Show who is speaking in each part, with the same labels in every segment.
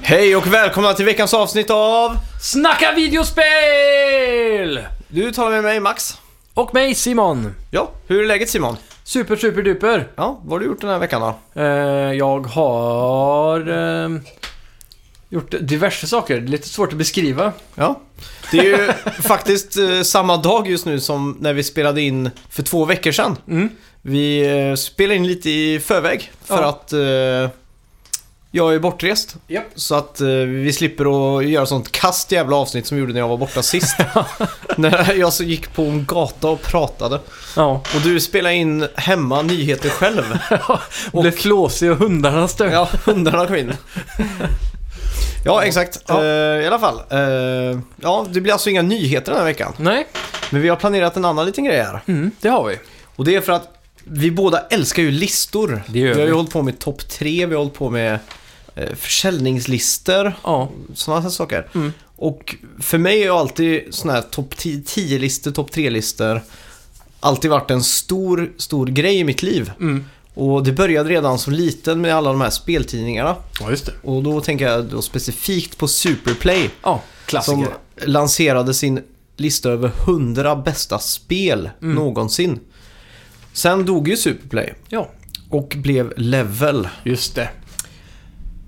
Speaker 1: Hej och välkomna till veckans avsnitt av...
Speaker 2: Snacka videospel!
Speaker 1: Du talar med mig Max.
Speaker 2: Och mig Simon.
Speaker 1: Ja, hur är läget Simon?
Speaker 2: Super, super duper.
Speaker 1: Ja, vad har du gjort den här veckan då?
Speaker 2: Eh, jag har eh, gjort diverse saker. Det är lite svårt att beskriva.
Speaker 1: Ja. Det är ju faktiskt eh, samma dag just nu som när vi spelade in för två veckor sedan.
Speaker 2: Mm.
Speaker 1: Vi eh, spelade in lite i förväg för
Speaker 2: Ja.
Speaker 1: att eh, jag är bortrest.
Speaker 2: Japp.
Speaker 1: Så att eh, vi slipper att göra sånt kast jävla avsnitt som vi gjorde när jag var borta sist. när jag så gick på en gata och pratade.
Speaker 2: Ja.
Speaker 1: Och du spelade in hemma nyheter själv.
Speaker 2: Och blev flåsig och hundarna stök.
Speaker 1: Ja, hundarna kom in. Ja, exakt.
Speaker 2: Ja.
Speaker 1: Eh, I alla fall. Eh, ja, det blir alltså inga nyheter den här veckan.
Speaker 2: Nej,
Speaker 1: Men vi har planerat en annan liten grej här.
Speaker 2: mm, det har vi.
Speaker 1: Och det är för att vi båda älskar ju listor.
Speaker 2: Det gör
Speaker 1: vi har ju
Speaker 2: vi.
Speaker 1: hållit på med topp tre, vi har hållit på med eh, försäljningslistor,
Speaker 2: Ja.
Speaker 1: sådana här saker.
Speaker 2: Mm.
Speaker 1: Och för mig är ju alltid sådana här topp 10-listor, topp 3-listor alltid varit en stor, stor grej i mitt liv.
Speaker 2: Mm.
Speaker 1: Och det började redan som liten med alla de här speltidningarna.
Speaker 2: Ja, just det.
Speaker 1: Och då tänker jag då specifikt på Superplay.
Speaker 2: Ja, klassiker.
Speaker 1: Som lanserade sin lista över 100 bästa spel någonsin. Sen dog ju Superplay
Speaker 2: Ja,
Speaker 1: och blev Level.
Speaker 2: just det.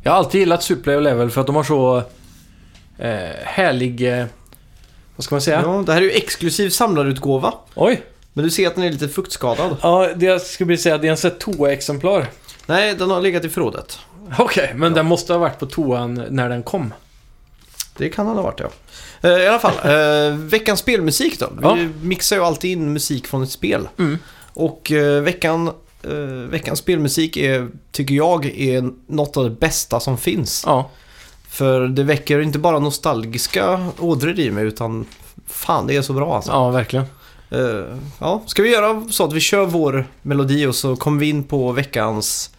Speaker 2: Jag har alltid gillat Superplay och Level för att de har så eh, härlig... Eh, vad ska man säga?
Speaker 1: Ja. det här är ju exklusiv samlarutgåva.
Speaker 2: Oj!
Speaker 1: Men du ser att den är lite fuktskadad.
Speaker 2: Ja, det jag skulle vilja säga det är en sån här toa-exemplar.
Speaker 1: Nej, den har legat i förrådet.
Speaker 2: Okej, men den måste ha varit på toan när den kom.
Speaker 1: Det kan han ha varit ja. Eh, I alla fall, eh, veckans spelmusik då. Vi
Speaker 2: Ja.
Speaker 1: mixar ju alltid in musik från ett spel.
Speaker 2: Mm.
Speaker 1: Och eh, veckan, eh, veckans spelmusik är, tycker jag är något av det bästa som finns.
Speaker 2: Ja.
Speaker 1: För det väcker inte bara nostalgiska ådror i mig utan fan det är så bra alltså.
Speaker 2: Ja, verkligen.
Speaker 1: Ja. ja. Ska vi göra så att vi kör vår melodi och så kommer vi in på veckans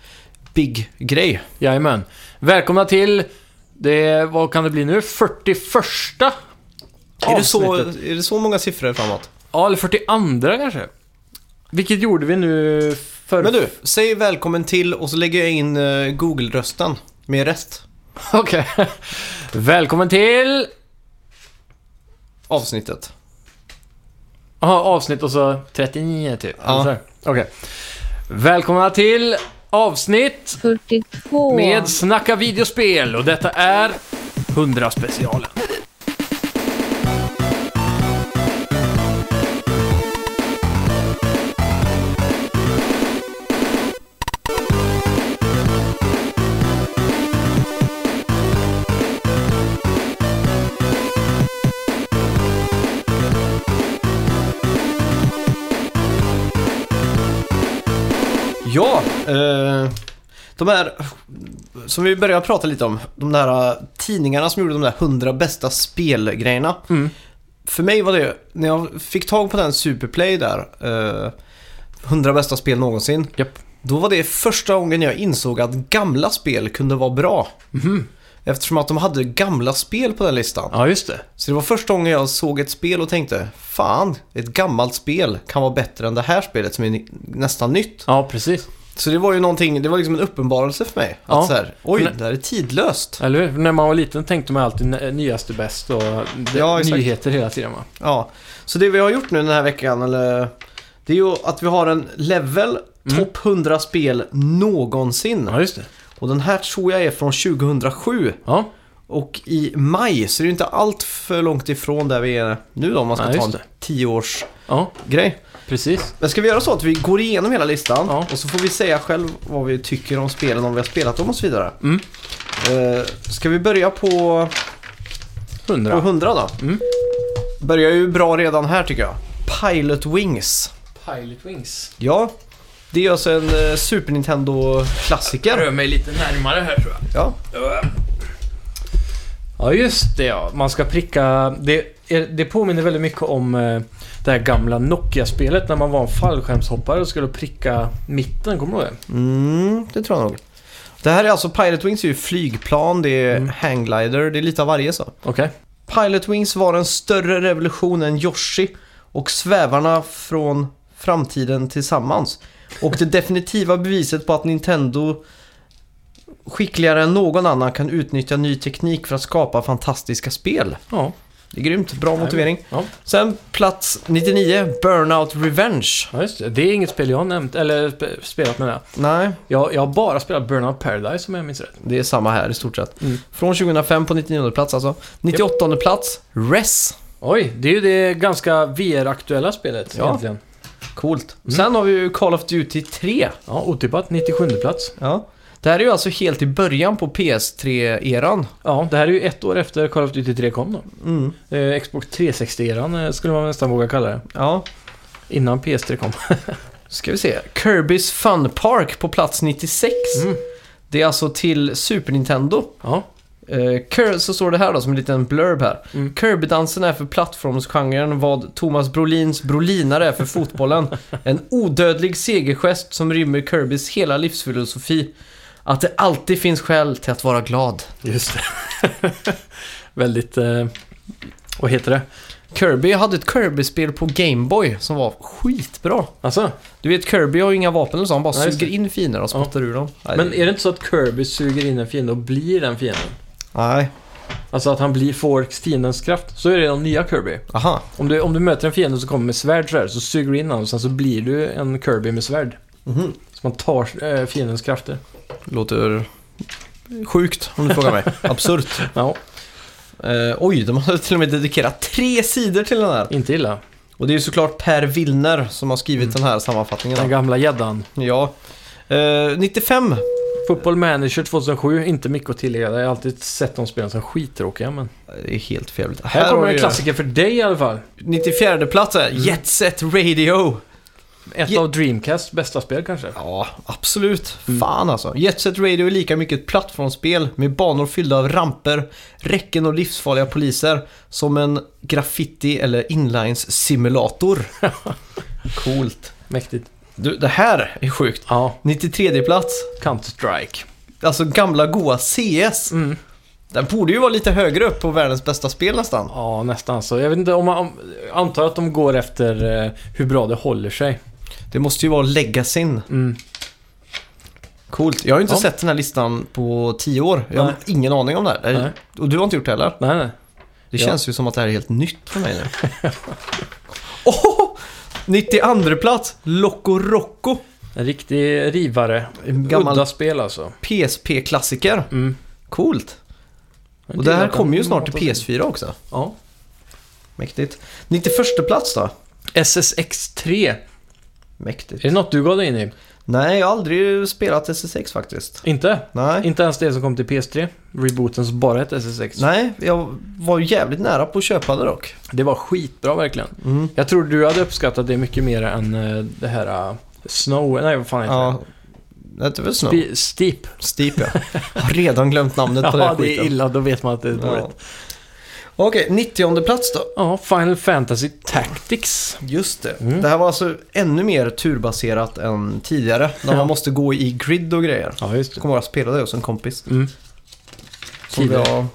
Speaker 1: big-grej.
Speaker 2: Jajamän. Välkomna till det, vad kan det bli nu? 41
Speaker 1: Är det, så,
Speaker 2: avsnittet.
Speaker 1: är det så många siffror framåt?
Speaker 2: Ja, eller 42 kanske. Vilket gjorde vi nu för...
Speaker 1: Men du, säg välkommen till och så lägger jag in eh, Google-rösten med rest.
Speaker 2: Okej. Välkommen till...
Speaker 1: Avsnittet.
Speaker 2: Aha, avsnitt och så 39 typ.
Speaker 1: Ja.
Speaker 2: Eller så här. Okej. Välkomna till avsnitt
Speaker 3: 42.
Speaker 2: med Snacka videospel och detta är 100 specialen.
Speaker 1: Ja, eh, de här som vi började prata lite om, de där eh, tidningarna som gjorde de där 100 bästa spelgrejerna.
Speaker 2: Mm.
Speaker 1: För mig var det, när jag fick tag på den Superplay där, eh, 100 bästa spel någonsin,
Speaker 2: Japp.
Speaker 1: då var det första gången jag insåg att gamla spel kunde vara bra. Mhm. Eftersom att de hade gamla spel på den listan.
Speaker 2: Ja, just det.
Speaker 1: Så det var första gången jag såg ett spel och tänkte, fan, ett gammalt spel kan vara bättre än det här spelet som är ni- nästan nytt.
Speaker 2: Ja, precis.
Speaker 1: Så det var ju någonting, det var liksom en uppenbarelse för mig.
Speaker 2: Ja.
Speaker 1: Att så här, oj,
Speaker 2: Men-
Speaker 1: det här är tidlöst.
Speaker 2: Eller hur? För När man var liten tänkte man alltid n- nyaste bäst och d-
Speaker 1: Ja, exakt.
Speaker 2: nyheter hela tiden va?
Speaker 1: Ja. Så det vi har gjort nu den här veckan, eller, det är ju att vi har en level topp 100 spel någonsin.
Speaker 2: Mm. Ja, just det.
Speaker 1: Och den här tror jag är från 2007.
Speaker 2: Ja,
Speaker 1: Och i maj, så det är ju inte allt för långt ifrån där vi är nu då om man ska
Speaker 2: Nej,
Speaker 1: ta
Speaker 2: just
Speaker 1: en
Speaker 2: det.
Speaker 1: tioårsgrej.
Speaker 2: ja precis.
Speaker 1: Men ska vi göra så att vi går igenom hela listan
Speaker 2: Ja.
Speaker 1: och så får vi säga själv vad vi tycker om spelen, om vi har spelat dem och så vidare.
Speaker 2: Mm.
Speaker 1: Eh, ska vi börja på På
Speaker 2: 100.
Speaker 1: 100 då.
Speaker 2: Mm.
Speaker 1: Börjar ju bra redan här tycker jag. Pilot Wings.
Speaker 2: Pilot Wings.
Speaker 1: Ja, det är alltså en eh, Super Nintendo-klassiker.
Speaker 2: Rör mig lite närmare här tror jag.
Speaker 1: Ja.
Speaker 2: Ja, just det ja. Man ska pricka... Det, är- det påminner väldigt mycket om eh, det här gamla Nokia-spelet när man var en fallskärmshoppare och skulle pricka mitten. Kommer du ihåg det?
Speaker 1: Mm, det tror jag nog. Det här är alltså Pilot Wings är ju flygplan, det är
Speaker 2: Mm.
Speaker 1: hangglider, det är lite av varje så.
Speaker 2: Okej.
Speaker 1: Pilot Wings var en större revolution än Yoshi och svävarna från framtiden tillsammans. Och det definitiva beviset på att Nintendo skickligare än någon annan kan utnyttja ny teknik för att skapa fantastiska spel.
Speaker 2: Ja.
Speaker 1: Det är grymt, bra
Speaker 2: men-
Speaker 1: motivering.
Speaker 2: ja.
Speaker 1: Sen plats 99, Burnout Revenge.
Speaker 2: ja, just det. Det är inget spel jag har nämnt, eller sp- spelat med det.
Speaker 1: Nej,
Speaker 2: Jag, jag har bara spelat Burnout Paradise om jag minns rätt.
Speaker 1: det är samma här i stort sett.
Speaker 2: Mm.
Speaker 1: Från 2005 på 99 plats alltså. 98 plats, Res.
Speaker 2: Oj, det är ju det ganska VR-aktuella spelet
Speaker 1: Ja.
Speaker 2: egentligen.
Speaker 1: Coolt.
Speaker 2: Mm.
Speaker 1: Sen har vi ju Call of Duty 3.
Speaker 2: Ja, otippat. 97 plats.
Speaker 1: Ja. Det här är ju alltså helt i början på PS3-eran.
Speaker 2: Ja, det här är ju ett år efter Call of Duty 3 kom då.
Speaker 1: Mm.
Speaker 2: Eh, Xbox 360-eran eh, skulle man nästan våga kalla det.
Speaker 1: Ja,
Speaker 2: Innan PS3 kom.
Speaker 1: ska vi se. Kirby's Fun Park på plats 96.
Speaker 2: Mm.
Speaker 1: Det är alltså till Super Nintendo.
Speaker 2: Ja,
Speaker 1: Eh, Kir- så står det här då som en liten blurb här.
Speaker 2: Mm.
Speaker 1: Kirby-dansen är för plattformsgenren vad Thomas Brolins Brolinare är för fotbollen. En odödlig segergest som rymmer Kirbys hela livsfilosofi. Att det alltid finns skäl till att vara glad.
Speaker 2: just det. Väldigt... Eh, vad heter det?
Speaker 1: Kirby hade ett Kirby-spel på Gameboy som var skitbra.
Speaker 2: Alltså,
Speaker 1: Du vet, Kirby har ju inga vapen och så, han bara
Speaker 2: Nej, just
Speaker 1: suger
Speaker 2: det.
Speaker 1: in fiender och
Speaker 2: Ja.
Speaker 1: spottar ur dem. Nej,
Speaker 2: men är det inte så att Kirby suger in en fiende och blir den fienden?
Speaker 1: Nej.
Speaker 2: Alltså att han blir, får fiendens kraft. Så är det i de nya Kirby.
Speaker 1: Aha.
Speaker 2: Om du, om du möter en fiende som kommer med svärd så, här, så suger du in honom och sen så blir du en Kirby med svärd.
Speaker 1: Mhm.
Speaker 2: Så man tar eh, fiendens krafter.
Speaker 1: Låter sjukt om du frågar mig. Absurt.
Speaker 2: Ja,
Speaker 1: Eh, oj, de har till och med dedikerat tre sidor till den här.
Speaker 2: inte illa.
Speaker 1: Och det är ju såklart Per Willner som har
Speaker 2: Mm.
Speaker 1: skrivit den här sammanfattningen.
Speaker 2: Den gamla gäddan.
Speaker 1: Ja. Eh, 95.
Speaker 2: Football Manager 2007, inte mycket att tillägga. Jag har alltid sett de spelen som skittråkiga men...
Speaker 1: Det är helt fel.
Speaker 2: Här,
Speaker 1: har
Speaker 2: kommer
Speaker 1: vi
Speaker 2: en
Speaker 1: det.
Speaker 2: klassiker Mm. för dig i alla fall.
Speaker 1: 94 plats är Jet Set Radio.
Speaker 2: Ett
Speaker 1: Ge-
Speaker 2: av Dreamcasts bästa spel kanske.
Speaker 1: Ja, absolut. Fan alltså. Jet Set Radio är lika mycket ett plattformsspel med banor fyllda av ramper, räcken och livsfarliga poliser som en graffiti eller inlines-simulator. Coolt.
Speaker 2: Mäktigt.
Speaker 1: Du, det här är sjukt.
Speaker 2: Ja,
Speaker 1: 93 plats.
Speaker 2: Counter-Strike.
Speaker 1: Alltså gamla goa CS.
Speaker 2: Mm.
Speaker 1: Den borde ju vara lite högre upp på världens bästa spel nästan.
Speaker 2: Ja, nästan så. Jag vet inte om man... Om, jag antar att de går efter eh, hur bra det håller sig.
Speaker 1: Det måste ju vara legacyn.
Speaker 2: Mm.
Speaker 1: Coolt. Jag har ju inte
Speaker 2: Ja.
Speaker 1: sett den här listan på 10 år. Jag har
Speaker 2: Nej.
Speaker 1: ingen aning om det här. Eller-
Speaker 2: Nej.
Speaker 1: Och du har inte gjort det heller.
Speaker 2: Nej, nej.
Speaker 1: Det
Speaker 2: Ja.
Speaker 1: känns ju som att det här är helt nytt för mig nu. oh! 92 plats, Loco Roco.
Speaker 2: En riktig rivare.
Speaker 1: En gammal-
Speaker 2: Udda spel alltså.
Speaker 1: PSP-klassiker.
Speaker 2: Mm.
Speaker 1: Coolt. Och det här kommer ju snart till PS4 också.
Speaker 2: Ja.
Speaker 1: Mäktigt. 91 plats då?
Speaker 2: SSX3. Är
Speaker 1: Mäktigt.
Speaker 2: det något du gav dig in i?
Speaker 1: Nej, jag har aldrig spelat SSX faktiskt.
Speaker 2: Inte?
Speaker 1: Nej.
Speaker 2: Inte ens det som kom till PS3. Rebooten som bara hette SSX.
Speaker 1: Nej, jag var ju jävligt nära på att köpa det dock.
Speaker 2: Det var skitbra verkligen.
Speaker 1: Mm.
Speaker 2: Jag tror du hade uppskattat det mycket mer än eh, det här eh, Snow... Nej, vad fan heter
Speaker 1: Ja. Det hette väl
Speaker 2: det?
Speaker 1: Snow?
Speaker 2: Spe- Steep.
Speaker 1: Steep ja. Jag har redan glömt namnet på
Speaker 2: Ja,
Speaker 1: den
Speaker 2: det är
Speaker 1: skiten.
Speaker 2: illa. Då vet man att det är dåligt.
Speaker 1: Ja. Okej, 90 plats då.
Speaker 2: Ja, Final Fantasy Tactics.
Speaker 1: Just det.
Speaker 2: Mm.
Speaker 1: Det här var alltså ännu mer turbaserat än tidigare. När
Speaker 2: Ja.
Speaker 1: man måste gå i grid och grejer.
Speaker 2: Ja, just
Speaker 1: Jag kommer ihåg att jag spelade det hos en kompis.
Speaker 2: Mm.
Speaker 1: Som
Speaker 2: Tidigare.
Speaker 1: jag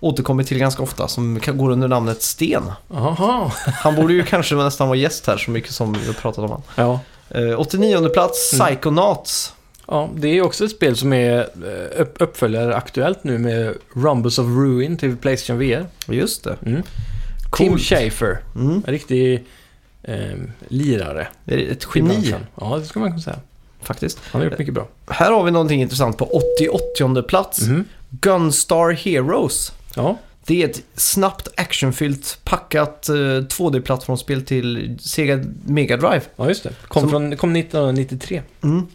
Speaker 1: återkommer till ganska ofta. Som kan- går under namnet Sten.
Speaker 2: Aha.
Speaker 1: Han borde ju kanske nästan vara gäst här så mycket som vi har pratat om han.
Speaker 2: Ja.
Speaker 1: Eh, 89 plats,
Speaker 2: Mm.
Speaker 1: Psychonauts.
Speaker 2: ja, det är också ett spel som är eh, upp- uppföljare aktuellt nu med Rumbles of Ruin till Playstation VR.
Speaker 1: Just det.
Speaker 2: Mm. Tim
Speaker 1: Coolt.
Speaker 2: Schafer,
Speaker 1: Mm.
Speaker 2: en riktig eh, lirare.
Speaker 1: Det är ett
Speaker 2: i
Speaker 1: geni
Speaker 2: branschen. Ja, det skulle man kunna säga.
Speaker 1: faktiskt.
Speaker 2: Han har gjort mycket bra.
Speaker 1: Här har vi någonting intressant på 88 plats.
Speaker 2: Mhm.
Speaker 1: Gunstar Heroes.
Speaker 2: Ja,
Speaker 1: Det är ett snabbt actionfyllt packat eh, 2D-plattformsspel till Sega Mega Drive.
Speaker 2: ja, just det. Kom,
Speaker 1: Som-
Speaker 2: från, kom 1993.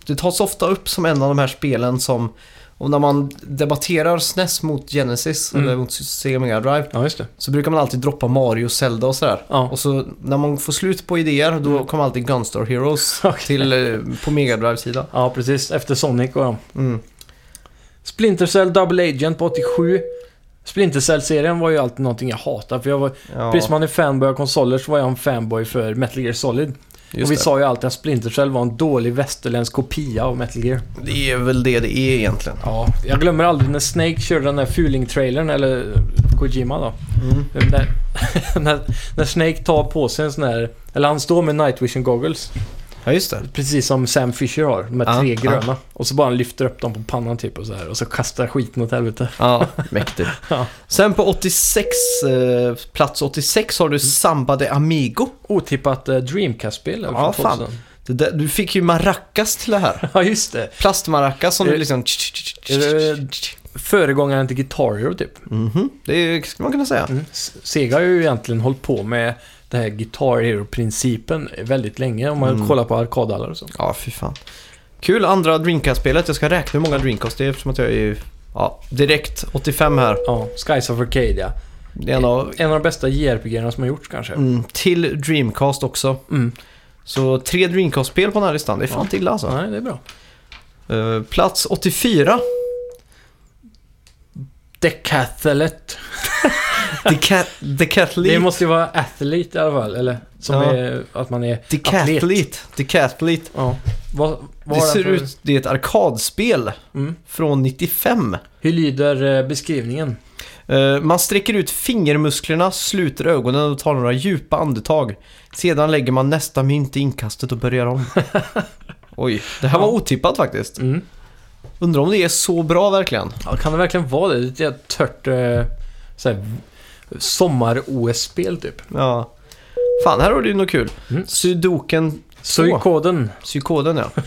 Speaker 1: Det tas ofta upp som en av de här spelen som, och när man debatterar SNES mot Genesis
Speaker 2: Mm.
Speaker 1: eller mot Sega Mega Drive,
Speaker 2: Ja, just det.
Speaker 1: så brukar man alltid droppa Mario, Zelda och sådär.
Speaker 2: Ja.
Speaker 1: Och så när man får slut på idéer, då kommer alltid Gunstar Heroes
Speaker 2: Mm. Okej.
Speaker 1: till, eh, på Mega Drive sida
Speaker 2: ja, precis. Efter Sonic och ja.
Speaker 1: mm.
Speaker 2: Splinter Cell Double Agent på 87. Splinter Cell-serien var ju alltid någonting jag hatade. För jag var,
Speaker 1: ja,
Speaker 2: precis som man är fanboy av konsoler så var jag en fanboy för Metal Gear Solid.
Speaker 1: just
Speaker 2: och vi
Speaker 1: det.
Speaker 2: sa ju alltid att Splinter Cell var en dålig västerländsk kopia av Metal Gear.
Speaker 1: det är väl det det är egentligen.
Speaker 2: Ja, jag glömmer aldrig när Snake körde den där fuling-trailern, eller eh, Kojima då.
Speaker 1: Mm.
Speaker 2: När, när, när Snake tar på sig en sån här, eller han står med night vision goggles.
Speaker 1: Ja, just det.
Speaker 2: Precis som Sam Fisher har, de här
Speaker 1: Ja,
Speaker 2: tre
Speaker 1: ja.
Speaker 2: gröna. Och så bara han lyfter upp dem på pannan typ och så här och så kastar skiten åt helvete.
Speaker 1: Ja, mäktigt.
Speaker 2: Ja.
Speaker 1: Sen på 86, eh, plats 86 har du Samba de Amigo.
Speaker 2: Otippat eh, Dreamcast-spel där
Speaker 1: Ja,
Speaker 2: från
Speaker 1: fan.
Speaker 2: 2000.
Speaker 1: Det där, du fick ju maracas till det här.
Speaker 2: Ja, just det.
Speaker 1: Plastmaracas som
Speaker 2: Är
Speaker 1: du
Speaker 2: det-
Speaker 1: liksom...
Speaker 2: är Föregångaren till Guitar Hero typ.
Speaker 1: Mhm, det skulle man kunna säga.
Speaker 2: Mm. S- Sega har ju egentligen hållit på med den här Guitar Hero-principen väldigt länge om man
Speaker 1: Mm.
Speaker 2: kollar på arkadhallar och så.
Speaker 1: Ja, fy fan. Kul andra Dreamcast-spelet. Jag ska räkna hur många Dreamcast det är eftersom att jag är ju... Ja, direkt 85 här.
Speaker 2: Ja, Skies of Arcadia.
Speaker 1: Det är en av...
Speaker 2: En av de bästa JRPG-erna som har gjorts kanske.
Speaker 1: Mm, till Dreamcast också.
Speaker 2: Mm.
Speaker 1: Så tre Dreamcast-spel på den här listan. Det är fan
Speaker 2: Ja.
Speaker 1: illa alltså.
Speaker 2: Nej, det är bra.
Speaker 1: Eh, plats 84.
Speaker 2: Decathlete.
Speaker 1: The
Speaker 2: Det
Speaker 1: Cathlete.
Speaker 2: måste ju vara athlete i alla fall, eller? Som
Speaker 1: Ja.
Speaker 2: är att man är...
Speaker 1: The Cathlete. The Cathlete.
Speaker 2: Ja. Vad, vad
Speaker 1: Det
Speaker 2: har den
Speaker 1: ser
Speaker 2: för-
Speaker 1: ut... Det är ett arkadspel
Speaker 2: Mm.
Speaker 1: från 95.
Speaker 2: Hur lyder eh, beskrivningen?
Speaker 1: Eh, Man sträcker ut fingermusklerna, sluter ögonen och tar några djupa andetag. Sedan lägger man nästa mynt i inkastet och börjar om. Oj, det här var
Speaker 2: Ja. Mm.
Speaker 1: otippat faktiskt. Undrar om det är så bra verkligen.
Speaker 2: Ja, kan det verkligen vara det? Det är ett jävla tört eh, så här, sommar-OS-spel typ.
Speaker 1: Ja. Fan, här har du ju något kul.
Speaker 2: Mm.
Speaker 1: Sudoken,
Speaker 2: Så i koden.
Speaker 1: psykoden ja.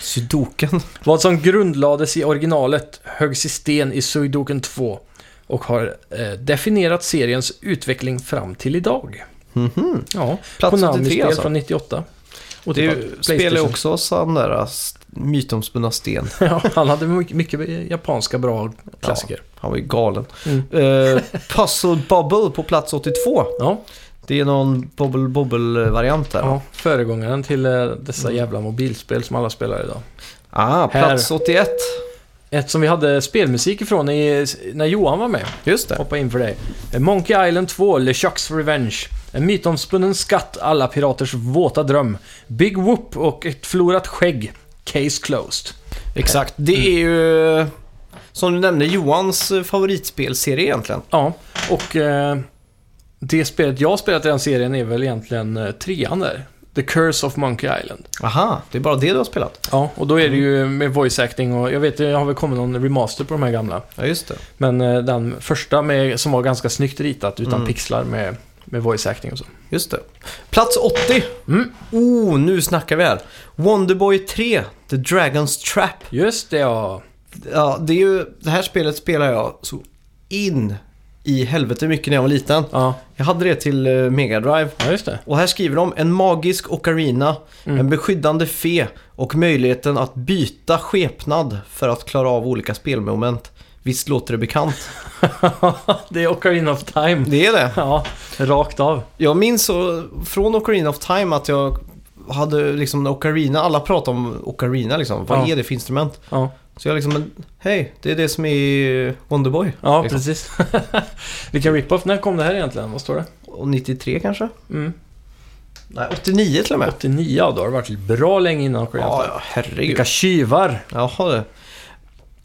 Speaker 1: Sudoken.
Speaker 2: Vad som grundlades i originalet högs i sten i Suidoken 2 och har eh, definierat seriens utveckling fram till idag.
Speaker 1: Mhm.
Speaker 2: Ja,
Speaker 1: Plats
Speaker 2: Konami-spel
Speaker 1: 83 alltså.
Speaker 2: från 98. Och
Speaker 1: Det är
Speaker 2: typ
Speaker 1: ju- spelar ju också sån där s- mytomspunna sten.
Speaker 2: ja, han hade mycket, mycket japanska bra klassiker.
Speaker 1: Han var ju galen.
Speaker 2: Mm.
Speaker 1: Eh, Puzzle Bubble på plats 82.
Speaker 2: Ja,
Speaker 1: Det är någon Bobble Bobble-variant där.
Speaker 2: ja, föregångaren till eh, dessa
Speaker 1: Mm.
Speaker 2: jävla mobilspel som alla spelar idag.
Speaker 1: Ah,
Speaker 2: Här.
Speaker 1: plats 81.
Speaker 2: Ett som vi hade spelmusik ifrån i, när Johan var med.
Speaker 1: Just det.
Speaker 2: Hoppa in för dig. Eh, Monkey Island 2, LeChucks Revenge. En mytomspunnen skatt, alla piraters våta dröm. Big Whoop och ett förlorat skägg. Case closed.
Speaker 1: Exakt. Det är ju, som du nämnde, Johans eh, favoritspelserie egentligen.
Speaker 2: Ja, och eh, det spelet jag har spelat i den serien är väl egentligen eh, trean där. The Curse of Monkey Island.
Speaker 1: Aha, det är bara det du har spelat?
Speaker 2: Ja, och då är det ju med voice acting och jag vet, jag har väl kommit någon remaster på de här gamla.
Speaker 1: Ja, just det.
Speaker 2: Men eh, den första med, som var ganska snyggt ritat utan
Speaker 1: Mm.
Speaker 2: pixlar med, med voice acting och så.
Speaker 1: Just det. Plats 80.
Speaker 2: Mm.
Speaker 1: Oh, nu snackar vi här. Wonderboy 3, The Dragon's Trap.
Speaker 2: Just det ja.
Speaker 1: Ja, det är ju, det här spelet spelar jag så in i helvete mycket när jag var liten.
Speaker 2: Ja,
Speaker 1: Jag hade det till eh, Mega Drive.
Speaker 2: ja just det.
Speaker 1: Och här skriver de en magisk ocarina,
Speaker 2: Mm.
Speaker 1: en beskyddande fe och möjligheten att byta skepnad för att klara av olika spelmoment. Visst låter det bekant?
Speaker 2: det är Ocarina of Time.
Speaker 1: Det är det.
Speaker 2: Ja, rakt av.
Speaker 1: Jag minns så, från Ocarina of Time att jag hade liksom en ocarina, alla pratade om ocarina liksom. Vad
Speaker 2: Ja.
Speaker 1: är det för instrument?
Speaker 2: Ja,
Speaker 1: Så jag liksom, men, hej, det är det som är i Wonderboy.
Speaker 2: ja
Speaker 1: Liksom.
Speaker 2: precis. Vilken rip-off. När kom det här egentligen? Vad står det?
Speaker 1: Och 93 kanske?
Speaker 2: Mm.
Speaker 1: Nej, 89 till och med.
Speaker 2: 89, ja, då har det varit bra länge innan Ocarina of
Speaker 1: Ja,
Speaker 2: Time.
Speaker 1: ja, herregud.
Speaker 2: Vilka tjuvar!
Speaker 1: Jaha du.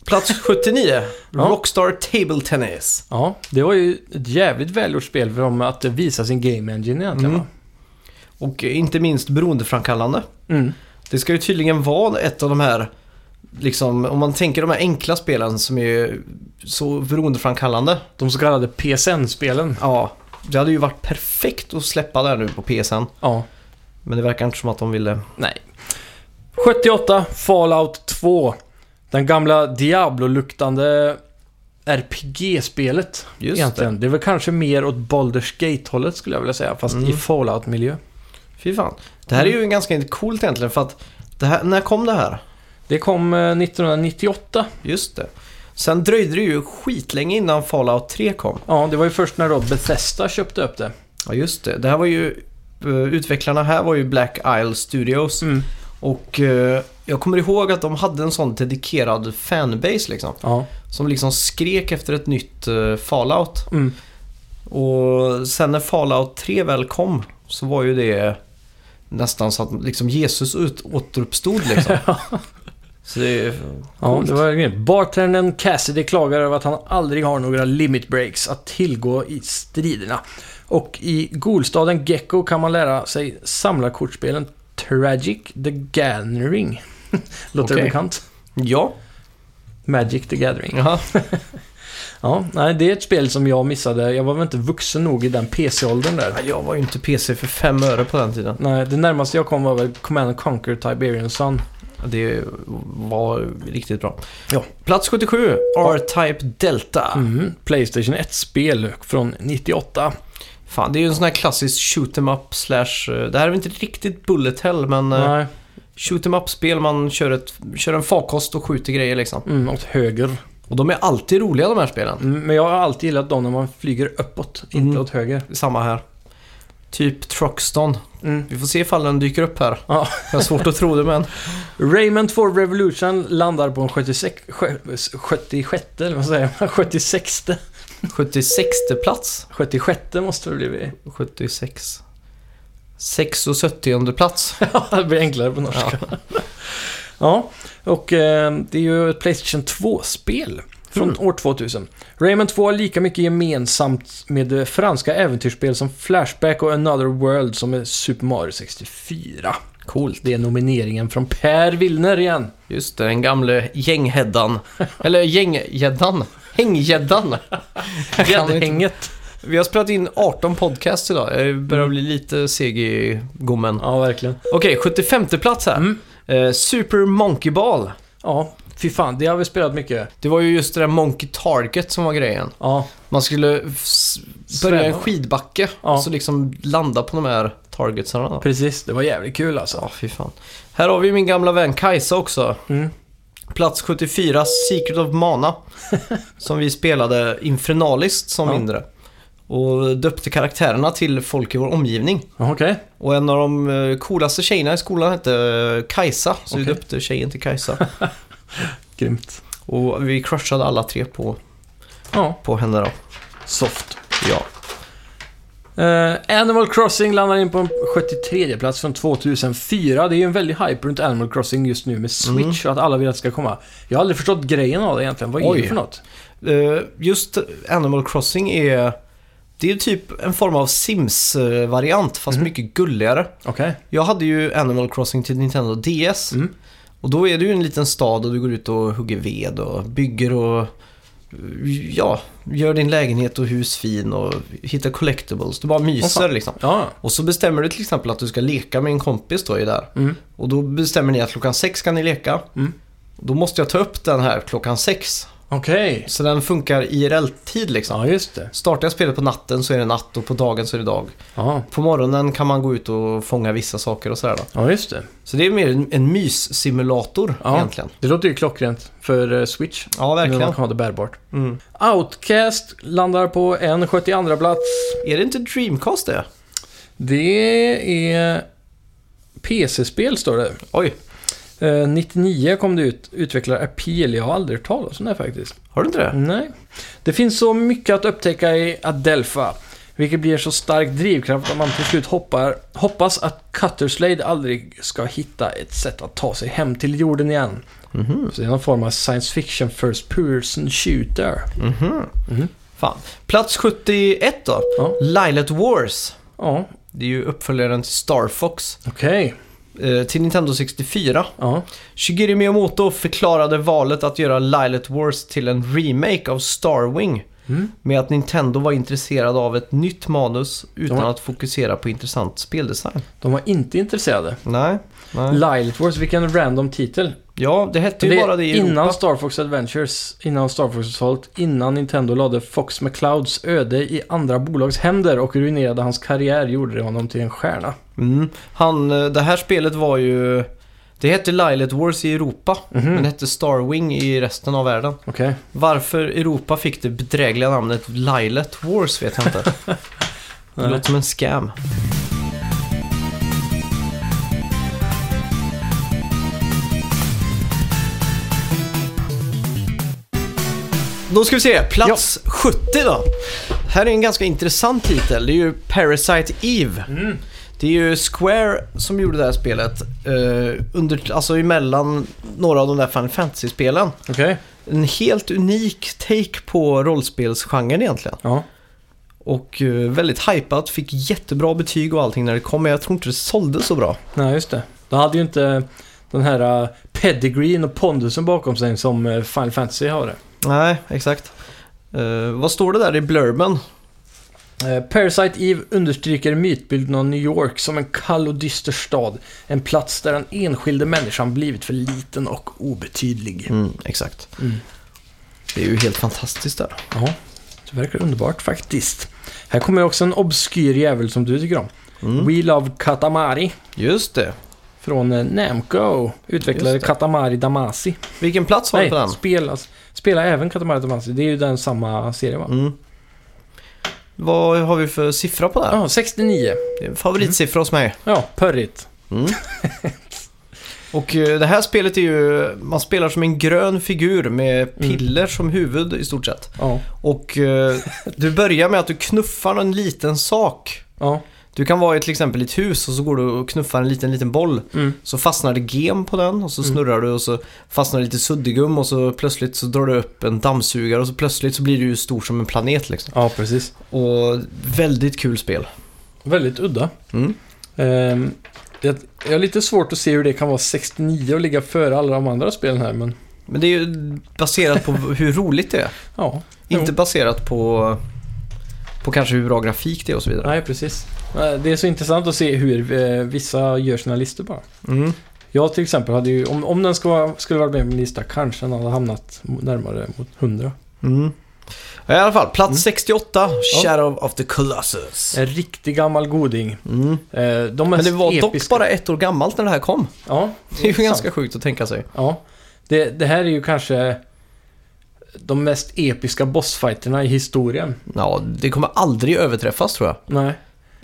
Speaker 1: Plats 79,
Speaker 2: Ja.
Speaker 1: Rockstar Table Tennis.
Speaker 2: Ja, det var ju ett jävligt välgjort spel för dem att visa sin game engine egentligen
Speaker 1: Mm.
Speaker 2: va?
Speaker 1: Och inte minst beroendeframkallande.
Speaker 2: Mm.
Speaker 1: Det ska ju tydligen vara ett av de här, liksom, om man tänker de här enkla spelen som är så beroendeframkallande.
Speaker 2: De så kallade PSN-spelen.
Speaker 1: Ja, det hade ju varit perfekt att släppa det här nu på PSN.
Speaker 2: Ja.
Speaker 1: Men det verkar inte som att de ville.
Speaker 2: Nej. 78, Fallout 2. Den gamla Diablo-luktande RPG-spelet.
Speaker 1: Just
Speaker 2: egentligen. Det. är väl kanske mer åt Baldur's Gate-hållet skulle jag vilja säga, fast
Speaker 1: Mm.
Speaker 2: i Fallout-miljö.
Speaker 1: det. Fy fan. Det här är ju ganska coolt egentligen för att, det här, när kom det här?
Speaker 2: Det kom eh, 1998.
Speaker 1: Just det. Sen dröjde det ju skitlänge innan Fallout 3 kom.
Speaker 2: Ja, det var ju först när då Bethesda köpte upp det.
Speaker 1: Ja, just det. Det här var ju, eh, utvecklarna här var ju Black Isle Studios. Och eh, jag kommer ihåg att de hade en sån dedikerad fanbase liksom.
Speaker 2: Ja.
Speaker 1: Som liksom skrek efter ett nytt eh, Fallout.
Speaker 2: Mm.
Speaker 1: Och sen när Fallout 3 väl kom så var ju det nästan så att liksom Jesus ut, återuppstod liksom. så det är
Speaker 2: Ja,
Speaker 1: coolt.
Speaker 2: det var grymt. Bartendern Cassidy klagar över att han aldrig har några limit breaks att tillgå i striderna. Och i Golstaden Gecko kan man lära sig samlarkortspelen Tragic the Gathering. Låter
Speaker 1: Okej.
Speaker 2: det bekant?
Speaker 1: Ja.
Speaker 2: Magic the Gathering.
Speaker 1: Jaha.
Speaker 2: Ja, nej, det är ett spel som jag missade. Jag var väl inte vuxen nog i den PC-åldern där.
Speaker 1: Ja, Jag var ju inte PC för fem öre på den tiden.
Speaker 2: Nej, det närmaste jag kom var väl Command and Conquer Tiberian Sun.
Speaker 1: Det var riktigt bra.
Speaker 2: Ja.
Speaker 1: Plats 77, R-Type Delta.
Speaker 2: Mhm, Playstation 1-spel från 98.
Speaker 1: Fan, det är ju en sån här klassisk shoot em up slash... eh, Det här är väl inte riktigt bullet hell, men... eh,
Speaker 2: Nej.
Speaker 1: Shoot em up-spel, man kör, ett, kör en farkost och skjuter grejer liksom.
Speaker 2: Mm, åt höger.
Speaker 1: Och de är alltid roliga de här spelen.
Speaker 2: Mm, Men jag har alltid gillat dem när man flyger uppåt, inte
Speaker 1: Mm.
Speaker 2: åt höger.
Speaker 1: Samma här. Typ Truckston.
Speaker 2: Mm.
Speaker 1: Vi får se ifall den dyker upp här.
Speaker 2: Ja.
Speaker 1: Jag har svårt att tro det, men...
Speaker 2: Rayman 2 Revolution landar på en 76... sjö- 76 eller vad säger man? 76
Speaker 1: 76 plats.
Speaker 2: 76 måste det bli.
Speaker 1: 76. 76 plats.
Speaker 2: Ja, det blir enklare på norska. Ja, och eh, det är ju ett Playstation 2-spel från år 2000. Rayman 2 har lika mycket gemensamt med det franska äventyrsspel som Flashback och Another World som är Super Mario 64. Coolt. Det är nomineringen från Per Willner igen.
Speaker 1: Just det, den gamle gänghäddan. Eller gänggäddan. Hänggäddan. Jag kan inte-
Speaker 2: Gäddhänget.
Speaker 1: Vi har spelat in 18 podcast idag. Jag
Speaker 2: Mm.
Speaker 1: börjar bli lite seg i gommen.
Speaker 2: Ja, verkligen.
Speaker 1: Okej, 75 plats här.
Speaker 2: Mm.
Speaker 1: Eh, Super Monkey Ball.
Speaker 2: Ja, fy fan. Det har vi spelat mycket.
Speaker 1: Det var ju just det där Monkey Target som var grejen.
Speaker 2: Ja,
Speaker 1: Man skulle s-
Speaker 2: Sväva.
Speaker 1: börja i en skidbacke
Speaker 2: Ja.
Speaker 1: och så liksom landa på de här targetsarna. då.
Speaker 2: precis. Det var jävligt kul alltså.
Speaker 1: Ja, fy fan. Här har vi min gamla vän Kajsa också.
Speaker 2: Mm.
Speaker 1: Plats 74, Secret of Mana. som vi spelade infernaliskt som
Speaker 2: Ja.
Speaker 1: mindre. Och döpte karaktärerna till folk i vår omgivning.
Speaker 2: Okej.
Speaker 1: Och en av de eh, coolaste tjejerna i skolan hette eh, Kajsa. Så vi
Speaker 2: Okej.
Speaker 1: döpte tjejen till Kajsa.
Speaker 2: Grymt.
Speaker 1: och vi crushade alla tre på,
Speaker 2: Ja,
Speaker 1: på henne då.
Speaker 2: soft.
Speaker 1: Ja.
Speaker 2: Eh, Animal Crossing landar in på en 73 plats från 2004. Det är ju en väldig hype runt Animal Crossing just nu
Speaker 1: Mm.
Speaker 2: med Switch och att alla vill att det ska komma. Jag har aldrig förstått grejen av det egentligen. Vad är
Speaker 1: Oj.
Speaker 2: det för något?
Speaker 1: Eh, Just Animal Crossing är... Det är typ en form av Sims-variant fast
Speaker 2: Mhm.
Speaker 1: mycket gulligare.
Speaker 2: Okej.
Speaker 1: Jag hade ju Animal Crossing till Nintendo DS.
Speaker 2: Mm.
Speaker 1: Och då är du ju en liten stad och du går ut och hugger ved och bygger och ja, gör din lägenhet och hus fin och hittar collectibles. Du bara myser
Speaker 2: Åh, fan.
Speaker 1: liksom.
Speaker 2: Ja.
Speaker 1: Och så bestämmer du till exempel att du ska leka med en kompis då i det här.
Speaker 2: Mm.
Speaker 1: Och då bestämmer ni att klockan sex ska ni leka.
Speaker 2: Mm.
Speaker 1: Då måste jag ta upp den här klockan sex.
Speaker 2: Okej.
Speaker 1: Så den funkar IRL-tid liksom.
Speaker 2: Ja, just det.
Speaker 1: Startar jag spelet på natten så är det natt och på dagen så är det dag.
Speaker 2: Ja,
Speaker 1: På morgonen kan man gå ut och fånga vissa saker och sådär då.
Speaker 2: ja just det.
Speaker 1: Så det är mer en, en myssimulator
Speaker 2: Ja.
Speaker 1: egentligen.
Speaker 2: Det låter ju klockrent för eh, Switch.
Speaker 1: Ja,
Speaker 2: Nu
Speaker 1: verkligen.
Speaker 2: man kan ha det bärbart.
Speaker 1: Mm.
Speaker 2: Outcast landar på en 72 plats.
Speaker 1: Är det inte Dreamcast det?
Speaker 2: Det är PC-spel står det.
Speaker 1: Oj,
Speaker 2: Eh, 99 kom det ut. Utvecklar Appeal. Jag har aldrig hört talas om det här faktiskt.
Speaker 1: har du inte det?
Speaker 2: Nej. Det finns så mycket att upptäcka i Adelpha, vilket blir så stark drivkraft att man till slut hoppar, hoppas att Cutterslade aldrig ska hitta ett sätt att ta sig hem till jorden igen.
Speaker 1: Mhm.
Speaker 2: Så det är någon form av science fiction first person shooter.
Speaker 1: Mhm.
Speaker 2: Mhm.
Speaker 1: Fan. Plats 71 då.
Speaker 2: Ja.
Speaker 1: Lilet Wars.
Speaker 2: Ja,
Speaker 1: Det är ju uppföljaren till Star Fox.
Speaker 2: okej.
Speaker 1: Eh, till Nintendo 64.
Speaker 2: Ja.
Speaker 1: Shigeru Miyamoto förklarade valet att göra Lilet Wars till en remake av Starwing.
Speaker 2: Mm.
Speaker 1: Med att Nintendo var intresserad av ett nytt manus utan
Speaker 2: Ja.
Speaker 1: att fokusera på intressant speldesign.
Speaker 2: De var inte intresserade.
Speaker 1: Nej. Nej.
Speaker 2: Lilet Wars, vilken random titel.
Speaker 1: Ja, det hette ju bara det i
Speaker 2: innan
Speaker 1: Europa.
Speaker 2: Star Fox Adventures, innan Star Fox Assault, innan Nintendo lade Fox McClouds öde i andra bolags händer och ruinerade hans karriär, gjorde det honom till en stjärna.
Speaker 1: Mm. Han, eh, det här spelet var ju... Det hette Lilet Wars i Europa,
Speaker 2: Mhm.
Speaker 1: men hette Starwing i resten av världen.
Speaker 2: Okej.
Speaker 1: Varför Europa fick det bedrägliga namnet Lilet Wars vet jag inte. det
Speaker 2: Nej.
Speaker 1: låter som en scam. Då ska vi se, plats 70 då. Här är en ganska intressant titel. Det är ju Parasite Eve. Det är ju Square som gjorde det här spelet. Eh, under, alltså emellan några av de där Final Fantasy-spelen.
Speaker 2: Okej.
Speaker 1: En helt unik take på rollspelsgenren egentligen.
Speaker 2: Ja.
Speaker 1: Och eh, väldigt hypat, fick jättebra betyg och allting när det kom, men jag tror inte det sålde så bra.
Speaker 2: Nej, just det. Då hade ju inte den här eh, pedigreen och pondusen bakom sig som eh, Final Fantasy har det.
Speaker 1: Nej, exakt. Eh, vad står det där i blurben?
Speaker 2: Eh, Parasite Eve understryker mytbilden av New York som en kall och dyster stad. En plats där den enskilde människan blivit för liten och obetydlig.
Speaker 1: Mm, exakt.
Speaker 2: Mm.
Speaker 1: Det är ju helt fantastiskt där.
Speaker 2: Ja, det verkar underbart faktiskt. Här kommer också en obskyr jävel som du tycker om.
Speaker 1: Mm.
Speaker 2: We Love Katamari
Speaker 1: Just det.
Speaker 2: från eh, Namco. Utvecklade
Speaker 1: Just det.
Speaker 2: Katamari Damasi.
Speaker 1: Vilken plats har du
Speaker 2: Nej,
Speaker 1: på den?
Speaker 2: spela, spela även Katamari Damasi. Det är ju den samma serie va?
Speaker 1: Mm. Vad har vi för siffra på det här?
Speaker 2: Ja, 69.
Speaker 1: Det är en favoritsiffra hos mig.
Speaker 2: Ja, pörrigt.
Speaker 1: Och eh, det här spelet är ju, man spelar som en grön figur med
Speaker 2: Mm.
Speaker 1: piller som huvud i stort sett.
Speaker 2: Ja,
Speaker 1: Och eh, du börjar med att du knuffar en liten sak.
Speaker 2: ja.
Speaker 1: Du kan vara i till exempel ett hus och så går du och knuffar en liten, liten boll.
Speaker 2: Mm.
Speaker 1: Så fastnar det gem på den och så snurrar du och så fastnar det lite suddgum och så plötsligt så drar du upp en dammsugare och så plötsligt så blir du ju stor som en planet liksom.
Speaker 2: ja precis.
Speaker 1: Och väldigt kul spel.
Speaker 2: Väldigt udda.
Speaker 1: Mm.
Speaker 2: Ehm, det, jag har lite svårt att se hur det kan vara 69 och ligga före alla de andra spelen här, men
Speaker 1: Men det är ju baserat på hur roligt det är.
Speaker 2: ja.
Speaker 1: Inte baserat på, på kanske hur bra grafik det är och så vidare.
Speaker 2: Nej, precis. Eh, Det är så intressant att se hur eh, vissa gör sina listor bara.
Speaker 1: Mm.
Speaker 2: Jag till exempel hade ju, om, om den skulle, vara- skulle varit med på min lista, kanske den hade hamnat mo- närmare mot 100.
Speaker 1: Mm. Ja, I alla fall, plats 68, Shadow of the Colossus.
Speaker 2: En riktig gammal goding.
Speaker 1: Mm.
Speaker 2: Eh,
Speaker 1: Men
Speaker 2: De mest
Speaker 1: det var dock
Speaker 2: episka-
Speaker 1: bara ett år gammalt när det här kom.
Speaker 2: Ja,
Speaker 1: Det är ju
Speaker 2: sant.
Speaker 1: ganska sjukt att tänka sig.
Speaker 2: Ja, det, det här är ju kanske de mest episka bossfighterna i historien.
Speaker 1: Ja, det kommer aldrig överträffas tror jag.
Speaker 2: Nej.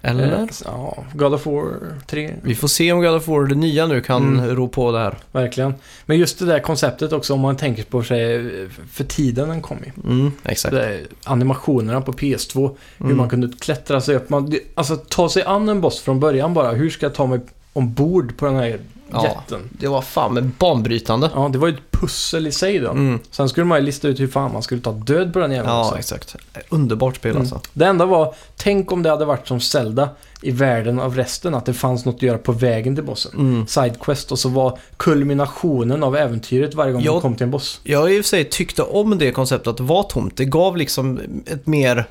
Speaker 1: Eller?
Speaker 2: Eh, Ja, God of War 3,
Speaker 1: Vi får se om God of War, det nya nu, kan
Speaker 2: Mm.
Speaker 1: rå på det här.
Speaker 2: verkligen. Men just det där konceptet också, om man tänker på sig för tiden den kom i.
Speaker 1: Mm, exakt.
Speaker 2: Det där Animationerna på PS2, hur
Speaker 1: Mm.
Speaker 2: man kunde klättra sig upp. Man, det- alltså ta sig an en boss från början bara. Hur ska jag ta mig ombord på den här
Speaker 1: Ja.
Speaker 2: jätten?
Speaker 1: Det var fan med banbrytande.
Speaker 2: Ja, det var ju ett pussel i sig då.
Speaker 1: Mm.
Speaker 2: Sen skulle man ju lista ut hur fan man skulle ta död på den jäveln också.
Speaker 1: Ja, exakt. Underbart spel
Speaker 2: Mm.
Speaker 1: alltså.
Speaker 2: Det enda var, tänk om det hade varit som Zelda i världen av resten, att det fanns något att göra på vägen till bossen.
Speaker 1: Mm.
Speaker 2: Sidequest och så var kulminationen av äventyret varje gång
Speaker 1: Ja.
Speaker 2: man kom till en boss.
Speaker 1: Jag har i och för sig tyckte om det konceptet att det var tomt. Det gav liksom ett mer...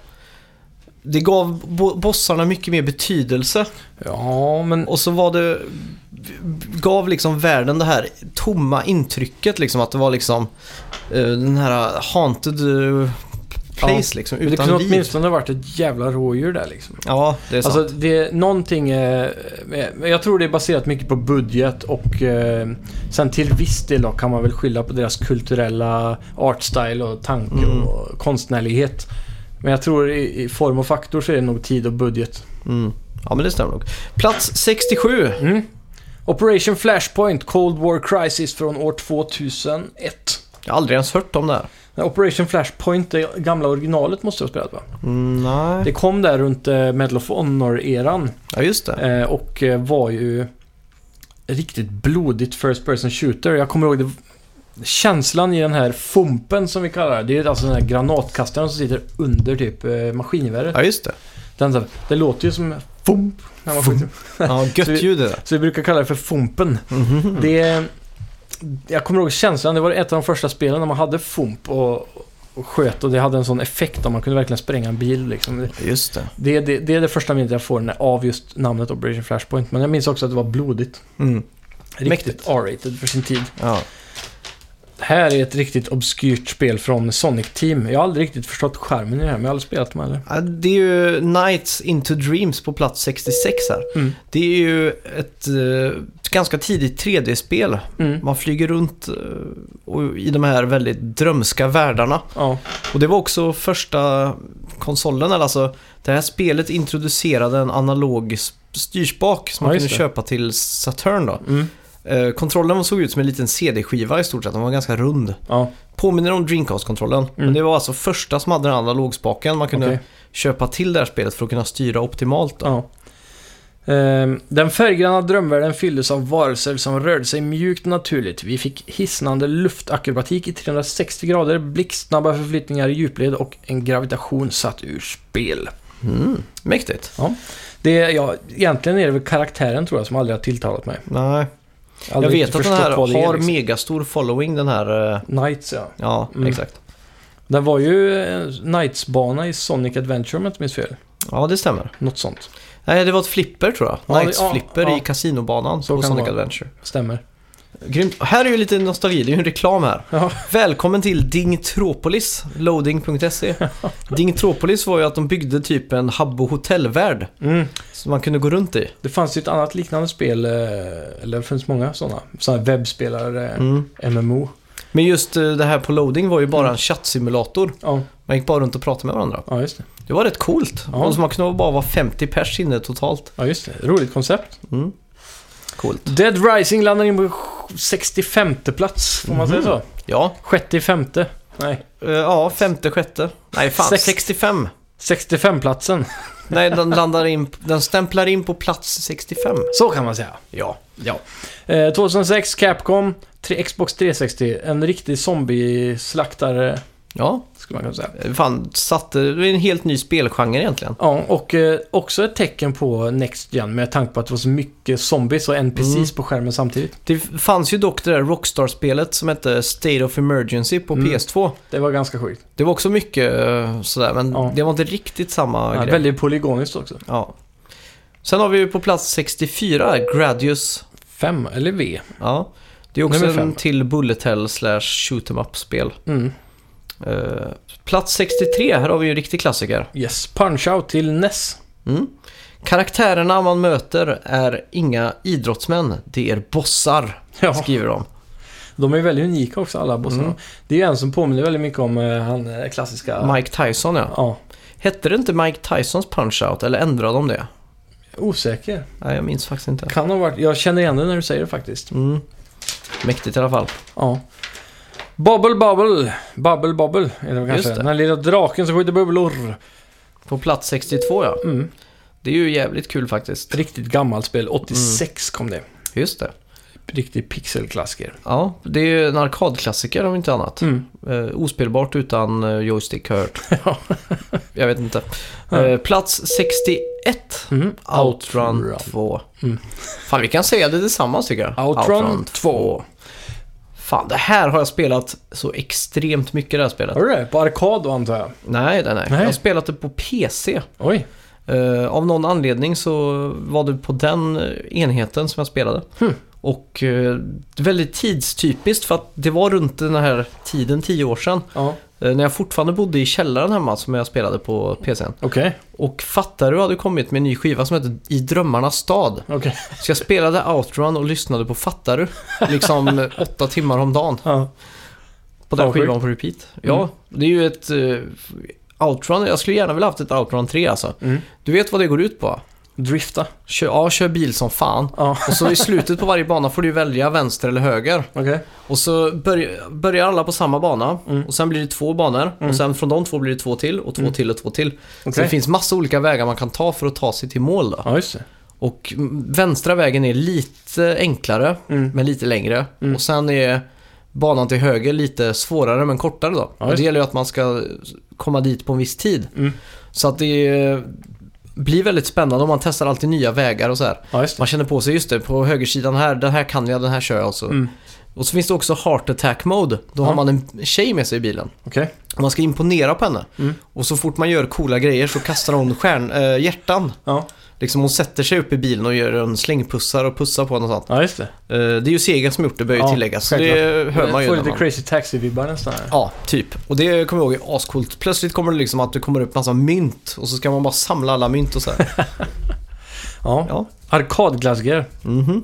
Speaker 1: Det gav bo- bossarna mycket mer betydelse.
Speaker 2: Ja, men...
Speaker 1: Och så var det... Gav liksom världen det här tomma intrycket liksom att det var liksom eh, den här haunted eh, place liksom
Speaker 2: det
Speaker 1: utan
Speaker 2: kunde
Speaker 1: liv.
Speaker 2: åtminstone ha varit ett jävla rådjur där liksom.
Speaker 1: Ja, det är sant.
Speaker 2: Alltså, det är någonting... Eh, eh, jag tror det är baserat mycket på budget och eh, sen till viss del då, kan man väl skylla på deras kulturella artstyle och tanke
Speaker 1: Mm.
Speaker 2: och konstnärlighet. Men jag tror i, i form och faktor så är det nog tid och budget.
Speaker 1: Mm. Ja, men det stämmer nog. Plats 67.
Speaker 2: Mm. Operation Flashpoint Cold War Crisis från år 2001.
Speaker 1: Jag har aldrig ens hört om det här.
Speaker 2: Operation Flashpoint, det gamla originalet måste jag ha spelat va?
Speaker 1: Mm, nej.
Speaker 2: Det kom där runt eh, Medal of Honor-eran
Speaker 1: Ja, just det.
Speaker 2: eh, och eh, var ju riktigt blodigt First Person Shooter. Jag kommer ihåg det, känslan i den här fumpen som vi kallar det. Det är alltså den här granatkastaren som sitter under typ eh, maskingeväret.
Speaker 1: Ja, just det.
Speaker 2: Den, så här- det låter ju som fump. När man skjuter.
Speaker 1: Ja,
Speaker 2: Så vi-
Speaker 1: gött ljud det där.
Speaker 2: Så vi brukar kalla det för fumpen.
Speaker 1: Mhm.
Speaker 2: Det, jag kommer ihåg känslan, det var ett av de första spelen när man hade FUMP och, och sköt och det hade en sån effekt om man kunde verkligen spränga en bil. Liksom. Det,
Speaker 1: Just det.
Speaker 2: det, det, det är det första minnet jag får när- av just namnet Operation Flashpoint. Men jag minns också att det var blodigt.
Speaker 1: Mm.
Speaker 2: Riktigt
Speaker 1: Mäktigt.
Speaker 2: R-rated för sin tid.
Speaker 1: Ja.
Speaker 2: Det här är ett riktigt obskyrt spel från Sonic Team. Jag har aldrig riktigt förstått skärmen i det här, men jag har aldrig spelat dem heller.
Speaker 1: Ja, Det är ju Nights into Dreams på plats 66 här.
Speaker 2: Mm.
Speaker 1: Det är ju ett, eh, ett ganska tidigt 3D-spel.
Speaker 2: Mm.
Speaker 1: Man flyger runt eh, och- i de här väldigt drömska världarna.
Speaker 2: Ja.
Speaker 1: Och det var också första konsolen, eller alltså det här spelet introducerade en analog s- styrspak som
Speaker 2: Ja,
Speaker 1: man
Speaker 2: just
Speaker 1: kunde
Speaker 2: det.
Speaker 1: köpa till Saturn då.
Speaker 2: Mm.
Speaker 1: Eh, kontrollen såg ut som en liten CD-skiva i stort sett, den var ganska rund.
Speaker 2: Ja,
Speaker 1: Påminner om Dreamcast-kontrollen. Men det var alltså första som hade den analogspaken man kunde
Speaker 2: Mm. okej.
Speaker 1: köpa till det här spelet för att kunna styra optimalt. Då.
Speaker 2: Ja. Ehm, Den färggranna drömvärlden fylldes av varelser som rörde sig mjukt och naturligt. Vi fick hisnande luftakrobatik i 360 grader, blixtsnabba förflyttningar i djupled och en gravitation satt ur spel.
Speaker 1: Mm. Mäktigt.
Speaker 2: Det, är- ja, egentligen är det väl karaktären tror jag som aldrig har tilltalat mig.
Speaker 1: Nej. Jag
Speaker 2: Aldrig
Speaker 1: vet att den
Speaker 2: förstått
Speaker 1: här
Speaker 2: vad det är,
Speaker 1: har
Speaker 2: liksom.
Speaker 1: megastor following den här. eh,
Speaker 2: Knights ja.
Speaker 1: Ja,
Speaker 2: Mm.
Speaker 1: exakt.
Speaker 2: Den var ju eh, Knights-bana i Sonic Adventure om jag inte minns fel.
Speaker 1: Ja, det stämmer.
Speaker 2: Något sånt.
Speaker 1: Nej, det var ett flipper tror jag.
Speaker 2: Ja, det-
Speaker 1: Knights
Speaker 2: ja,
Speaker 1: flipper
Speaker 2: ja.
Speaker 1: i kasinobanan
Speaker 2: Så
Speaker 1: på
Speaker 2: kan
Speaker 1: Sonic
Speaker 2: det vara.
Speaker 1: Adventure.
Speaker 2: Stämmer.
Speaker 1: Grymt. Och Här är ju lite nostalgi, det är ju en reklam här.
Speaker 2: Ja.
Speaker 1: Välkommen till Dingtropolis, loading.se. Dingtropolis var ju att de byggde typ en hub och hotellvärld
Speaker 2: Mm.
Speaker 1: som man kunde gå runt i.
Speaker 2: Det fanns ju ett annat liknande spel, eh, eller det finns många sådana. Sådana webbspelare, eh,
Speaker 1: Mm.
Speaker 2: MMO.
Speaker 1: Men just eh, det här på loading var ju bara en chattsimulator.
Speaker 2: Ja,
Speaker 1: Man gick bara runt och pratade med varandra.
Speaker 2: ja, just det.
Speaker 1: Det var rätt coolt.
Speaker 2: Ja.
Speaker 1: Och så man kunde bara vara 50 pers inne totalt.
Speaker 2: Ja, just det. Roligt koncept.
Speaker 1: Mm. Coolt.
Speaker 2: Dead Rising landar in på 65 plats, får man säga så?
Speaker 1: Ja,
Speaker 2: 65 Nej,
Speaker 1: eh, ja femte, sjätte. Nej, fan.
Speaker 2: Sex-
Speaker 1: 65.
Speaker 2: 65-platsen.
Speaker 1: Nej, den landar in, den stämplar in på plats 65.
Speaker 2: Så kan man säga.
Speaker 1: Ja.
Speaker 2: Ja. Eh, 2006, Capcom, tre, Xbox 360. En riktig zombieslaktare,
Speaker 1: Ja,
Speaker 2: skulle man kunna säga.
Speaker 1: fan satte, det är en helt ny spelgenre egentligen.
Speaker 2: Ja, och eh, också ett tecken på Next Gen med tanke på att det var så mycket zombies och NPCs
Speaker 1: Mm.
Speaker 2: på skärmen samtidigt.
Speaker 1: Det fanns ju dock det där Rockstar-spelet som hette State of Emergency på
Speaker 2: Mm.
Speaker 1: PS2.
Speaker 2: Det var ganska sjukt.
Speaker 1: Det var också mycket eh, sådär, men
Speaker 2: Ja.
Speaker 1: det var inte riktigt samma
Speaker 2: Ja,
Speaker 1: grej.
Speaker 2: väldigt polygoniskt också.
Speaker 1: Ja. Sen har vi ju på plats 64 Gradius.
Speaker 2: 5, eller V.
Speaker 1: Ja. Det är också
Speaker 2: Nummer fem.
Speaker 1: en till Bullet Hell slash Shoot 'em Up-spel.
Speaker 2: Mm.
Speaker 1: Eh, plats 63, här har vi ju en riktig klassiker.
Speaker 2: Yes, Punch-Out till E NES.
Speaker 1: Mm. Karaktärerna man möter är inga idrottsmän, det är bossar,
Speaker 2: Ja,
Speaker 1: skriver de.
Speaker 2: de är väldigt unika också alla bossarna.
Speaker 1: Mm.
Speaker 2: Det är ju en som påminner väldigt mycket om eh, han eh, klassiska...
Speaker 1: Mike Tyson ja.
Speaker 2: Ja,
Speaker 1: Hette det inte Mike Tysons Punch-Out eller ändrade de det?
Speaker 2: osäker.
Speaker 1: Nej, jag minns faktiskt inte.
Speaker 2: Kan ha varit... Jag känner igen det när du säger det faktiskt.
Speaker 1: Mm. Mäktigt i alla fall.
Speaker 2: Ja. Bubble Bubble. Bubble Bubble är det
Speaker 1: Just
Speaker 2: väl kanske.
Speaker 1: det.
Speaker 2: Den här lilla draken som skjuter bubblor.
Speaker 1: På plats 62 ja.
Speaker 2: Mm.
Speaker 1: Det är ju jävligt kul faktiskt.
Speaker 2: Riktigt gammalt spel.
Speaker 1: Mm.
Speaker 2: 86 kom det.
Speaker 1: Just det.
Speaker 2: Riktig pixelklassiker.
Speaker 1: Ja, det är ju en arkadklassiker om inte annat.
Speaker 2: Mm.
Speaker 1: Eh, ospelbart utan eh, joystick har jag hört.
Speaker 2: Ja.
Speaker 1: Jag vet inte.
Speaker 2: Ja.
Speaker 1: Eh, plats 61.
Speaker 2: Mm.
Speaker 1: Outrun, 2.
Speaker 2: Mm.
Speaker 1: Fan, vi kan säga det tillsammans tycker jag.
Speaker 2: Outrun 2.
Speaker 1: Fan, det här har jag spelat så extremt mycket det här spelet.
Speaker 2: Har du det? På arkad då antar jag?
Speaker 1: Nej, nej, nej.
Speaker 2: Nej.
Speaker 1: Jag har spelat det på PC.
Speaker 2: Oj.
Speaker 1: Eh, av någon anledning så var det på den eh, enheten som jag spelade.
Speaker 2: Hmm.
Speaker 1: Och eh, väldigt tidstypiskt för att det var runt den här tiden, tio år sedan,
Speaker 2: Ja.
Speaker 1: eh, när jag fortfarande bodde i källaren hemma som jag spelade på PCn.
Speaker 2: Okej.
Speaker 1: Och Fattaru hade kommit med en ny skiva som hette I drömmarnas stad.
Speaker 2: Okej.
Speaker 1: Så jag spelade Outrun och lyssnade på Fattaru, liksom eh, åtta timmar om dagen.
Speaker 2: Ja.
Speaker 1: På den
Speaker 2: Avsjukt.
Speaker 1: skivan på repeat. Ja,
Speaker 2: Mm.
Speaker 1: det är ju ett eh, Outrun. Jag skulle gärna vilja haft ett Outrun 3 alltså.
Speaker 2: Mm.
Speaker 1: Du vet vad det går ut på? va?
Speaker 2: Drifta.
Speaker 1: Kör, ja, kör bil som fan.
Speaker 2: Ja.
Speaker 1: Och så i slutet på varje bana får du välja vänster eller höger.
Speaker 2: Okej.
Speaker 1: Och så börj- börjar alla på samma bana.
Speaker 2: Mm.
Speaker 1: Och sen blir det två banor.
Speaker 2: Mm.
Speaker 1: Och sen från de två blir det två till och två
Speaker 2: Mm.
Speaker 1: till och två till. Så det
Speaker 2: Okej.
Speaker 1: finns massa olika vägar man kan ta för att ta sig till mål då.
Speaker 2: Ja, just det.
Speaker 1: Och mm, vänstra vägen är lite enklare,
Speaker 2: Mm.
Speaker 1: men lite längre.
Speaker 2: Mm.
Speaker 1: Och sen är banan till höger lite svårare, men kortare då. och
Speaker 2: Ja, just
Speaker 1: det
Speaker 2: det.
Speaker 1: gäller ju att man ska komma dit på en viss tid.
Speaker 2: Mm.
Speaker 1: Så att det eh, blir väldigt spännande om man testar alltid nya vägar och så här.
Speaker 2: Ja, just det.
Speaker 1: Man känner på sig, just det, på högersidan här, den här kan jag, den här kör jag. Och så,
Speaker 2: Mm.
Speaker 1: och så finns det också heart attack mode. Då har
Speaker 2: Ja.
Speaker 1: man en tjej med sig i bilen.
Speaker 2: Okej.
Speaker 1: Och Man ska imponera på henne.
Speaker 2: Mm.
Speaker 1: Och så fort man gör coola grejer så kastar hon stjärn, eh, hjärtan.
Speaker 2: Ja.
Speaker 1: Liksom hon sätter sig upp i bilen och gör en slängpussar och pussar på henne och sånt.
Speaker 2: ja, just det.
Speaker 1: Eh, det är ju Sega som gjort det, bör ju
Speaker 2: Ja,
Speaker 1: tilläggas. Så det
Speaker 2: självklart.
Speaker 1: hör man ju.
Speaker 2: Får
Speaker 1: när
Speaker 2: lite
Speaker 1: man-
Speaker 2: Crazy Taxi-vibbar nästan. här.
Speaker 1: Ja, typ. Och det kommer jag ihåg är ascoolt. Plötsligt kommer det liksom att det kommer upp massa mynt och så ska man bara samla alla mynt och så här.
Speaker 2: Ja.
Speaker 1: Ja.
Speaker 2: Arkadklassiker.
Speaker 1: Mhm.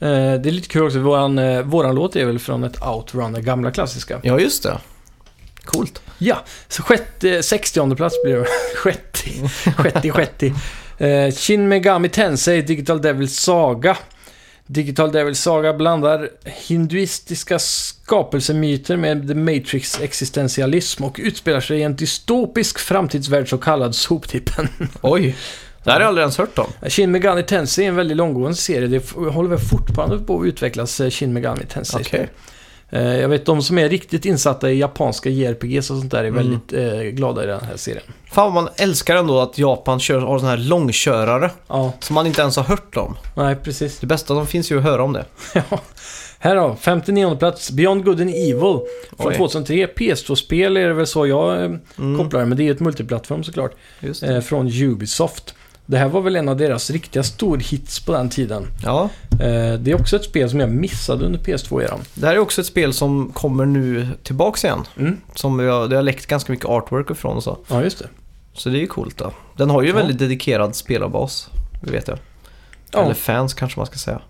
Speaker 2: Eh, det är lite kul också. Våran, eh, våran låt är väl från ett Outrun, den gamla klassiska.
Speaker 1: Ja, just det. Coolt.
Speaker 2: Ja, så sjätte, 60 plats blir det. sjätte, sjätte, sjätte. Eh, Shin Megami Tensei, Digital Devil Saga. Digital Devil Saga blandar hinduistiska skapelsemyter med The Matrix existentialism och utspelar sig i en dystopisk framtidsvärld så kallad soptippen.
Speaker 1: Oj. Det här har jag aldrig ens hört om.
Speaker 2: Shin Megami
Speaker 1: Typ.
Speaker 2: Tensei är en väldigt långgående serie. Det f- håller väl fortfarande på att utvecklas, eh, Shin Megami Tensei.
Speaker 1: Okej.
Speaker 2: Eh, Jag vet de som är riktigt insatta i japanska JRPGs och sånt där är
Speaker 1: Mm.
Speaker 2: väldigt eh, glada i den här serien.
Speaker 1: Fan vad man älskar ändå att Japan kör, har sådana här långkörare
Speaker 2: Ja,
Speaker 1: som man inte ens har hört om.
Speaker 2: nej precis.
Speaker 1: Det bästa som finns är ju att höra om det.
Speaker 2: Ja. Här då, 59 plats, Beyond Good and Evil. Från
Speaker 1: Oj.
Speaker 2: 2003, PS2-spel är det väl så jag eh,
Speaker 1: Mm,
Speaker 2: kopplar det, men det är ju ett multiplattform såklart.
Speaker 1: just det.
Speaker 2: Eh, från Ubisoft. Det här var väl en av deras riktiga storhits på den tiden.
Speaker 1: Ja,
Speaker 2: Eh, det är också ett spel som jag missade under PS2-eran.
Speaker 1: det här är också ett spel som kommer nu tillbaks igen.
Speaker 2: Mm.
Speaker 1: Som vi har, det har läckt ganska mycket artwork ifrån och så.
Speaker 2: Ja, just det.
Speaker 1: Så det är ju coolt då. Den har ju
Speaker 2: Ja.
Speaker 1: väldigt dedikerad spelarbas, det vet jag.
Speaker 2: Ja.
Speaker 1: Eller fans kanske man ska säga.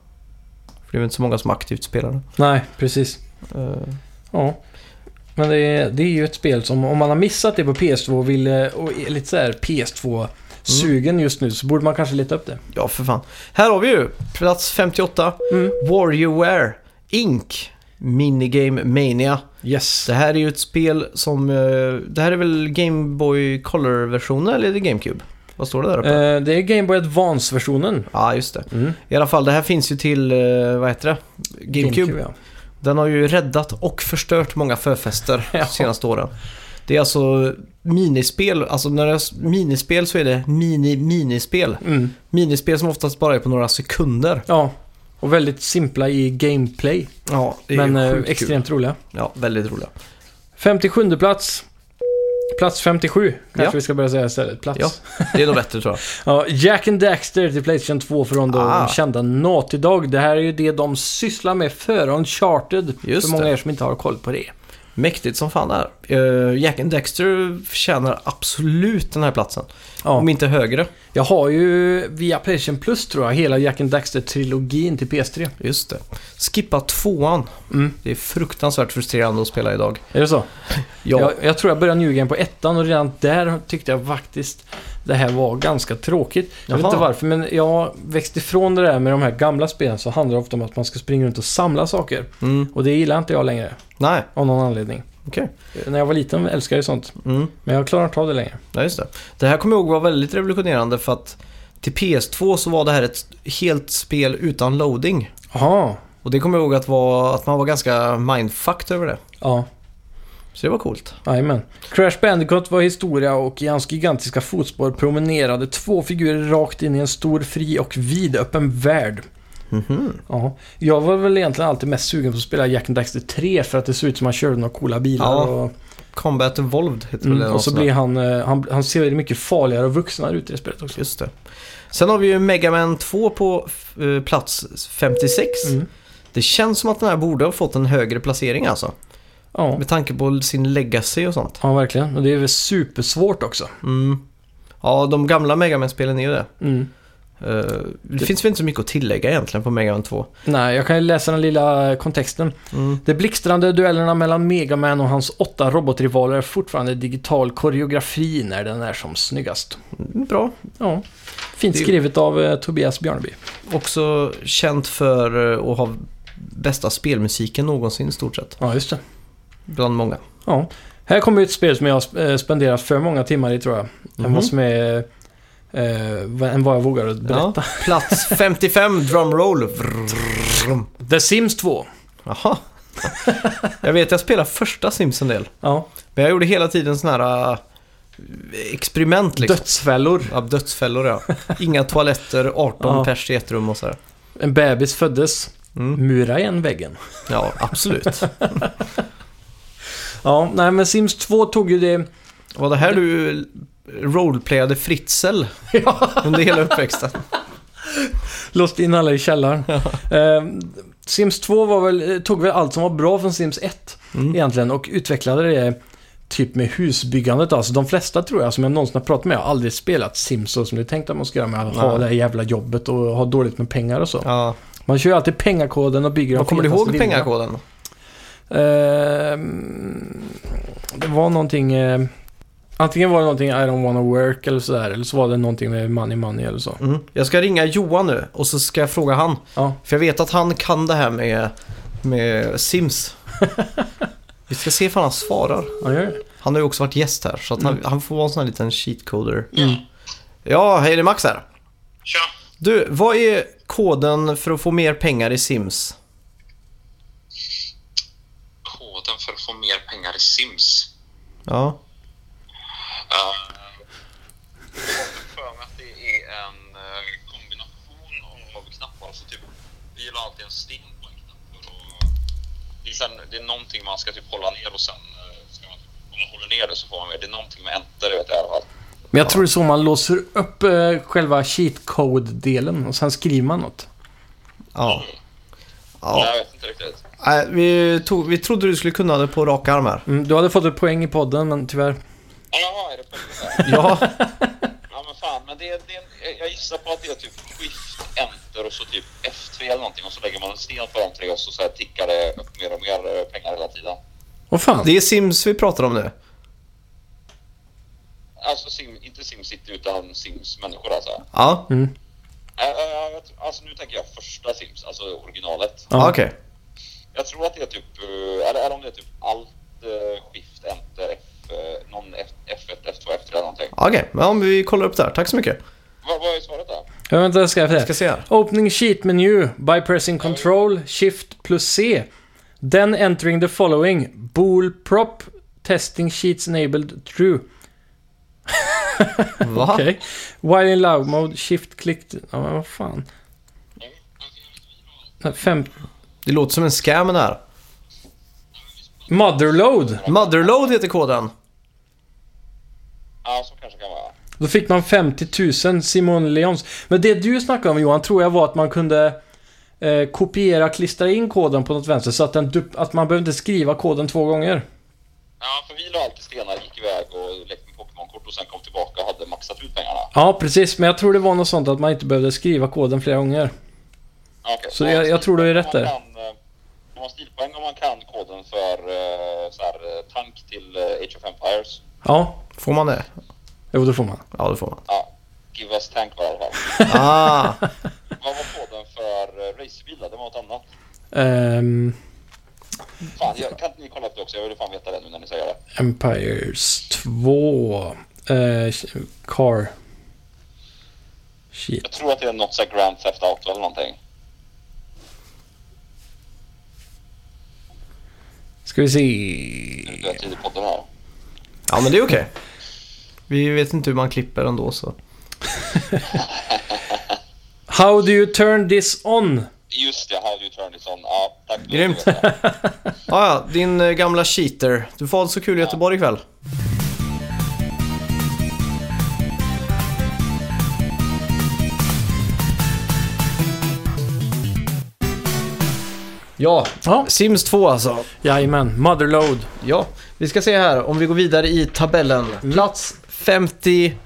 Speaker 1: För det är väl inte så många som aktivt spelar det.
Speaker 2: Nej, precis.
Speaker 1: Eh,
Speaker 2: Ja. Men det är, det är ju ett spel som, om man har missat det på PS2 och, vill, eh, och är lite så här PS2-sugen
Speaker 1: Mm.
Speaker 2: just nu så borde man kanske leta upp det.
Speaker 1: ja, för fan. Här har vi ju plats 58.
Speaker 2: Mm.
Speaker 1: Warriorware Inc. Minigame Mania.
Speaker 2: Yes.
Speaker 1: Det här är ju ett spel som... eh, Det här är väl Game Boy Color-versionen eller är det GameCube? Vad står det där uppe? Ja,
Speaker 2: Eh, det är Game Boy Advance-versionen.
Speaker 1: just det.
Speaker 2: Mm.
Speaker 1: I alla fall, det här finns ju till... eh, Vad heter det? GameCube.
Speaker 2: ja.
Speaker 1: Den har ju räddat och förstört många förfester
Speaker 2: Ja.
Speaker 1: de senaste åren. Det är alltså minispel, alltså när det är minispel så är det mini-minispel.
Speaker 2: Mm.
Speaker 1: Minispel som oftast bara är på några sekunder.
Speaker 2: ja. Och väldigt simpla i gameplay.
Speaker 1: Ja, det är
Speaker 2: Men
Speaker 1: ju
Speaker 2: eh,
Speaker 1: sjukt
Speaker 2: extremt roliga.
Speaker 1: kul. Ja, väldigt roliga.
Speaker 2: 57 plats. Plats 57 kanske
Speaker 1: Ja.
Speaker 2: vi ska börja säga istället. Plats.
Speaker 1: Ja. Det är nog bättre tror jag.
Speaker 2: Ja, Jack and Daxter till Playstation 2 från då
Speaker 1: Ah.
Speaker 2: de kända Naughty Dog. Det här är ju det de sysslar med före Uncharted.
Speaker 1: Just
Speaker 2: för många
Speaker 1: det.
Speaker 2: er som inte har koll på det.
Speaker 1: Mäktigt som fan det här. Eh, Jack and Dexter förtjänar absolut den här platsen.
Speaker 2: Ja.
Speaker 1: Om inte högre.
Speaker 2: Jag har ju via Playstation Plus tror jag hela Jack and Daxter-trilogin till PS3.
Speaker 1: Just det. Skippa tvåan.
Speaker 2: Mm.
Speaker 1: Det är fruktansvärt frustrerande att spela idag.
Speaker 2: Är det så?
Speaker 1: Ja,
Speaker 2: Jag, jag tror jag började New Game på ettan och redan där tyckte jag faktiskt det här var ganska tråkigt. Jag vet
Speaker 1: Jaha.
Speaker 2: inte varför men jag växte ifrån det där med de här gamla spelen så handlar det ofta om att man ska springa runt och samla saker.
Speaker 1: Mm.
Speaker 2: Och det gillar inte jag längre
Speaker 1: nej,
Speaker 2: av någon anledning.
Speaker 1: okej.
Speaker 2: När jag var liten älskade jag ju sånt.
Speaker 1: Mm.
Speaker 2: Men jag klarar inte av det längre.
Speaker 1: Ja, just det. Det här kommer jag ihåg var väldigt revolutionerande för att till PS2 så var det här ett helt spel utan loading.
Speaker 2: Jaha.
Speaker 1: Och det kommer jag ihåg att, var, att man var ganska mindfucked över det.
Speaker 2: Ja,
Speaker 1: Så det var coolt.
Speaker 2: jajamän. Crash Bandicoot var historia och i hans gigantiska fotspår promenerade två figurer rakt in i en stor, fri och vidöppen värld.
Speaker 1: Mhm.
Speaker 2: Ja. Jag var väl egentligen alltid mest sugen på att spela Jack and Daxter 3 för att det såg ut som han körde några coola bilar.
Speaker 1: Ja,
Speaker 2: och,
Speaker 1: Combat Evolved heter väl
Speaker 2: mm,
Speaker 1: det
Speaker 2: och så
Speaker 1: något sånt där.
Speaker 2: blir han, eh, han, han ser mycket farligare och vuxnare ut i det spelet också.
Speaker 1: Just det. Sen har vi ju Mega Man 2 på eh, plats 56.
Speaker 2: Mm.
Speaker 1: Det känns som att den här borde ha fått en högre placering alltså.
Speaker 2: Ja.
Speaker 1: Med tanke på sin legacy och sånt.
Speaker 2: ja, verkligen. Och det är väl supersvårt också.
Speaker 1: Mm. Ja, de gamla Mega Man-spelen är ju det.
Speaker 2: Mm.
Speaker 1: Eh, det, finns väl inte så mycket att tillägga egentligen på Mega Man 2.
Speaker 2: Nej, jag kan ju läsa den lilla kontexten.
Speaker 1: Mm.
Speaker 2: De blixtrande duellerna mellan Megaman och hans åtta robotrivaler är fortfarande digital koreografi när den är som snyggast.
Speaker 1: Bra.
Speaker 2: Ja, fint
Speaker 1: Det är-
Speaker 2: skrivet av eh, Tobias Björneby.
Speaker 1: Också känt för eh, att ha bästa spelmusiken någonsin i stort sett.
Speaker 2: Ja, just det.
Speaker 1: Bland många.
Speaker 2: Ja. Här kommer ett spel som jag har eh, spenderat för många timmar i tror jag. Än
Speaker 1: Mhm.
Speaker 2: vad som är... Eh, vad- än vad jag vågar berätta.
Speaker 1: Ja. Plats 55, drumroll. Vrrrrum.
Speaker 2: The Sims 2.
Speaker 1: Jaha. Jag vet, jag spelade första Sims en del.
Speaker 2: Ja.
Speaker 1: Men jag gjorde hela tiden sådana här eh, experiment liksom.
Speaker 2: Dödsfällor.
Speaker 1: Ja, dödsfällor ja. Inga toaletter, 18
Speaker 2: Ja.
Speaker 1: pers i ett rum och sådär.
Speaker 2: En bebis föddes.
Speaker 1: Mm.
Speaker 2: Mura igen väggen.
Speaker 1: Ja, absolut.
Speaker 2: Ja, nej men Sims 2 tog ju det...
Speaker 1: Var det här du roleplayade Fritzl under hela uppväxten?
Speaker 2: Låst in alla i källaren. Eh, Sims 2 var väl, eh, tog väl allt som var bra från Sims 1
Speaker 1: Mm.
Speaker 2: egentligen och utvecklade det typ med husbyggandet. Alltså de flesta tror jag som jag någonsin har pratat med har aldrig spelat Sims så som det är tänkt att man ska göra med att ha
Speaker 1: Nej.
Speaker 2: det här jävla jobbet och ha dåligt med pengar och så.
Speaker 1: Ja.
Speaker 2: Man kör ju alltid pengakoden och bygger
Speaker 1: Vad
Speaker 2: den
Speaker 1: kommer du
Speaker 2: fetaste
Speaker 1: ihåg
Speaker 2: villan.
Speaker 1: pengakoden?
Speaker 2: Eh, det var någonting... Eh, antingen var det någonting I don't wanna work eller sådär eller så var det någonting med money money eller så.
Speaker 1: Mm. Jag ska ringa Johan nu och så ska jag fråga han.
Speaker 2: Ja.
Speaker 1: För jag vet att han kan det här med, med Sims. Vi ska se ifall han svarar.
Speaker 2: Ja, gör det.
Speaker 1: Han har ju också varit gäst här så att han, han får vara en sån här liten cheatcoder. Ja, hej det är Max här.
Speaker 3: Tja!
Speaker 1: Du, vad är koden för att få mer pengar i Sims?
Speaker 3: Sims.
Speaker 1: Ja.
Speaker 3: Eh, och för mig att det är en eh, kombination av knappar. Så typ, vi gillar alltid en stim på en knapp. för att- Det är, sen, det är någonting man ska typ hålla ner och sen eh, ska man, om man håller ner det så får man med. Det är någonting med enter, jag vet i alla fall.
Speaker 2: Men jag tror det är så man låser upp eh, själva cheat code-delen och sen skriver man något.
Speaker 1: Ja.
Speaker 3: Ja.
Speaker 1: ja.
Speaker 3: Jag vet inte riktigt.
Speaker 1: Nej, vi, tog, vi trodde du skulle kunna det på rak arm här.
Speaker 2: Mm, du hade fått ett poäng i podden, men tyvärr.
Speaker 3: Jaha, är det på
Speaker 1: Ja.
Speaker 3: Ja men fan, men det, det, jag gissar på att det är typ skift, enter och så typ F3 eller någonting och så lägger man en sten på de tre och så, så här tickar det upp mer och mer eh, pengar hela tiden.
Speaker 2: Åh fan.
Speaker 1: Det är Sims vi pratar om nu.
Speaker 3: Alltså sim, inte SimCity utan Sims människor alltså.
Speaker 1: Ja,
Speaker 3: Äh, äh, jag, tror- alltså nu tänker jag första Sims, alltså originalet.
Speaker 1: ja. okej.
Speaker 3: Jag tror att det är typ, eh, eller, eller om det är typ allt eh, skift, enter, F, eh, någon F, F1, F2, F3 eller någonting.
Speaker 1: Ja, Okej, ja, men vi kollar upp det här. Tack så mycket.
Speaker 3: Vad, vad är svaret där?
Speaker 2: Jag vänta, jag ska jag
Speaker 1: Ska se här.
Speaker 2: Opening sheet menu by pressing control shift plus C. Then entering the following. Bool prop testing sheets enabled true.
Speaker 1: Va?
Speaker 2: Okej. While in loud mode shift click. Ja, men vad fan. Nej, Fem...
Speaker 1: Det låter som en scam det här.
Speaker 2: Motherload.
Speaker 1: Motherload heter koden.
Speaker 3: Ja, så kanske kan vara.
Speaker 2: Då fick man 50 000 Simon Leons. Men det du snackade om Johan, tror jag var att man kunde eh, kopiera, klistra in koden på något vänster så att, den, dup- att man behövde skriva koden två gånger.
Speaker 3: Ja, för vi la alltid stenar, gick iväg och lekte med Pokémon-kort och sen kom tillbaka och hade maxat ut pengarna.
Speaker 2: Ja, precis. Men jag tror det var något sånt att man inte behövde skriva koden flera gånger.
Speaker 3: Ja, okej.
Speaker 2: Så
Speaker 3: Ja,
Speaker 2: jag- jag tror du är rätt
Speaker 3: man
Speaker 2: där.
Speaker 3: kan, eh, Om man stilpoäng om man kan koden för eh, så här, eh, tank till eh, Age of Empires.
Speaker 2: Ja,
Speaker 1: Får man det?
Speaker 2: jo det får man.
Speaker 1: Ja, det får man.
Speaker 3: Ja, give us tank var det i alla fall.
Speaker 1: Ah,
Speaker 3: Vad var koden för eh, racerbilar? Det var något annat.
Speaker 2: Ehm,
Speaker 3: Fan, jag, kan inte ni kolla upp det också? Jag vill fan veta det nu när ni säger det.
Speaker 2: Empires 2. Eh, car. Shit.
Speaker 3: Jag tror att det är något så här Grand Theft Auto eller någonting.
Speaker 2: Ska vi
Speaker 3: Du
Speaker 2: se.
Speaker 3: vet, i podden här.
Speaker 1: ja men det är okej. Vi vet inte hur man klipper ändå så.
Speaker 2: How do you turn this on?
Speaker 3: Just det, How Do You Turn This On. Ja, tack.
Speaker 1: Grymt. Ah, ja, din eh, gamla cheater. Du får ha det så kul i Göteborg ikväll. Ja,
Speaker 2: Ja.
Speaker 1: Sims 2 alltså.
Speaker 2: Jajamän, motherload.
Speaker 1: Ja, vi ska se här om vi går vidare i tabellen. Plats 54.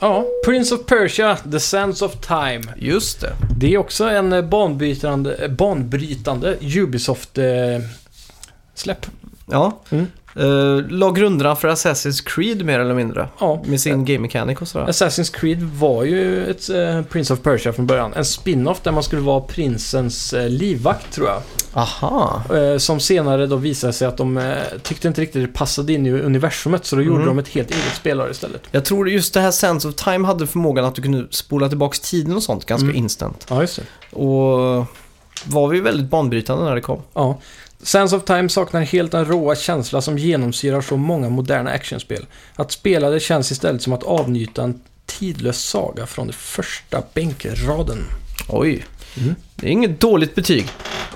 Speaker 2: Ja, Prince of Persia, The Sands of Time.
Speaker 1: Just det.
Speaker 2: Det är också en eh, banbrytande, eh, banbrytande eh, Ubisoft-släpp.
Speaker 1: Ja.
Speaker 2: Mm.
Speaker 1: Eh, la grunderna för Assassin's Creed mer eller mindre.
Speaker 2: ja,
Speaker 1: Med sin game mechanic och sådär.
Speaker 2: Assassin's Creed var ju ett eh, Prince of Persia från början. En spin-off där man skulle vara prinsens eh, livvakt tror jag.
Speaker 1: Aha.
Speaker 2: Eh, som senare då visade sig att de eh, tyckte inte riktigt det passade in i universumet så då gjorde
Speaker 1: Mm.
Speaker 2: de ett helt eget spelare istället.
Speaker 1: Jag tror just det här Sense of Time hade förmågan att du kunde spola tillbaks tiden och sånt ganska
Speaker 2: Mm.
Speaker 1: instant.
Speaker 2: Ja, just det.
Speaker 1: Och var vi väldigt banbrytande när det kom.
Speaker 2: Ja. Sands of Time saknar helt den råa känsla som genomsyrar så många moderna actionspel. Att spela det känns istället som att avnjuta en tidlös saga från den första bänkraden.
Speaker 1: Oj.
Speaker 2: Mm.
Speaker 1: Det är inget dåligt betyg.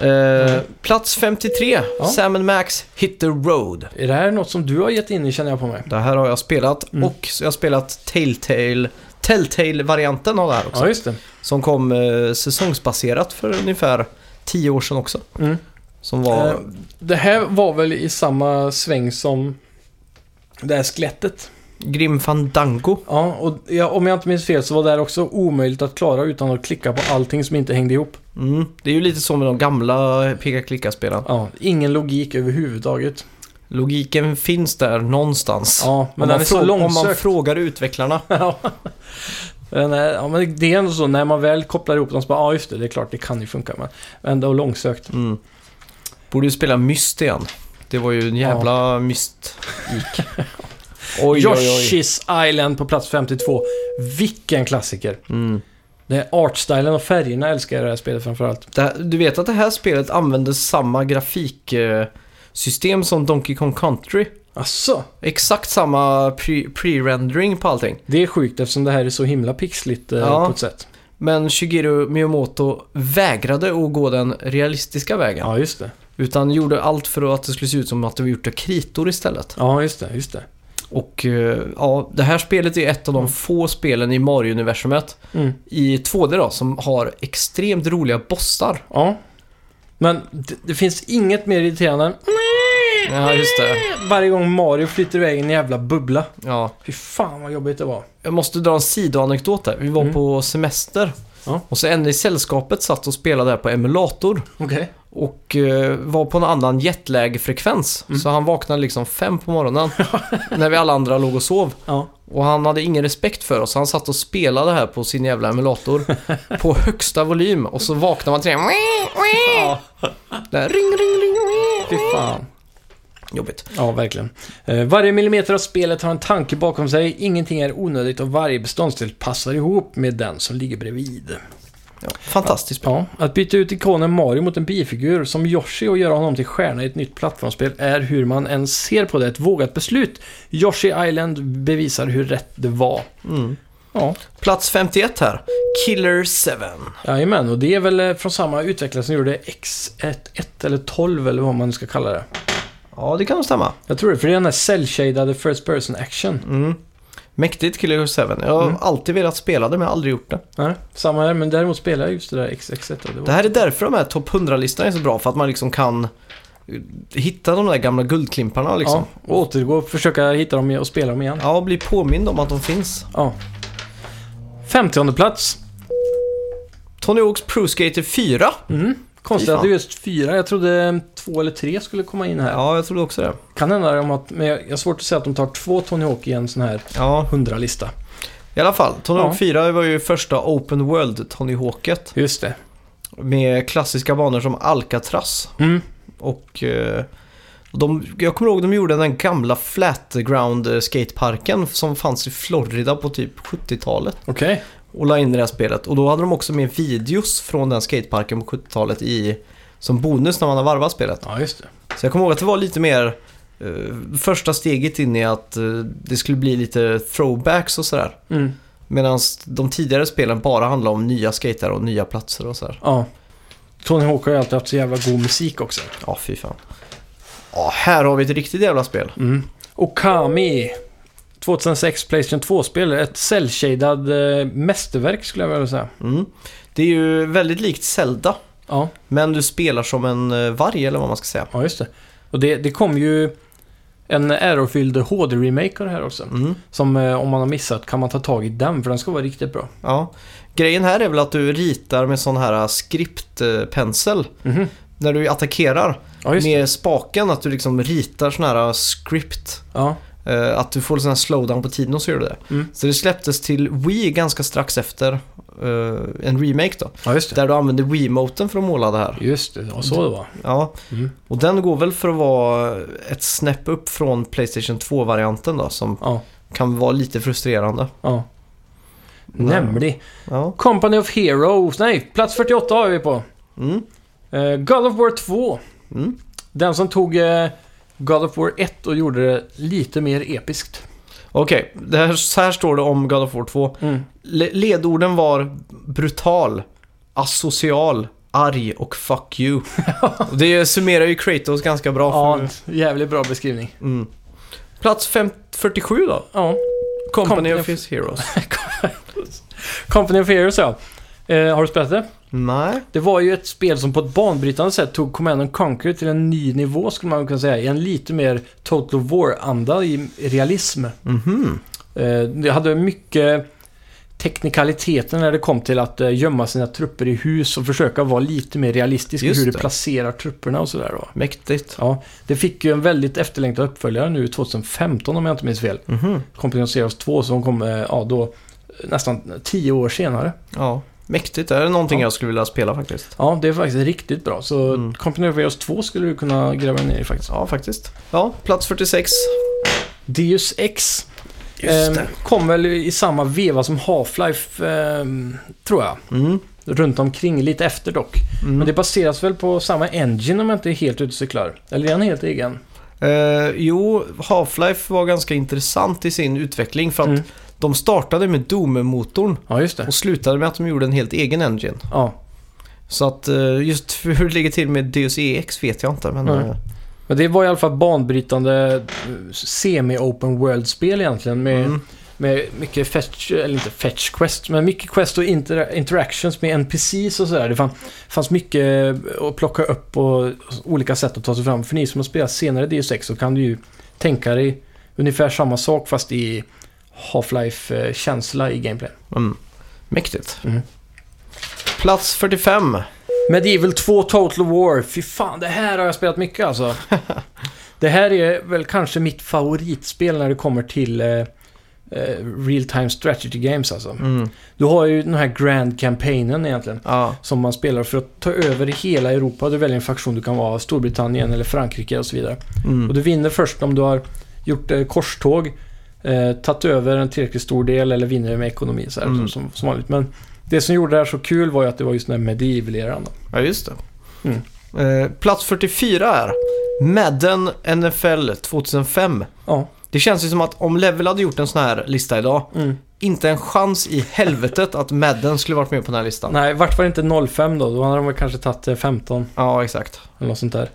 Speaker 1: Eh, Plats 53,
Speaker 2: Ja.
Speaker 1: Sam Max Hit the Road.
Speaker 2: Är det här något som du har gett in i känner jag på mig?
Speaker 1: Det här har jag spelat
Speaker 2: Mm.
Speaker 1: och så jag har spelat Telltale, Telltale-varianten av det här också.
Speaker 2: Ja, just det.
Speaker 1: Som kom eh, säsongsbaserat för ungefär 10 år sedan också.
Speaker 2: Mm.
Speaker 1: Som var...
Speaker 2: Eh, Det här var väl i samma sväng som det här skelettet.
Speaker 1: Grim Fandango.
Speaker 2: Ja, och jag, om jag inte minns fel så var det här också omöjligt att klara utan att klicka på allting som inte hängde ihop.
Speaker 1: Mm. Det är ju lite så med de gamla peka-klicka-spelen.
Speaker 2: Ja, ingen logik överhuvudtaget.
Speaker 1: Logiken finns där någonstans.
Speaker 2: Ja, men
Speaker 1: om, man
Speaker 2: den är så
Speaker 1: frå- om man
Speaker 2: långsökt.
Speaker 1: frågar utvecklarna.
Speaker 2: Ja. Men, eh, ja, men det är ändå så, när man väl kopplar ihop dem så bara, ja just det, det är klart det kan ju funka. Men ändå långsökt.
Speaker 1: Mm. Borde ju spela Myst igen. Det var ju en jävla Myst-ik. oj, oj, oj.
Speaker 2: Yoshi's Island på plats 52. Vilken klassiker!
Speaker 1: Mm.
Speaker 2: Det är artstylen och färgerna älskar jag i det här spelet framförallt.
Speaker 1: Det här, du vet att det här spelet använde samma grafik eh, system som Donkey Kong Country.
Speaker 2: Asså?
Speaker 1: Exakt samma pre- pre-rendering på allting.
Speaker 2: Det är sjukt eftersom det här är så himla pixligt eh,
Speaker 1: Ja.
Speaker 2: på ett sätt.
Speaker 1: Men Shigeru Miyamoto vägrade att gå den realistiska vägen.
Speaker 2: Ja, just det.
Speaker 1: Utan gjorde allt för att det skulle se ut som att det var gjort av kritor istället.
Speaker 2: Ja, just det. Just det.
Speaker 1: Och eh, ja, det här spelet är ett av de få spelen i Mario-universumet
Speaker 2: Mm.
Speaker 1: i 2D då, som har extremt roliga bossar.
Speaker 2: Ja. Men det, det finns inget mer irriterande än
Speaker 1: Ja, just det.
Speaker 2: varje gång Mario flyter iväg i en jävla bubbla.
Speaker 1: Ja.
Speaker 2: Fy fan vad jobbigt det var.
Speaker 1: Jag måste dra en sidoanekdot där. Vi var
Speaker 2: Mm.
Speaker 1: på semester.
Speaker 2: Ja.
Speaker 1: Och så en i sällskapet satt och spelade här på emulator.
Speaker 2: Okej.
Speaker 1: Och eh, var på en annan jetlag-frekvens.
Speaker 2: Mm.
Speaker 1: Så han vaknade liksom fem på morgonen. när vi alla andra låg och sov.
Speaker 2: Ja.
Speaker 1: Och han hade ingen respekt för oss. Han satt och spelade här på sin jävla emulator. på högsta volym. Och så vaknade man till det.
Speaker 2: ja.
Speaker 1: Där, ring, ring, ring.
Speaker 2: Fy fan.
Speaker 1: Jobbigt.
Speaker 2: Ja, verkligen. Eh, varje millimeter av spelet har en tanke bakom sig. Ingenting är onödigt och varje beståndsdel passar ihop med den som ligger bredvid.
Speaker 1: Ja, fantastiskt bra.
Speaker 2: Ja, att byta ut ikonen Mario mot en bifigur som Yoshi och göra honom till stjärna i ett nytt plattformsspel är hur man än ser på det ett vågat beslut. Yoshi Island bevisar hur rätt det var.
Speaker 1: Mm.
Speaker 2: Ja,
Speaker 1: Plats 51 här. Killer 7.
Speaker 2: jajamän. Och det är väl eh, från samma utvecklare som gjorde X1 eller 12 eller vad man nu ska kalla det.
Speaker 1: Ja, det kan nog stämma.
Speaker 2: Jag tror det, för det är den här cell-shadade First Person Action.
Speaker 1: Mm. Mäktigt Killer 7. Jag har alltid velat spela det men jag har aldrig gjort det.
Speaker 2: Nej, samma här, men däremot spelar jag just det där XX1. och Det
Speaker 1: Det
Speaker 2: var...
Speaker 1: här är därför de här topp 100-listorna är så bra. För att man liksom kan eh, hitta de där gamla guldklimparna liksom.
Speaker 2: Ja, och återgå och försöka hitta dem och spela dem igen.
Speaker 1: Ja, och bli påmind om att de finns.
Speaker 2: Ja. 50 plats.
Speaker 1: Tony Hawk's Pro Skater 4.
Speaker 2: Mm. Konstigt
Speaker 1: Fy fan.
Speaker 2: att det är just fyra. Jag trodde två eller tre skulle komma in här.
Speaker 1: Ja, jag trodde också det.
Speaker 2: Kan hända om att... Men jag jag har svårt att säga att de tar två Tony Hawk i en sån här
Speaker 1: Ja,
Speaker 2: 100-lista.
Speaker 1: i alla fall. Tony
Speaker 2: Ja.
Speaker 1: Hawk 4 var ju första Open World Tony Hawket.
Speaker 2: Just det.
Speaker 1: Med klassiska banor som Alcatraz.
Speaker 2: Mm.
Speaker 1: Och eh, de, jag kommer ihåg de gjorde den gamla Flatground eh, skateparken som fanns i Florida på typ 70-talet.
Speaker 2: Okej.
Speaker 1: Och la in det här spelet. Och då hade de också med videos från den skateparken på 70-talet i, som bonus när man har varvat spelet.
Speaker 2: Ja, just det.
Speaker 1: Så jag kommer ihåg att det var lite mer eh, första steget in i att eh, det skulle bli lite throwbacks och sådär.
Speaker 2: Mm.
Speaker 1: Medan de tidigare spelen bara handlade om nya skater och nya platser och sådär.
Speaker 2: Ja. Tony Hawk har ju alltid haft så jävla god musik också.
Speaker 1: Ja, fy fan. Ja, här har vi ett riktigt jävla spel.
Speaker 2: Mm. Okami. 2006 Playstation 2-spel. Ett cell-shaded eh, mästerverk skulle jag vilja säga.
Speaker 1: Mm. Det är ju väldigt likt Zelda.
Speaker 2: Ja,
Speaker 1: Men du spelar som en eh, varg eller vad man ska säga.
Speaker 2: ja just det. Och det, det kom ju en ärofylld HD-remake av det här också.
Speaker 1: Mm.
Speaker 2: Som eh, om man har missat kan man ta tag i den för den ska vara riktigt bra.
Speaker 1: Ja. Grejen här är väl att du ritar med sån här eh, skriptpensel
Speaker 2: Mhm.
Speaker 1: när du attackerar.
Speaker 2: Ja, just det.
Speaker 1: med spaken, att du liksom ritar sån här eh, script.
Speaker 2: Ja.
Speaker 1: Eh, att du får sån här slowdown på tiden och så gör du det.
Speaker 2: Mm.
Speaker 1: Så det släpptes till Wii ganska strax efter eh, en remake då.
Speaker 2: ja, just det.
Speaker 1: Där du använde Wii-moten för att måla det här.
Speaker 2: Just det, ja, så det var.
Speaker 1: Ja.
Speaker 2: Mm.
Speaker 1: Och den går väl för att vara ett snäpp upp från Playstation 2-varianten då som
Speaker 2: Ja,
Speaker 1: kan vara lite frustrerande.
Speaker 2: ja.
Speaker 1: Nej.
Speaker 2: Nämlig.
Speaker 1: Ja.
Speaker 2: Company of Heroes. Nej, plats 48 har vi på.
Speaker 1: Mm.
Speaker 2: Eh, God of War 2.
Speaker 1: Mm.
Speaker 2: Den som tog eh, God of War 1 och gjorde det lite mer episkt.
Speaker 1: Okej, det här, så här står det om God of War 2.
Speaker 2: Mm.
Speaker 1: Le- ledorden var brutal, asocial, arg och fuck you. Och det summerar ju Kratos ganska bra.
Speaker 2: Ja,
Speaker 1: För,
Speaker 2: jävligt bra beskrivning.
Speaker 1: mm. Plats fem- 47 då?
Speaker 2: Ja.
Speaker 1: Company,
Speaker 2: Company
Speaker 1: of
Speaker 2: of-
Speaker 1: His Heroes.
Speaker 2: Company of Heroes, ja. Eh, har du spelat det?
Speaker 1: Nej.
Speaker 2: Det var ju ett spel som på ett banbrytande sätt tog Command and Conquer till en ny nivå skulle man kunna säga. I en lite mer Total War-anda i realism.
Speaker 1: Mhm.
Speaker 2: Eh, Det hade mycket teknikaliteter när det kom till att eh, gömma sina trupper i hus och försöka vara lite mer realistisk i
Speaker 1: Just
Speaker 2: hur du
Speaker 1: det.
Speaker 2: placerar trupperna och sådär. Då.
Speaker 1: Mäktigt.
Speaker 2: Ja, det fick ju en väldigt efterlängtad uppföljare nu 2015 om jag inte minns fel.
Speaker 1: Mhm.
Speaker 2: Company of Zeros 2 som kom eh, ja, då, eh, nästan 10 år senare.
Speaker 1: Ja, mäktigt. Det är någonting
Speaker 2: Ja.
Speaker 1: jag skulle vilja spela faktiskt.
Speaker 2: Ja, det är faktiskt riktigt bra. Så
Speaker 1: Mm.
Speaker 2: Company of Zeros 2 skulle du kunna gräva ner i faktiskt.
Speaker 1: Ja, faktiskt. Ja, plats 46.
Speaker 2: Deus Ex.
Speaker 1: Just
Speaker 2: ehm,
Speaker 1: det.
Speaker 2: Kom väl i samma veva som Half-Life, ehm, tror jag.
Speaker 1: Mm.
Speaker 2: runt omkring, lite efter dock. Men det baseras väl på samma engine om jag inte är helt ute och cyklar? Eller är han helt egen?
Speaker 1: Eh, jo, Half-Life var ganska intressant i sin utveckling för att
Speaker 2: Mm.
Speaker 1: de startade med Doom-motorn
Speaker 2: Ja, just det.
Speaker 1: och slutade med att de gjorde en helt egen engine.
Speaker 2: Ja.
Speaker 1: Så att eh, just hur det ligger till med Deus EX vet jag inte. Men,
Speaker 2: Nej.
Speaker 1: eh,
Speaker 2: Men det var i alla fall banbrytande eh, semi-open world-spel egentligen. Med,
Speaker 1: Mm.
Speaker 2: med mycket fetch, eller inte fetch quest, men mycket quest och inter- interactions med NPCs och sådär. Det fann, fanns mycket eh, att plocka upp och olika sätt att ta sig fram. För ni som har spelat senare DU6 så kan du ju tänka dig ungefär samma sak fast i Half-Life-känsla i gameplay.
Speaker 1: mm, mäktigt.
Speaker 2: Mm.
Speaker 1: Plats 45.
Speaker 2: Medieval 2 Total War. Fy fan, det här har jag spelat mycket alltså. det här är väl kanske mitt favoritspel när det kommer till eh, eh, Real Time Strategy Games alltså.
Speaker 1: Mm.
Speaker 2: Du har ju den här Grand Campaignen egentligen.
Speaker 1: Ja.
Speaker 2: Som man spelar för att ta över hela Europa. Du väljer en faktion, du kan vara Storbritannien eller Frankrike och så vidare. Och
Speaker 1: Mm.
Speaker 2: du vinner först om du har gjort eh, korståg, eh, tagit över en tillräckligt stor del eller vinner med ekonomi så här,
Speaker 1: Mm.
Speaker 2: som, som vanligt. Men det som gjorde det här så kul var ju att det var just den här medieval-eran. då.
Speaker 1: ja, just det.
Speaker 2: Mm.
Speaker 1: Eh, plats 44 är Madden NFL 2005.
Speaker 2: Ja.
Speaker 1: Det känns ju som att om Level hade gjort en sån här lista idag,
Speaker 2: Mm.
Speaker 1: inte en chans i helvetet att Madden skulle varit med på den här listan.
Speaker 2: Nej, vart var det inte 05 då? Då hade de väl kanske tagit eh, 15
Speaker 1: Ja, exakt.
Speaker 2: eller något sånt där.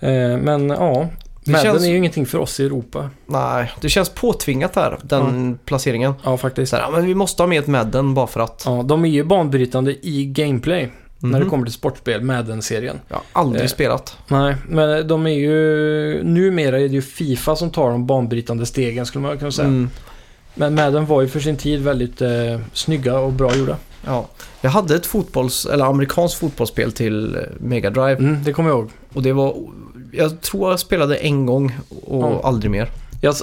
Speaker 2: Eh, Men ja,
Speaker 1: Det
Speaker 2: Madden
Speaker 1: känns-
Speaker 2: är ju ingenting för oss i Europa.
Speaker 1: Nej, det känns påtvingat här, den placeringen.
Speaker 2: Ja, faktiskt.
Speaker 1: Så här, ja, men vi måste ha med ett Madden bara för att.
Speaker 2: Ja, de är ju banbrytande i gameplay när det
Speaker 1: Mhm.
Speaker 2: kommer till sportspel, Madden-serien.
Speaker 1: Jag har aldrig
Speaker 2: Eh.
Speaker 1: spelat.
Speaker 2: Nej, men eh, de är ju... Numera är det ju Fifa som tar de banbrytande stegen skulle man kunna säga.
Speaker 1: Mm,
Speaker 2: Men Madden var ju för sin tid väldigt eh, snygga och bra gjorda.
Speaker 1: ja. Jag hade ett fotbolls, eller amerikanskt fotbollsspel till eh, Mega Drive
Speaker 2: Mm, det kommer jag ihåg.
Speaker 1: och det var... Jag tror jag spelade en gång och
Speaker 2: Ja.
Speaker 1: aldrig mer.
Speaker 2: Jag,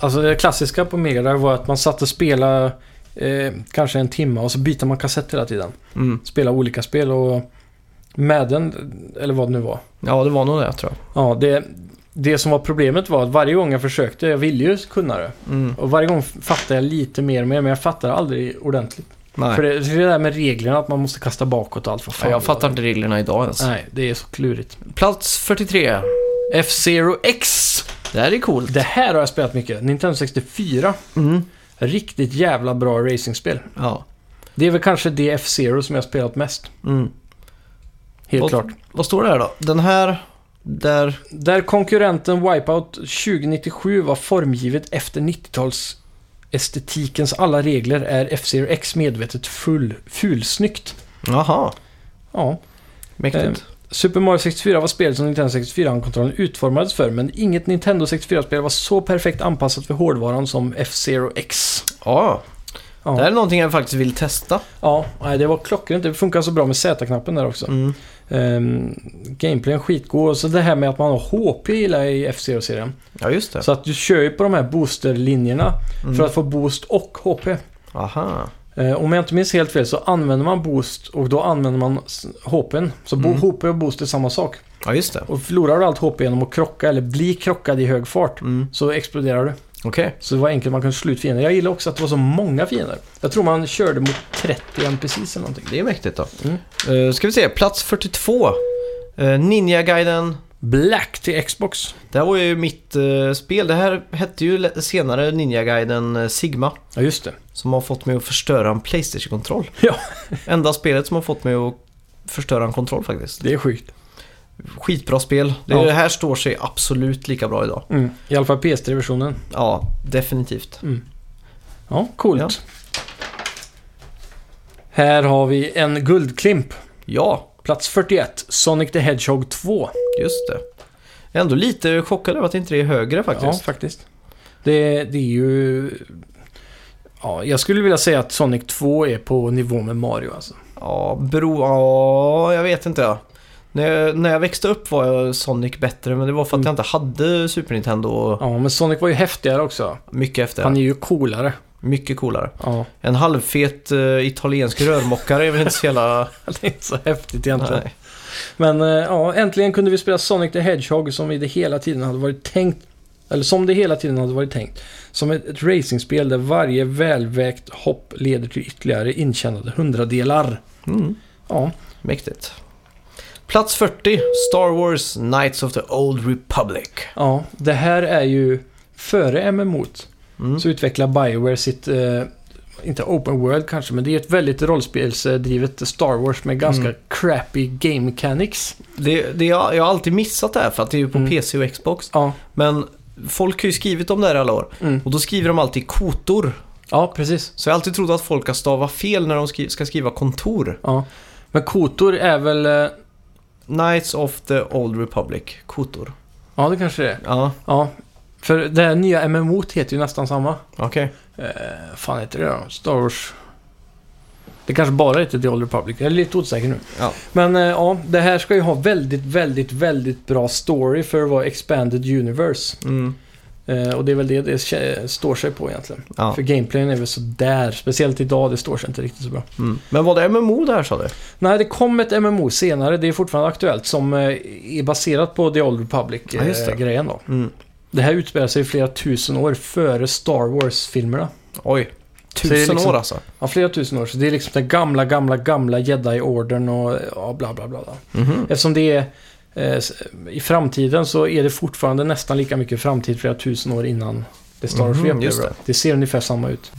Speaker 2: alltså det klassiska på Mega Drive var att man satt och spelade eh, kanske en timme och så byter man kassett hela tiden.
Speaker 1: Mm.
Speaker 2: spela olika spel och Madden, eller vad det nu var.
Speaker 1: Ja, det var nog det tror jag.
Speaker 2: Ja, det, det som var problemet var att varje gång jag försökte, jag ville ju kunna det.
Speaker 1: Mm.
Speaker 2: Och varje gång fattade jag lite mer och mer, men jag fattade aldrig ordentligt.
Speaker 1: Nej,
Speaker 2: För det, det är det där med reglerna, att man måste kasta bakåt och allt. Vad
Speaker 1: Ja,
Speaker 2: fan
Speaker 1: jag
Speaker 2: det
Speaker 1: fattar
Speaker 2: var.
Speaker 1: inte reglerna idag ens.
Speaker 2: Nej, det är så klurigt.
Speaker 1: Plats 43.
Speaker 2: F-Zero X!
Speaker 1: Det här är coolt.
Speaker 2: Det här har jag spelat mycket. Nintendo 64.
Speaker 1: Mm.
Speaker 2: Riktigt jävla bra racingspel.
Speaker 1: Ja.
Speaker 2: Det är väl kanske det F-Zero som jag har spelat mest.
Speaker 1: Mm.
Speaker 2: Helt
Speaker 1: Vad-
Speaker 2: klart.
Speaker 1: Vad står det här då? Den här, där...
Speaker 2: Där konkurrenten Wipeout 2097 var formgivet efter 90-tals estetikens alla regler är F-Zero X medvetet full, fulsnyggt.
Speaker 1: Jaha,
Speaker 2: Ja. Eh,
Speaker 1: mäktigt.
Speaker 2: Super Mario 64 var spelet som Nintendo 64-kontrollen utformades för, men inget Nintendo 64-spel var så perfekt anpassat för hårdvaran som F-Zero X.
Speaker 1: Ja,
Speaker 2: Ja.
Speaker 1: det här är någonting jag faktiskt vill testa.
Speaker 2: ja, nej, det var klockrent. Det funkar så bra med Z-knappen där också.
Speaker 1: Mm.
Speaker 2: Ehm, gameplayen skitgår och så det här med att man har HP gillar jag i F-Zero-serien.
Speaker 1: Ja, just det.
Speaker 2: Så att du kör ju på de här boosterlinjerna
Speaker 1: Mm.
Speaker 2: för att få boost och HP.
Speaker 1: Aha.
Speaker 2: Eh, om jag inte minns helt fel så använder man boost och då använder man s- HPn. Så bo-
Speaker 1: Mm.
Speaker 2: HP och boost är samma sak.
Speaker 1: Ja, just det.
Speaker 2: Och förlorar du allt HP genom att krocka eller bli krockad i hög fart
Speaker 1: Mm.
Speaker 2: så exploderar du.
Speaker 1: Okej.
Speaker 2: Så det var enkelt, man kunde slå ut fiender. Jag gillar också att det var så många fiender. Jag tror man körde mot 30 NPCs eller någonting.
Speaker 1: Det är mäktigt då.
Speaker 2: Mm.
Speaker 1: Eh, ska vi se, plats 42. Uh, Ninja-guiden.
Speaker 2: Black till Xbox.
Speaker 1: Det här var ju mitt eh, spel. Det här hette ju le- senare Ninja-guiden eh, Sigma.
Speaker 2: Ja, just det.
Speaker 1: Som har fått mig att förstöra en Playstation-kontroll.
Speaker 2: Ja.
Speaker 1: Enda spelet som har fått mig att förstöra en kontroll faktiskt.
Speaker 2: Det är sjukt.
Speaker 1: Skitbra spel. Det,
Speaker 2: Ja.
Speaker 1: det här står sig absolut lika bra idag.
Speaker 2: Mm. I alla fall PS3-versionen.
Speaker 1: Ja, definitivt.
Speaker 2: Ja, coolt.
Speaker 1: Ja.
Speaker 2: Här har vi en guldklimp.
Speaker 1: Ja,
Speaker 2: Plats 41, Sonic the Hedgehog 2.
Speaker 1: just det. Jag är ändå lite chockad över att inte det är högre
Speaker 2: Ja,
Speaker 1: faktiskt.
Speaker 2: faktiskt. Det, det är ju... Ja, jag skulle vilja säga att Sonic 2 är på nivå med Mario alltså.
Speaker 1: Ja, bro, ja, jag vet inte. När jag, när jag växte upp var jag Sonic bättre, men det var för att
Speaker 2: Mm.
Speaker 1: jag inte hade Super Nintendo och
Speaker 2: Ja, men Sonic var ju häftigare också.
Speaker 1: mycket efter.
Speaker 2: Han är ju coolare.
Speaker 1: Mycket coolare.
Speaker 2: Ja,
Speaker 1: En halvfet eh, italiensk rörmokare är väl inte så jävla...
Speaker 2: det är inte så häftigt egentligen.
Speaker 1: Nej.
Speaker 2: Men eh, ja, äntligen kunde vi spela Sonic the Hedgehog som vi det hela tiden hade varit tänkt Eller som det hela tiden hade varit tänkt. Som ett, ett racingspel där varje välvägt hopp leder till ytterligare intjänade hundradelar.
Speaker 1: Mm.
Speaker 2: Ja,
Speaker 1: Mäktigt. Plats 40, Star Wars Knights of the Old Republic.
Speaker 2: ja. Det här är ju före MMO't.
Speaker 1: Mm.
Speaker 2: Så utvecklar Bioware sitt, eh, inte open world kanske, men det är ett väldigt rollspelsdrivet Star Wars med ganska
Speaker 1: Mm.
Speaker 2: crappy game mechanics.
Speaker 1: Det, det, jag, jag har alltid missat det här för att det är ju på
Speaker 2: Mm.
Speaker 1: PC och Xbox.
Speaker 2: Ja,
Speaker 1: Men folk har ju skrivit om det här i alla år.
Speaker 2: mm.
Speaker 1: Och då skriver de alltid kotor.
Speaker 2: ja precis.
Speaker 1: Så jag har alltid trott att folk har stavat fel när de skri- ska skriva kontor.
Speaker 2: Ja. Men kotor är väl... eh,
Speaker 1: Knights of the Old Republic, kotor.
Speaker 2: Ja, det kanske det är.
Speaker 1: Ja,
Speaker 2: Ja. För det här nya MMO't heter ju nästan samma.
Speaker 1: okej.
Speaker 2: Eh, fan heter det då? Star Wars... Det kanske bara heter The Old Republic. Jag är lite osäker nu.
Speaker 1: Ja.
Speaker 2: Men eh, ja, det här ska ju ha väldigt, väldigt, väldigt bra story för att vara Expanded Universe.
Speaker 1: Mm.
Speaker 2: Eh, och det är väl det det kä- står sig på egentligen.
Speaker 1: Ja.
Speaker 2: För gameplayen är väl sådär. Speciellt idag, det står sig inte riktigt så bra.
Speaker 1: Mm. Men var det MMO det här sa du?
Speaker 2: Nej, det kom ett MMO senare. Det är fortfarande aktuellt som eh, är baserat på The Old
Speaker 1: Ja, just det.
Speaker 2: Republic-grejen då.
Speaker 1: Mm.
Speaker 2: Det här utspelar sig flera tusen år före Star Wars-filmerna.
Speaker 1: Oj,
Speaker 2: Så det är
Speaker 1: tusen
Speaker 2: liksom-
Speaker 1: år alltså.
Speaker 2: Ja, flera tusen år. Så det är liksom den gamla, gamla, gamla Jedi-ordern och ja, bla, bla, bla. bla.
Speaker 1: Mhm.
Speaker 2: Eftersom det är eh, s- i framtiden så är det fortfarande nästan lika mycket framtid flera tusen år innan det Star Wars
Speaker 1: Mhm,
Speaker 2: vi upplever.
Speaker 1: just
Speaker 2: det.
Speaker 1: det.
Speaker 2: ser ungefär samma ut.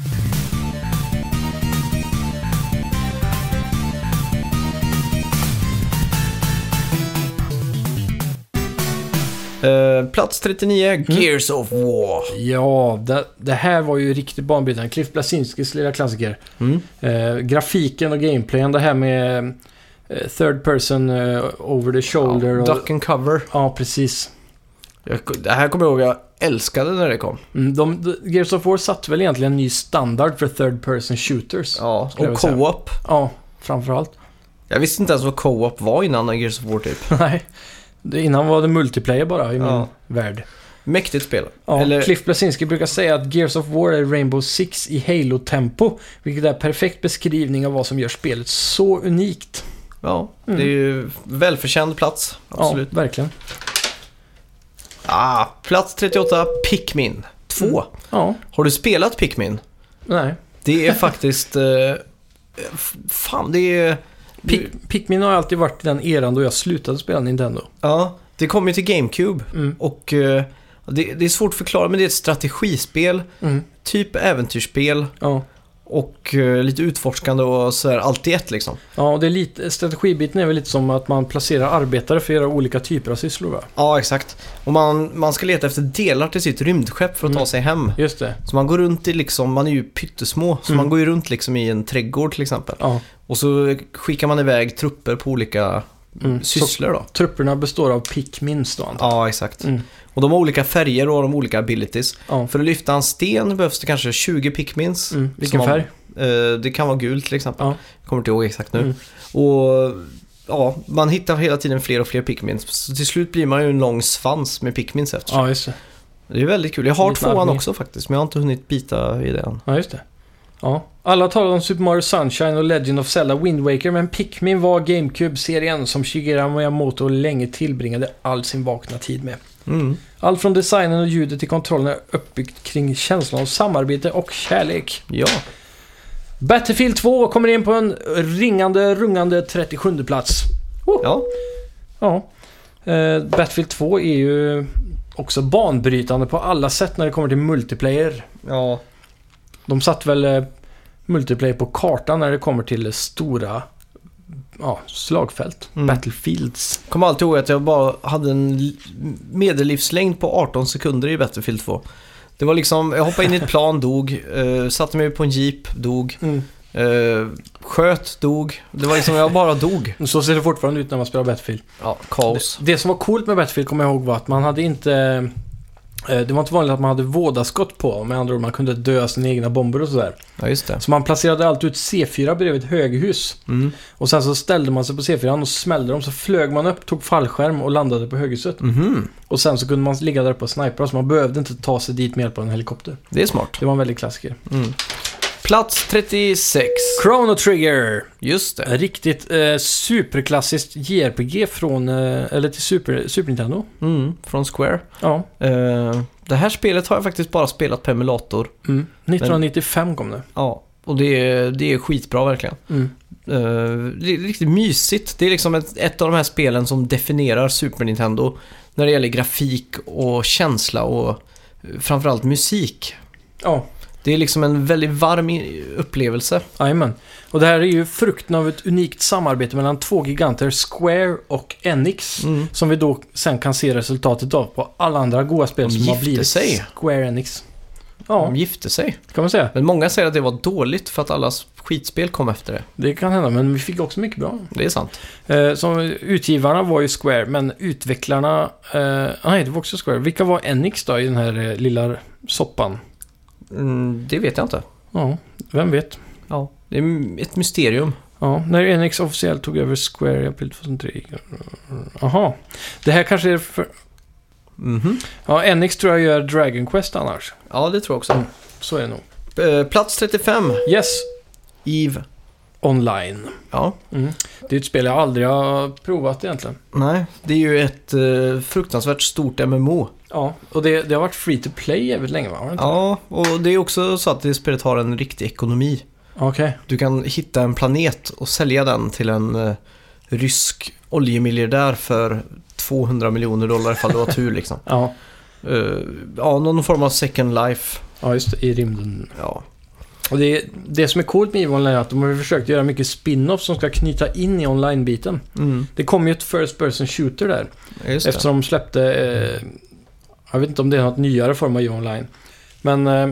Speaker 1: Eh, plats 39,
Speaker 2: Mm.
Speaker 1: Gears of War.
Speaker 2: Ja, det, det här var ju riktigt banbrytande. Cliff Blasinskis lilla klassiker.
Speaker 1: Mm.
Speaker 2: Eh, grafiken och gameplayen, det här med eh, third person eh, over the shoulder.
Speaker 1: Ja,
Speaker 2: Ja, och,
Speaker 1: duck and cover.
Speaker 2: ja precis.
Speaker 1: Jag, det här kommer jag ihåg, jag älskade när det kom.
Speaker 2: Mm, de, de, Gears of War satte väl egentligen en ny standard för third person shooters. Ja,
Speaker 1: Ja,
Speaker 2: skulle jag
Speaker 1: och
Speaker 2: vilja säga.
Speaker 1: co-op.
Speaker 2: framförallt.
Speaker 1: Jag visste inte ens vad co-op var innan Gears of War typ.
Speaker 2: Nej. Det, innan var det multiplayer bara i
Speaker 1: Ja.
Speaker 2: min värld.
Speaker 1: Mäktigt spel.
Speaker 2: Ja,
Speaker 1: Eller-
Speaker 2: Cliff Blasinski brukar säga att Gears of War är Rainbow Six i Halo-tempo. Vilket är perfekt beskrivning av vad som gör spelet så unikt.
Speaker 1: Ja,
Speaker 2: Mm.
Speaker 1: det är ju välförtjänt plats. Absolut.
Speaker 2: Ja, verkligen.
Speaker 1: Ah, plats 38, Pikmin 2.
Speaker 2: Ja,
Speaker 1: Har du spelat Pikmin?
Speaker 2: nej.
Speaker 1: Det är faktiskt... Eh, f- fan, det är...
Speaker 2: Pik Pikmin har alltid varit den eran då jag slutade spela Nintendo.
Speaker 1: Ja, det kom ju till GameCube
Speaker 2: Mm.
Speaker 1: och eh, det, det är svårt att förklara men det är ett strategispel,
Speaker 2: Mm.
Speaker 1: typ äventyrsspel
Speaker 2: Ja.
Speaker 1: och eh, lite utforskande och sådär allt i ett liksom.
Speaker 2: ja, och det är lite, strategibiten är väl lite som att man placerar arbetare för att göra olika typer av sysslor va?
Speaker 1: Ja, exakt. Och man, man ska leta efter delar till sitt rymdskepp för att
Speaker 2: Mm.
Speaker 1: ta sig hem.
Speaker 2: Just det.
Speaker 1: Så man går runt i liksom, man är ju pyttesmå, så
Speaker 2: Mm.
Speaker 1: man går ju runt liksom i en trädgård till exempel.
Speaker 2: Ja.
Speaker 1: Och så skickar man iväg trupper på olika
Speaker 2: Mm. Så
Speaker 1: sysslor då.
Speaker 2: trupperna består av Pikmins då antar
Speaker 1: Ja, exakt.
Speaker 2: jag. Mm.
Speaker 1: Och de har olika färger och de har olika abilities.
Speaker 2: Ja.
Speaker 1: För att lyfta en sten behövs det kanske 20 pikmins.
Speaker 2: Mm. Vilken
Speaker 1: Som-
Speaker 2: färg?
Speaker 1: Eh, det kan vara gult till exempel.
Speaker 2: Ja.
Speaker 1: Jag kommer inte ihåg exakt nu.
Speaker 2: Mm.
Speaker 1: Och ja, man hittar hela tiden fler och fler pikmins. Så till slut blir man ju en lång svans med pikmins efter sig.
Speaker 2: Ja, just det.
Speaker 1: Det är väldigt kul. Jag har
Speaker 2: Lite
Speaker 1: tvåan
Speaker 2: armé.
Speaker 1: också faktiskt, men jag har inte hunnit bita i det än.
Speaker 2: Ja, just det. Ja. Alla talar om Super Mario Sunshine och Legend of Zelda Wind Waker, men Pikmin var GameCube-serien som Shigeru Miyamoto länge tillbringade all sin vakna tid med.
Speaker 1: Mm.
Speaker 2: Allt från designen och ljudet till kontrollen är uppbyggt kring känslan av samarbete och kärlek.
Speaker 1: Ja.
Speaker 2: Battlefield 2 kommer in på en ringande, rungande 37 plats.
Speaker 1: ja.
Speaker 2: Ja. Eh, Battlefield 2 är ju också banbrytande på alla sätt när det kommer till multiplayer.
Speaker 1: Ja.
Speaker 2: De satt väl eh, multiplayer på kartan när det kommer till stora ja, slagfält.
Speaker 1: Mm.
Speaker 2: Battlefields.
Speaker 1: Kommer alltid ihåg att jag bara hade en l- medellivslängd på 18 sekunder i Battlefield 2. Det var liksom, jag hoppade in i ett plan, dog, eh, satte mig på en jeep, dog, eh, sköt, dog. Det var liksom, jag bara dog.
Speaker 2: Så ser det fortfarande ut när man spelar Battlefield.
Speaker 1: Ja, kaos.
Speaker 2: Det som var coolt med Battlefield kommer jag ihåg var att man hade inte... eh, Det var inte vanligt att man hade vådaskott på. Med andra ord, man kunde dö av sina egna bomber och sådär.
Speaker 1: Ja, just det.
Speaker 2: Så man placerade alltid ut C4 bredvid ett höghus.
Speaker 1: Mm.
Speaker 2: Och sen så ställde man sig på C4 och smällde dem. Så flög man upp, tog fallskärm och landade på höghuset.
Speaker 1: Mhm.
Speaker 2: Och sen så kunde man ligga där uppe och snipra. Så man behövde inte ta sig dit med hjälp av en helikopter.
Speaker 1: Det är smart.
Speaker 2: Det var en väldigt klassiker.
Speaker 1: Mm. Plats 36.
Speaker 2: Chrono Trigger.
Speaker 1: Just det.
Speaker 2: Riktigt eh, superklassiskt JRPG från, eh, eller till Super, Super Nintendo.
Speaker 1: Mm, från Square.
Speaker 2: Ja.
Speaker 1: Eh, det här spelet har jag faktiskt bara spelat på emulator.
Speaker 2: Mm. 1995 kom det.
Speaker 1: Ja, och det är, det är skitbra verkligen.
Speaker 2: Mm.
Speaker 1: Eh, det är riktigt mysigt. Det är liksom ett, ett av de här spelen som definierar Super Nintendo när det gäller grafik och känsla och eh, framförallt musik.
Speaker 2: Ja,
Speaker 1: Det är liksom en väldigt varm i- upplevelse.
Speaker 2: jajamän. Och det här är ju frukten av ett unikt samarbete mellan två giganter, Square och Enix.
Speaker 1: Mm.
Speaker 2: Som vi då sen kan se resultatet av på alla andra goa spel
Speaker 1: De
Speaker 2: som har
Speaker 1: gifte
Speaker 2: blivit
Speaker 1: sig.
Speaker 2: Square Enix. Ja,
Speaker 1: De gifte sig.
Speaker 2: kan man säga.
Speaker 1: Men många säger att det var dåligt för att alla skitspel kom efter det.
Speaker 2: Det kan hända, men vi fick också mycket bra.
Speaker 1: Det är sant.
Speaker 2: Eh, som utgivarna var ju Square, men utvecklarna... Eh, nej, det var också Square. Vilka var Enix då i den här eh, lilla soppan?
Speaker 1: Mm, det vet jag inte.
Speaker 2: Ja, vem vet?
Speaker 1: Ja, det är m- ett mysterium.
Speaker 2: Ja, när Enix officiellt tog över Square i april 2003. Aha. Det här kanske är för...
Speaker 1: Mhm.
Speaker 2: Ja, Enix tror jag gör Dragon Quest annars.
Speaker 1: Ja, det tror jag också.
Speaker 2: Så är det nog.
Speaker 1: Eh, Plats 35,
Speaker 2: Yes,
Speaker 1: Eve.
Speaker 2: online.
Speaker 1: Ja,
Speaker 2: Det är ett spel jag aldrig har provat egentligen.
Speaker 1: nej, det är ju ett eh, fruktansvärt stort MMO.
Speaker 2: Ja, och det, det har varit free to play jävligt länge va? Har det inte?
Speaker 1: Ja, och det är också så att det spelet har en riktig ekonomi.
Speaker 2: Okej.
Speaker 1: Du kan hitta en planet och sälja den till en eh, rysk oljemiljardär för 200 miljoner dollar ifall du har tur liksom.
Speaker 2: Ja.
Speaker 1: Eh, ja, någon form av second life.
Speaker 2: ja, just det, i rymden.
Speaker 1: Ja,
Speaker 2: Och det, det som är coolt med EVE Online är att de har försökt göra mycket spin-off som ska knyta in i online-biten.
Speaker 1: mm,
Speaker 2: Det kom ju ett First Person Shooter där.
Speaker 1: just det.
Speaker 2: Eftersom de släppte, eh, jag vet inte om det är något nyare form av EVE Online. Men eh,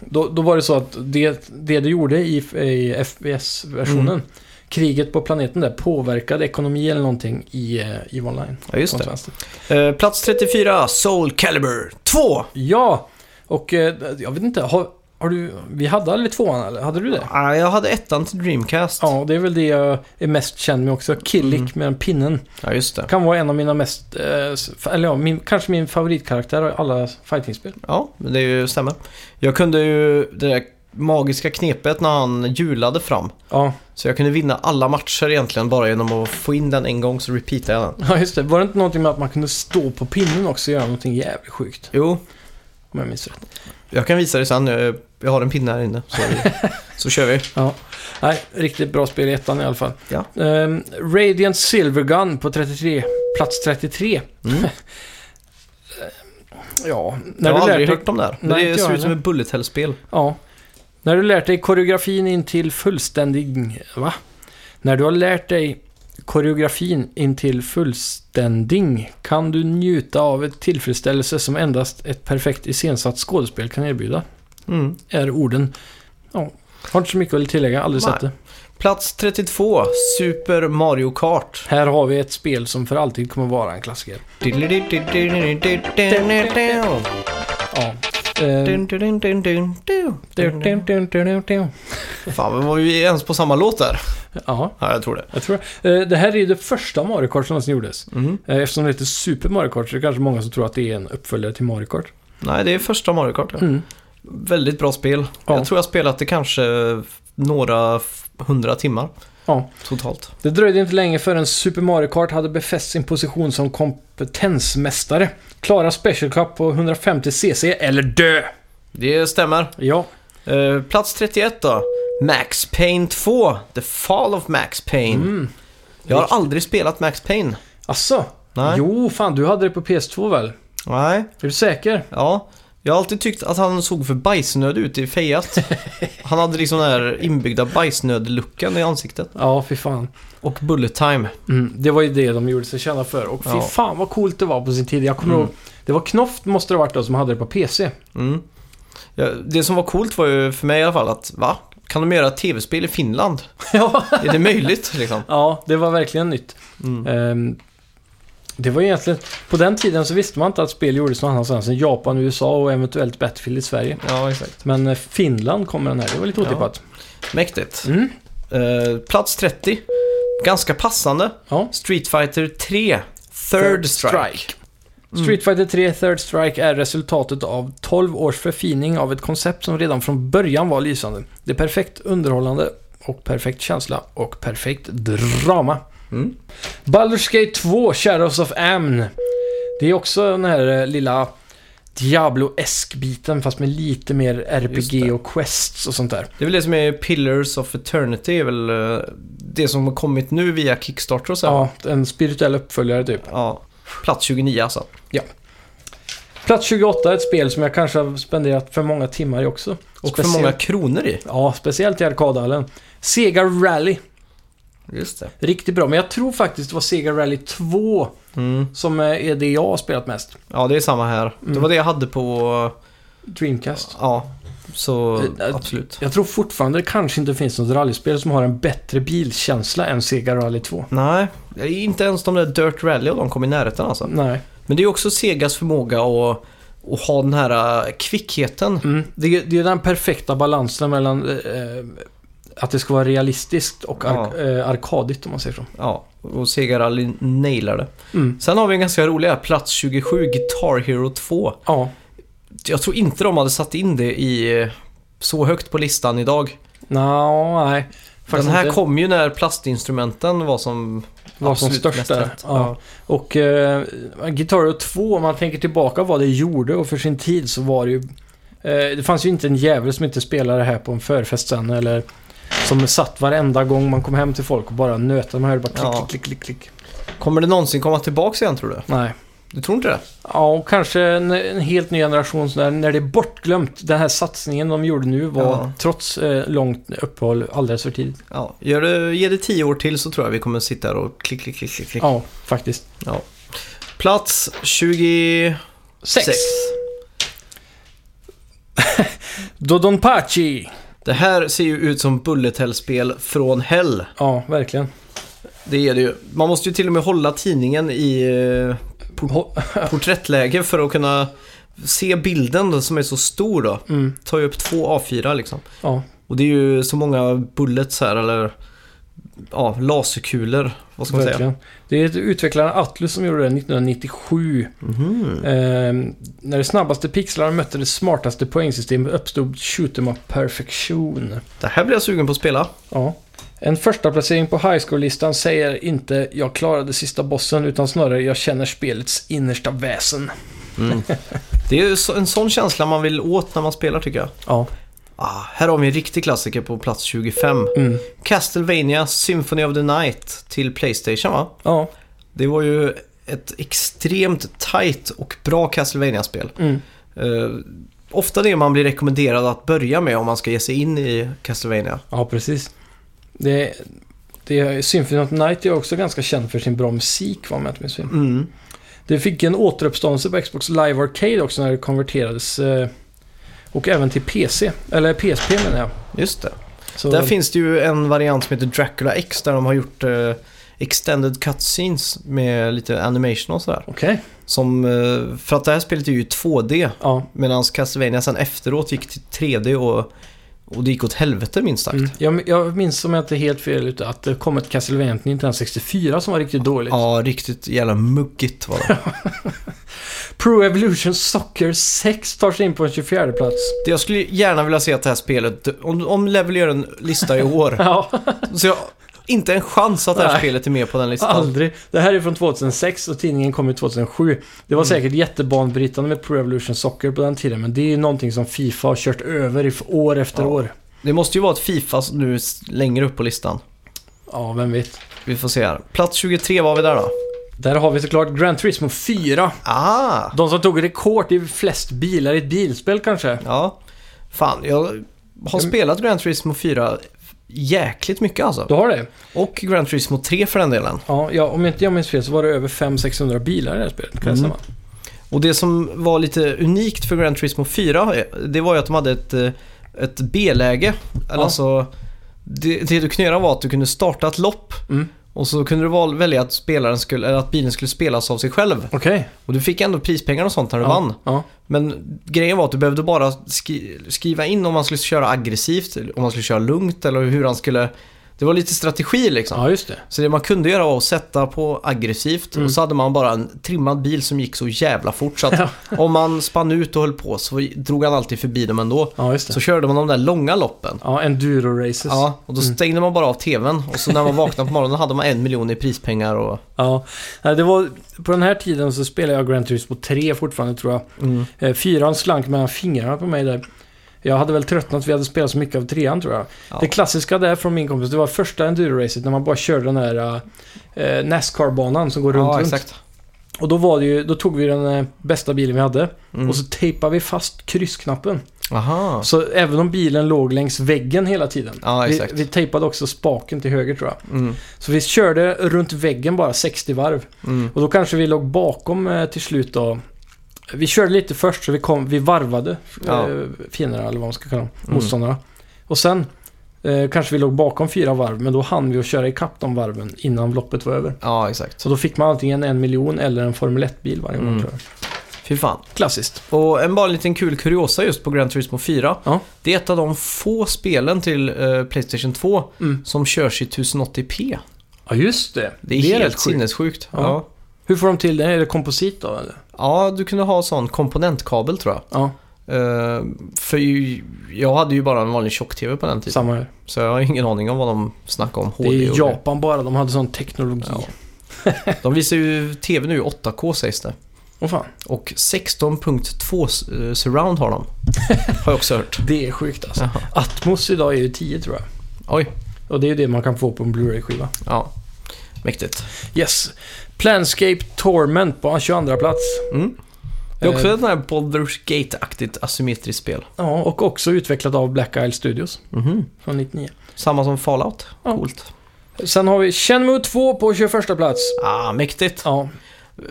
Speaker 2: då, då var det så att det, det du gjorde i, i FPS-versionen,
Speaker 1: Mm.
Speaker 2: kriget på planeten där, påverkade ekonomi eller någonting i eh, EVE Online.
Speaker 1: Ja, just det.
Speaker 2: Kontrast.
Speaker 1: Eh, plats 34, Soul Calibur 2.
Speaker 2: Ja, och eh, jag vet inte, har, har du, vi hade aldrig tvåan eller? Hade du det?
Speaker 1: Ah, jag hade ettan till Dreamcast.
Speaker 2: Ja, det är väl det jag är mest känd med också. Killik
Speaker 1: Mm.
Speaker 2: med den pinnen.
Speaker 1: Ja, just det.
Speaker 2: Kan vara en av mina mest, eh, s- eller ja, min, kanske min favoritkaraktär av alla fightingspel.
Speaker 1: Ja, men det är ju- stämmer. Jag kunde ju det där magiska knepet när han hjulade fram.
Speaker 2: Ja.
Speaker 1: Så jag kunde vinna alla matcher egentligen bara genom att få in den en gång så repeatade jag den.
Speaker 2: ja, just det. Var det inte någonting med att man kunde stå på pinnen också och göra någonting jävligt sjukt?
Speaker 1: Jo,
Speaker 2: Om jag minns rätt.
Speaker 1: jag kan visa dig sen. Jag jag har en pinne här inne. Så, så kör vi.
Speaker 2: Ja. Nej, riktigt bra spel i ettan i alla fall.
Speaker 1: Ja.
Speaker 2: Ehm, Radiant Silvergun på 33, plats 33.
Speaker 1: Mm.
Speaker 2: Ja, när
Speaker 1: Jag har
Speaker 2: du lärt
Speaker 1: aldrig
Speaker 2: dig
Speaker 1: hört om det här. Men
Speaker 2: Nej,
Speaker 1: det
Speaker 2: inte jag
Speaker 1: ser ut som
Speaker 2: heller.
Speaker 1: ett bullet hell-spel.
Speaker 2: Ja. När du lärt dig koreografin in till fullständig... Va? När du har lärt dig koreografin in till fullständig kan du njuta av ett tillfredsställelse som endast ett perfekt iscensatt skådespel kan erbjuda.
Speaker 1: Mm.
Speaker 2: Är orden. Ja. Har inte så mycket att tillägga, aldrig
Speaker 1: Nej.
Speaker 2: sett det.
Speaker 1: Plats 32, Super Mario Kart.
Speaker 2: Här har vi ett spel som för alltid kommer vara en klassiker. Ja. Ehm,
Speaker 1: Fan, men var vi ens på samma låt där?
Speaker 2: Ja,
Speaker 1: Ja, jag tror det.
Speaker 2: jag tror eh, det. här är ju det första Mario Kart som någonsin gjordes.
Speaker 1: Mm.
Speaker 2: Eh, Eftersom det heter Super Mario Kart så är det kanske många som tror att det är en uppföljare till Mario Kart.
Speaker 1: Nej, det är första Mario Kart. Ja.
Speaker 2: Mm.
Speaker 1: Väldigt bra spel.
Speaker 2: Ja.
Speaker 1: Jag tror jag spelat det kanske några f- hundra timmar
Speaker 2: Ja.
Speaker 1: totalt.
Speaker 2: Det dröjde inte länge förrän Super Mario Kart hade befäst sin position som kompetensmästare. Klara Special Cup på 150 cc eller dö!
Speaker 1: Det stämmer.
Speaker 2: Ja,
Speaker 1: Eh, plats 31 då. Max Payne 2. The Fall of Max Payne.
Speaker 2: Mm.
Speaker 1: Jag har aldrig spelat Max Payne.
Speaker 2: asså?
Speaker 1: Nej.
Speaker 2: Jo, fan du hade det på PS2 väl?
Speaker 1: Nej.
Speaker 2: Är du säker?
Speaker 1: Ja. Jag har alltid tyckt att han såg för bajsnöd ut i fejat. Han hade liksom den här inbyggda bajsnödluckan i ansiktet.
Speaker 2: Ja, fy fan.
Speaker 1: Och bullet time.
Speaker 2: Mm, det var ju det de gjorde sig kända för. Och fy
Speaker 1: Ja.
Speaker 2: fan vad coolt det var på sin tid. Jag kommer ihåg, det var Knoft måste det ha varit då som hade det på PC.
Speaker 1: Mm. Ja, det som var coolt var ju för mig i alla fall att va? Kan de göra ett tv-spel i Finland?
Speaker 2: ja.
Speaker 1: Är det möjligt liksom?
Speaker 2: ja, det var verkligen nytt.
Speaker 1: Mm.
Speaker 2: Ehm, Det var egentligen... På den tiden så visste man inte att spel gjordes någon annanstans än Japan, USA och eventuellt Battlefield i Sverige.
Speaker 1: Ja, exakt.
Speaker 2: Men eh, Finland kom med den här. Det var lite
Speaker 1: Ja.
Speaker 2: otippat.
Speaker 1: Mäktigt.
Speaker 2: Mm.
Speaker 1: Eh, plats 30. Ganska passande.
Speaker 2: Ja.
Speaker 1: Street Fighter 3. Third, Strike.
Speaker 2: Street Fighter 3 Third Strike är resultatet av 12 års förfining av ett koncept som redan från början var lysande. Det är perfekt underhållande och perfekt känsla och perfekt drama.
Speaker 4: Mm.
Speaker 2: Baldur's Gate 2 Shadows of Amn. Det är också den här eh, lilla Diablo-esk biten fast med lite mer RPG och quests och sånt där.
Speaker 1: Det är väl det som är Pillars of Eternity, är väl eh, det som har kommit nu via Kickstarter och så. här.
Speaker 2: Ja, en spirituell uppföljare typ.
Speaker 1: ja. Plats 29 alltså.
Speaker 2: Plats 28 är ett spel som jag kanske har spenderat för många timmar i också.
Speaker 1: Och för många kronor i.
Speaker 2: Ja, speciellt i arkadhallen. Sega Rally.
Speaker 1: Just det.
Speaker 2: Riktigt bra, men jag tror faktiskt det var Sega Rally 2
Speaker 1: Mm.
Speaker 2: som eh, är det jag har spelat mest.
Speaker 1: Ja, det är samma här. Det var det jag hade på...
Speaker 2: Dreamcast.
Speaker 1: Ja, så
Speaker 2: Eh, eh,
Speaker 1: absolut.
Speaker 2: Jag tror fortfarande det kanske inte finns något rallyspel som har en bättre bilkänsla än Sega Rally 2.
Speaker 1: Nej, inte ens de där Dirt Rally och de kom i närheten alltså.
Speaker 2: Nej.
Speaker 1: Men det är också Segas förmåga att, att ha den här eh, kvickheten.
Speaker 2: Mm. Det, är- det är den perfekta balansen mellan eh, eh, att det ska vara realistiskt och ark- eh, arkadigt om man säger så.
Speaker 1: Ja, och Sega Rally nailar det.
Speaker 2: Mm.
Speaker 1: Sen har vi en ganska rolig här, plats 27, Guitar Hero 2.
Speaker 2: Ja,
Speaker 1: Jag tror inte de hade satt in det i eh, så högt på listan idag.
Speaker 2: Nå, nej.
Speaker 1: Den
Speaker 2: Faktiskt
Speaker 1: här
Speaker 2: inte.
Speaker 1: kom ju när plastinstrumenten var som
Speaker 2: var som
Speaker 1: absolut
Speaker 2: störst
Speaker 1: mest
Speaker 2: där.
Speaker 1: rätt.
Speaker 2: Ja. Och eh, Guitar Hero 2, om man tänker tillbaka vad det gjorde och för sin tid så var det ju... Eh, det fanns ju inte en jävel som inte spelade det här på en förfest sen eller som satt varenda gång man kom hem till folk och bara nöta. Man hörde bara klick,
Speaker 1: Ja.
Speaker 2: klick, klick, klick, klick.
Speaker 1: Kommer det någonsin komma tillbaka igen tror du?
Speaker 2: Nej.
Speaker 1: Du tror inte det?
Speaker 2: Ja, och kanske en, en helt ny generation så där, när det är bortglömt. Den här satsningen de gjorde nu var,
Speaker 1: Ja.
Speaker 2: trots eh, långt uppehåll, alldeles för tidigt.
Speaker 1: Ja, gör det, ge det tio år till så tror jag vi kommer sitta här och klick, klick, klick, klick. klick.
Speaker 2: Ja, faktiskt.
Speaker 1: Ja. Plats 26.
Speaker 2: Sex. Dodonpachi!
Speaker 1: Det här ser ju ut som Bullet Hell-spel från Hell.
Speaker 2: Ja, verkligen.
Speaker 1: Det är det ju. Man måste ju till och med hålla tidningen i eh,
Speaker 2: Ho-
Speaker 1: porträttläge för att kunna se bilden då, som är så stor då.
Speaker 2: Mm,
Speaker 1: Tar ju upp två A4 liksom.
Speaker 2: ja.
Speaker 1: Och det är ju så många bullets här eller ja, laserkulor. Vad ska man säga?
Speaker 2: Verkligen. Det är ett utvecklaren Atlus som gjorde det 1997.
Speaker 1: Mhm.
Speaker 2: Ehm, när de snabbaste pixlarna mötte det smartaste poängsystemet uppstod shoot 'em up perfektion.
Speaker 1: Det här blir jag sugen på att spela.
Speaker 2: Ja. En första placering på high score-listan säger inte “Jag klarade sista bossen” utan snarare “Jag känner spelets innersta väsen”.
Speaker 1: Det är ju så- en sån känsla man vill åt när man spelar tycker jag.
Speaker 2: Ja.
Speaker 1: Ah, här har vi en riktig klassiker på plats 25.
Speaker 2: Mm.
Speaker 1: Castlevania Symphony of the Night till Playstation va?
Speaker 2: Ja.
Speaker 1: Det var ju ett extremt tight och bra Castlevania-spel.
Speaker 2: Mm.
Speaker 1: Eh, ofta det man blir rekommenderad att börja med om man ska ge sig in i Castlevania.
Speaker 2: Ja, precis. Det, det, Symphony of the Night är också ganska känd för sin bra musik, va, om jag inte minns fel.
Speaker 1: Mm.
Speaker 2: Det fick en återuppståndelse på Xbox Live Arcade också när det konverterades. eh, Och även till PC, eller PSP menar jag.
Speaker 1: Just det.
Speaker 2: Så,
Speaker 1: Där finns det ju en variant som heter Dracula X där de har gjort eh, extended cutscenes med lite animation och sådär.
Speaker 2: Okej,
Speaker 1: Som, eh, för att det här spelet är ju 2D
Speaker 2: ja.
Speaker 1: medan Castlevania sen efteråt gick till 3D och, och det gick åt helvete minst sagt.
Speaker 2: Mm. Jag, jag minns om jag inte är helt fel ute att det kom ett Castlevania till 1964 som var riktigt dåligt.
Speaker 1: Ja, riktigt jävla muggigt var det.
Speaker 2: Pro Evolution Soccer 6 tar sig in på en 24 plats.
Speaker 1: det. Jag skulle gärna vilja se att det här spelet, om, om Level gör en lista i år,
Speaker 2: Ja,
Speaker 1: så jag inte en chans att det här
Speaker 2: Nej.
Speaker 1: spelet är med på den listan.
Speaker 2: aldrig. Det här är från 2006 och tidningen kom ut 2007. Det
Speaker 1: Mm.
Speaker 2: var säkert jättebanbrytande med Pro Evolution Soccer på den tiden, men det är ju någonting som Fifa har kört över i f- år efter
Speaker 1: Ja.
Speaker 2: år.
Speaker 1: Det måste ju vara ett Fifa nu s- längre upp på listan.
Speaker 2: Ja, vem vet.
Speaker 1: Vi får se här. Plats 23 var vi där då.
Speaker 2: Där har vi såklart Gran Turismo 4.
Speaker 1: Ah!
Speaker 2: De som tog rekord i flest bilar i ett bilspel kanske.
Speaker 1: Ja. Fan, jag har spelat Gran Turismo 4 jäkligt mycket alltså.
Speaker 2: Du har det?
Speaker 1: Och Gran Turismo 3 för den delen.
Speaker 2: Ja, ja om inte jag minns fel så var det över 500-600 bilar i det här spelet. Kan jag
Speaker 1: Mm.
Speaker 2: säga.
Speaker 1: Och det som var lite unikt för Gran Turismo 4, det var ju att de hade ett, eh, ett B-läge. Eller
Speaker 2: Ja.
Speaker 1: Alltså, det, det du kunde göra var att du kunde starta ett lopp
Speaker 2: Mm.
Speaker 1: och så kunde du val- välja att, spelaren skulle, eller att bilen skulle spelas av sig själv.
Speaker 2: Okej.
Speaker 1: Och du fick ändå prispengar och sånt när du
Speaker 2: Ja,
Speaker 1: vann.
Speaker 2: Ja.
Speaker 1: Men grejen var att du behövde bara skri- skriva in om man skulle köra aggressivt, om man skulle köra lugnt eller hur han skulle... Det var lite strategi liksom.
Speaker 2: Ja, just det.
Speaker 1: Så det man kunde göra var att sätta på aggressivt
Speaker 2: Mm.
Speaker 1: och så hade man bara en trimmad bil som gick så jävla fort så att om man spann ut och höll på så drog han alltid förbi dem ändå.
Speaker 2: Ja, just det.
Speaker 1: Så körde man de där långa loppen.
Speaker 2: Ja, enduro-races.
Speaker 1: Ja, och
Speaker 2: Mm.
Speaker 1: då stängde man bara av tvn och så när man vaknade på morgonen hade man en miljon i prispengar och...
Speaker 2: Ja, nej, det var, på den här tiden så spelade jag Grand Turismo 3 fortfarande tror jag. Eh, Fyran slank mellan fingrarna på mig där. Jag hade väl tröttnat, vi hade spelat så mycket av trean tror jag.
Speaker 1: Ja.
Speaker 2: Det klassiska där från min kompis, det var första enduro-racet när man bara körde den där eh, Nascar-banan som går runt,
Speaker 1: ja,
Speaker 2: runt.
Speaker 1: exakt.
Speaker 2: Och då, var det ju, då tog vi den eh, bästa bilen vi hade
Speaker 1: Mm.
Speaker 2: och så tejpade vi fast kryssknappen.
Speaker 1: Aha.
Speaker 2: Så även om bilen låg längs väggen hela tiden.
Speaker 1: Ja,
Speaker 2: vi,
Speaker 1: exakt.
Speaker 2: vi tejpade också spaken till höger tror jag.
Speaker 1: Mm,
Speaker 2: Så vi körde runt väggen bara 60 varv.
Speaker 1: mm,
Speaker 2: Och då kanske vi låg bakom eh, till slut då. Vi körde lite först så vi, kom, vi varvade
Speaker 1: Ja.
Speaker 2: eh, fienderna eller vad man ska kalla dem,
Speaker 1: Mm.
Speaker 2: motståndarna. Och sen eh, kanske vi låg bakom fyra varv men då hann vi att köra ikapp de varven innan loppet var över.
Speaker 1: ja, exakt.
Speaker 2: Så då fick man antingen en miljon eller en Formel 1-bil varje gång
Speaker 1: Mm.
Speaker 2: tror jag.
Speaker 1: Fy fan.
Speaker 2: Klassiskt.
Speaker 1: Och en bara liten kul kuriosa just på Gran Turismo 4.
Speaker 2: Ja.
Speaker 1: Det är ett av de få spelen till eh, Playstation 2
Speaker 2: Mm.
Speaker 1: som körs i 1080p.
Speaker 2: Ja just det.
Speaker 1: Det är, helt
Speaker 2: sjukt.
Speaker 1: sinnessjukt.
Speaker 2: Ja.
Speaker 1: Ja.
Speaker 2: Hur får de till det? Är det komposit då eller?
Speaker 1: ja, du kunde ha sån komponentkabel tror jag.
Speaker 2: Ja,
Speaker 1: Eh, för ju, jag hade ju bara en vanlig tjock-tv på den tiden.
Speaker 2: samma här.
Speaker 1: Så jag har ingen aning om vad de snackar om.
Speaker 2: Det
Speaker 1: HD
Speaker 2: är
Speaker 1: och
Speaker 2: Japan bara, de hade sån teknologi.
Speaker 1: Ja.
Speaker 2: Åh
Speaker 1: De visar ju tv nu i 8K sägs det.
Speaker 2: fan,
Speaker 1: Och 16.2 eh, surround har de. Har jag också hört.
Speaker 2: det är sjukt alltså.
Speaker 1: Jaha.
Speaker 2: Atmos idag är ju 10 tror jag.
Speaker 1: Oj,
Speaker 2: Och det är ju det man kan få på en Blu-ray-skiva.
Speaker 1: ja. Mäktigt.
Speaker 2: Yes. Planscape Torment på hans 22 plats.
Speaker 1: Mm. Det är också
Speaker 2: Eh.
Speaker 1: ett sånt här Baldur's Gate-aktigt asymmetriskt spel.
Speaker 2: Ja, och också utvecklat av Black Isle Studios
Speaker 1: Mhm.
Speaker 2: från 99.
Speaker 1: Samma som Fallout.
Speaker 2: Ja.
Speaker 1: Coolt.
Speaker 2: Sen har vi Shenmue 2 på 21 plats.
Speaker 1: Ah, mäktigt.
Speaker 2: Ja,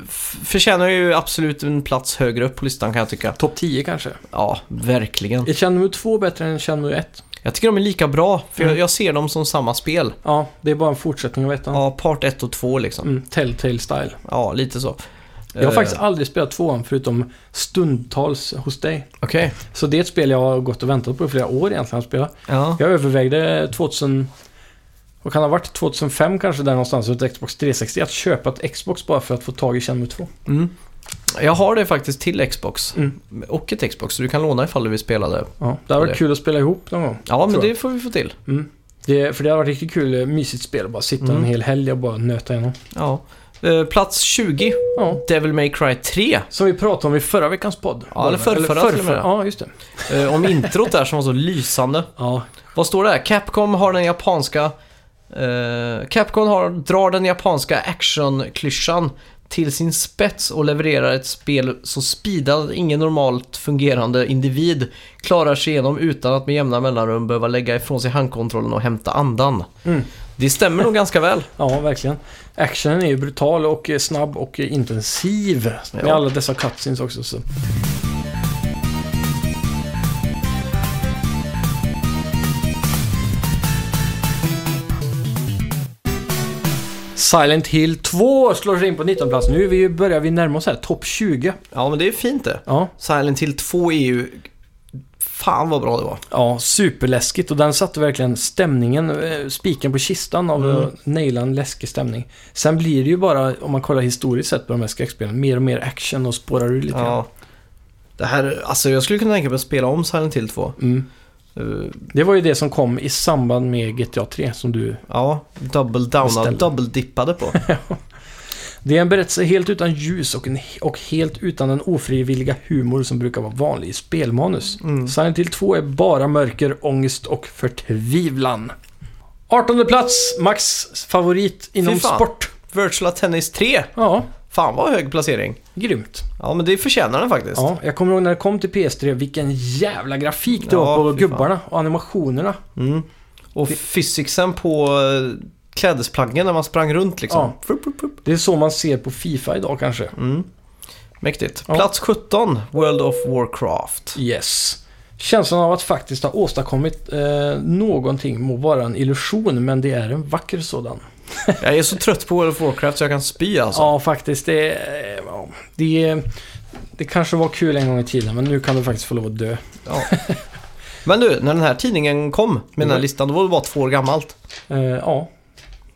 Speaker 1: F- förtjänar ju absolut en plats högre upp på listan kan jag tycka.
Speaker 2: topp 10 kanske.
Speaker 1: Ja, verkligen.
Speaker 2: Är Shenmue 2 bättre än Shenmue 1?
Speaker 1: Jag tycker de är lika bra, för
Speaker 2: Mm.
Speaker 1: jag, jag ser dem som samma spel.
Speaker 2: Ja, det är bara en fortsättning av ettan.
Speaker 1: Ja, part 1 och 2 liksom.
Speaker 2: Mm, Telltale Style.
Speaker 1: Ja, lite så.
Speaker 2: Jag har
Speaker 1: Eh,
Speaker 2: faktiskt aldrig spelat tvåan förutom stundtals hos dig.
Speaker 1: Okej.
Speaker 2: Så det är ett spel jag har gått och väntat på i flera år egentligen att spela.
Speaker 1: Ja.
Speaker 2: Jag övervägde 2000... Vad kan det ha varit? 2005 kanske där någonstans, ett Xbox 360. Att köpa ett Xbox bara för att få tag i Shenmue 2.
Speaker 1: Mm. Jag har det faktiskt till Xbox.
Speaker 2: Mm.
Speaker 1: Och ett Xbox, så du kan låna ifall du vill spela det.
Speaker 2: Ja, det hade varit
Speaker 1: Det.
Speaker 2: kul att spela ihop någon gång.
Speaker 1: Ja, men
Speaker 2: Tror jag.
Speaker 1: det får vi få till.
Speaker 2: Mm. Det, för det hade varit riktigt kul, eh, mysigt spel att bara sitta
Speaker 1: Mm.
Speaker 2: en hel helg och bara nöta igenom.
Speaker 1: Ja. Eh, plats 20,
Speaker 2: Ja.
Speaker 1: Devil May Cry 3.
Speaker 2: Som vi pratade om i förra veckans podd.
Speaker 1: Ja, eller förrförra till och med.
Speaker 2: Ja, just det.
Speaker 1: Eh, om introt där som var så lysande.
Speaker 2: Ja,
Speaker 1: Vad står det här? Capcom har den japanska... Eh, Capcom har, drar den japanska actionklyschan till sin spets och levererar ett spel så speedat att ingen normalt fungerande individ klarar sig igenom utan att med jämna mellanrum behöva lägga ifrån sig handkontrollen och hämta andan.
Speaker 2: Mm.
Speaker 1: Det stämmer nog ganska väl.
Speaker 2: ja, verkligen. Actionen är ju brutal och eh, snabb och eh, intensiv. Med
Speaker 1: Ja.
Speaker 2: alla dessa cutscenes också. Så. Silent Hill 2 slår sig in på 19 plats. Nu är vi ju, börjar vi närma oss här topp 20.
Speaker 1: Ja, men det är fint det.
Speaker 2: Ja,
Speaker 1: Silent Hill 2 är ju... Fan vad bra det var.
Speaker 2: Ja, superläskigt och den satte verkligen stämningen, eh, spiken på kistan av
Speaker 1: Mm.
Speaker 2: mm. naila en läskig stämning. Sen blir det ju bara, om man kollar historiskt sett på de här skräckspelen, mer och mer action och spårar ur lite grann.
Speaker 1: Ja. Det här, alltså jag skulle kunna tänka mig att spela om Silent Hill 2.
Speaker 2: Mm.
Speaker 1: Eh,
Speaker 2: Det var ju det som kom i samband med GTA 3 som du...
Speaker 1: Ja, double downade,
Speaker 2: Beställde.
Speaker 1: double dippade på.
Speaker 2: Det är en berättelse helt utan ljus och, en, och helt utan den ofrivilliga humor som brukar vara vanlig i spelmanus.
Speaker 1: Mm.
Speaker 2: Silent Hill 2 är bara mörker, ångest och förtvivlan. 18 plats, Max favorit inom
Speaker 1: fan.
Speaker 2: sport.
Speaker 1: Virtual Tennis 3!
Speaker 2: Ja,
Speaker 1: Fan vad hög placering.
Speaker 2: grymt.
Speaker 1: Ja, men det förtjänar den faktiskt.
Speaker 2: Ja, jag kommer ihåg när det kom till PS3, vilken jävla grafik det
Speaker 1: Ja,
Speaker 2: var på
Speaker 1: fy fan.
Speaker 2: gubbarna och animationerna.
Speaker 1: Mm. Och physicsen på eh, klädesplaggen när man sprang runt liksom.
Speaker 2: Ja.
Speaker 1: Frup, frup, frup.
Speaker 2: Det är så man ser på FIFA idag kanske.
Speaker 1: Mm. Mäktigt.
Speaker 2: Ja.
Speaker 1: Plats 17, World of Warcraft.
Speaker 2: Yes. Känslan av att faktiskt ha åstadkommit eh, någonting må vara en illusion, men det är en vacker sådan.
Speaker 1: Jag är så trött på World of Warcraft så jag kan spy alltså.
Speaker 2: Ja, faktiskt. Det, eh, ja, det, det kanske var kul en gång i tiden, men nu kan du faktiskt få lov att dö.
Speaker 1: Ja. Men du, när den här tidningen kom med den
Speaker 2: Mm.
Speaker 1: här listan, då var det bara två år gammalt.
Speaker 2: Eh, ja,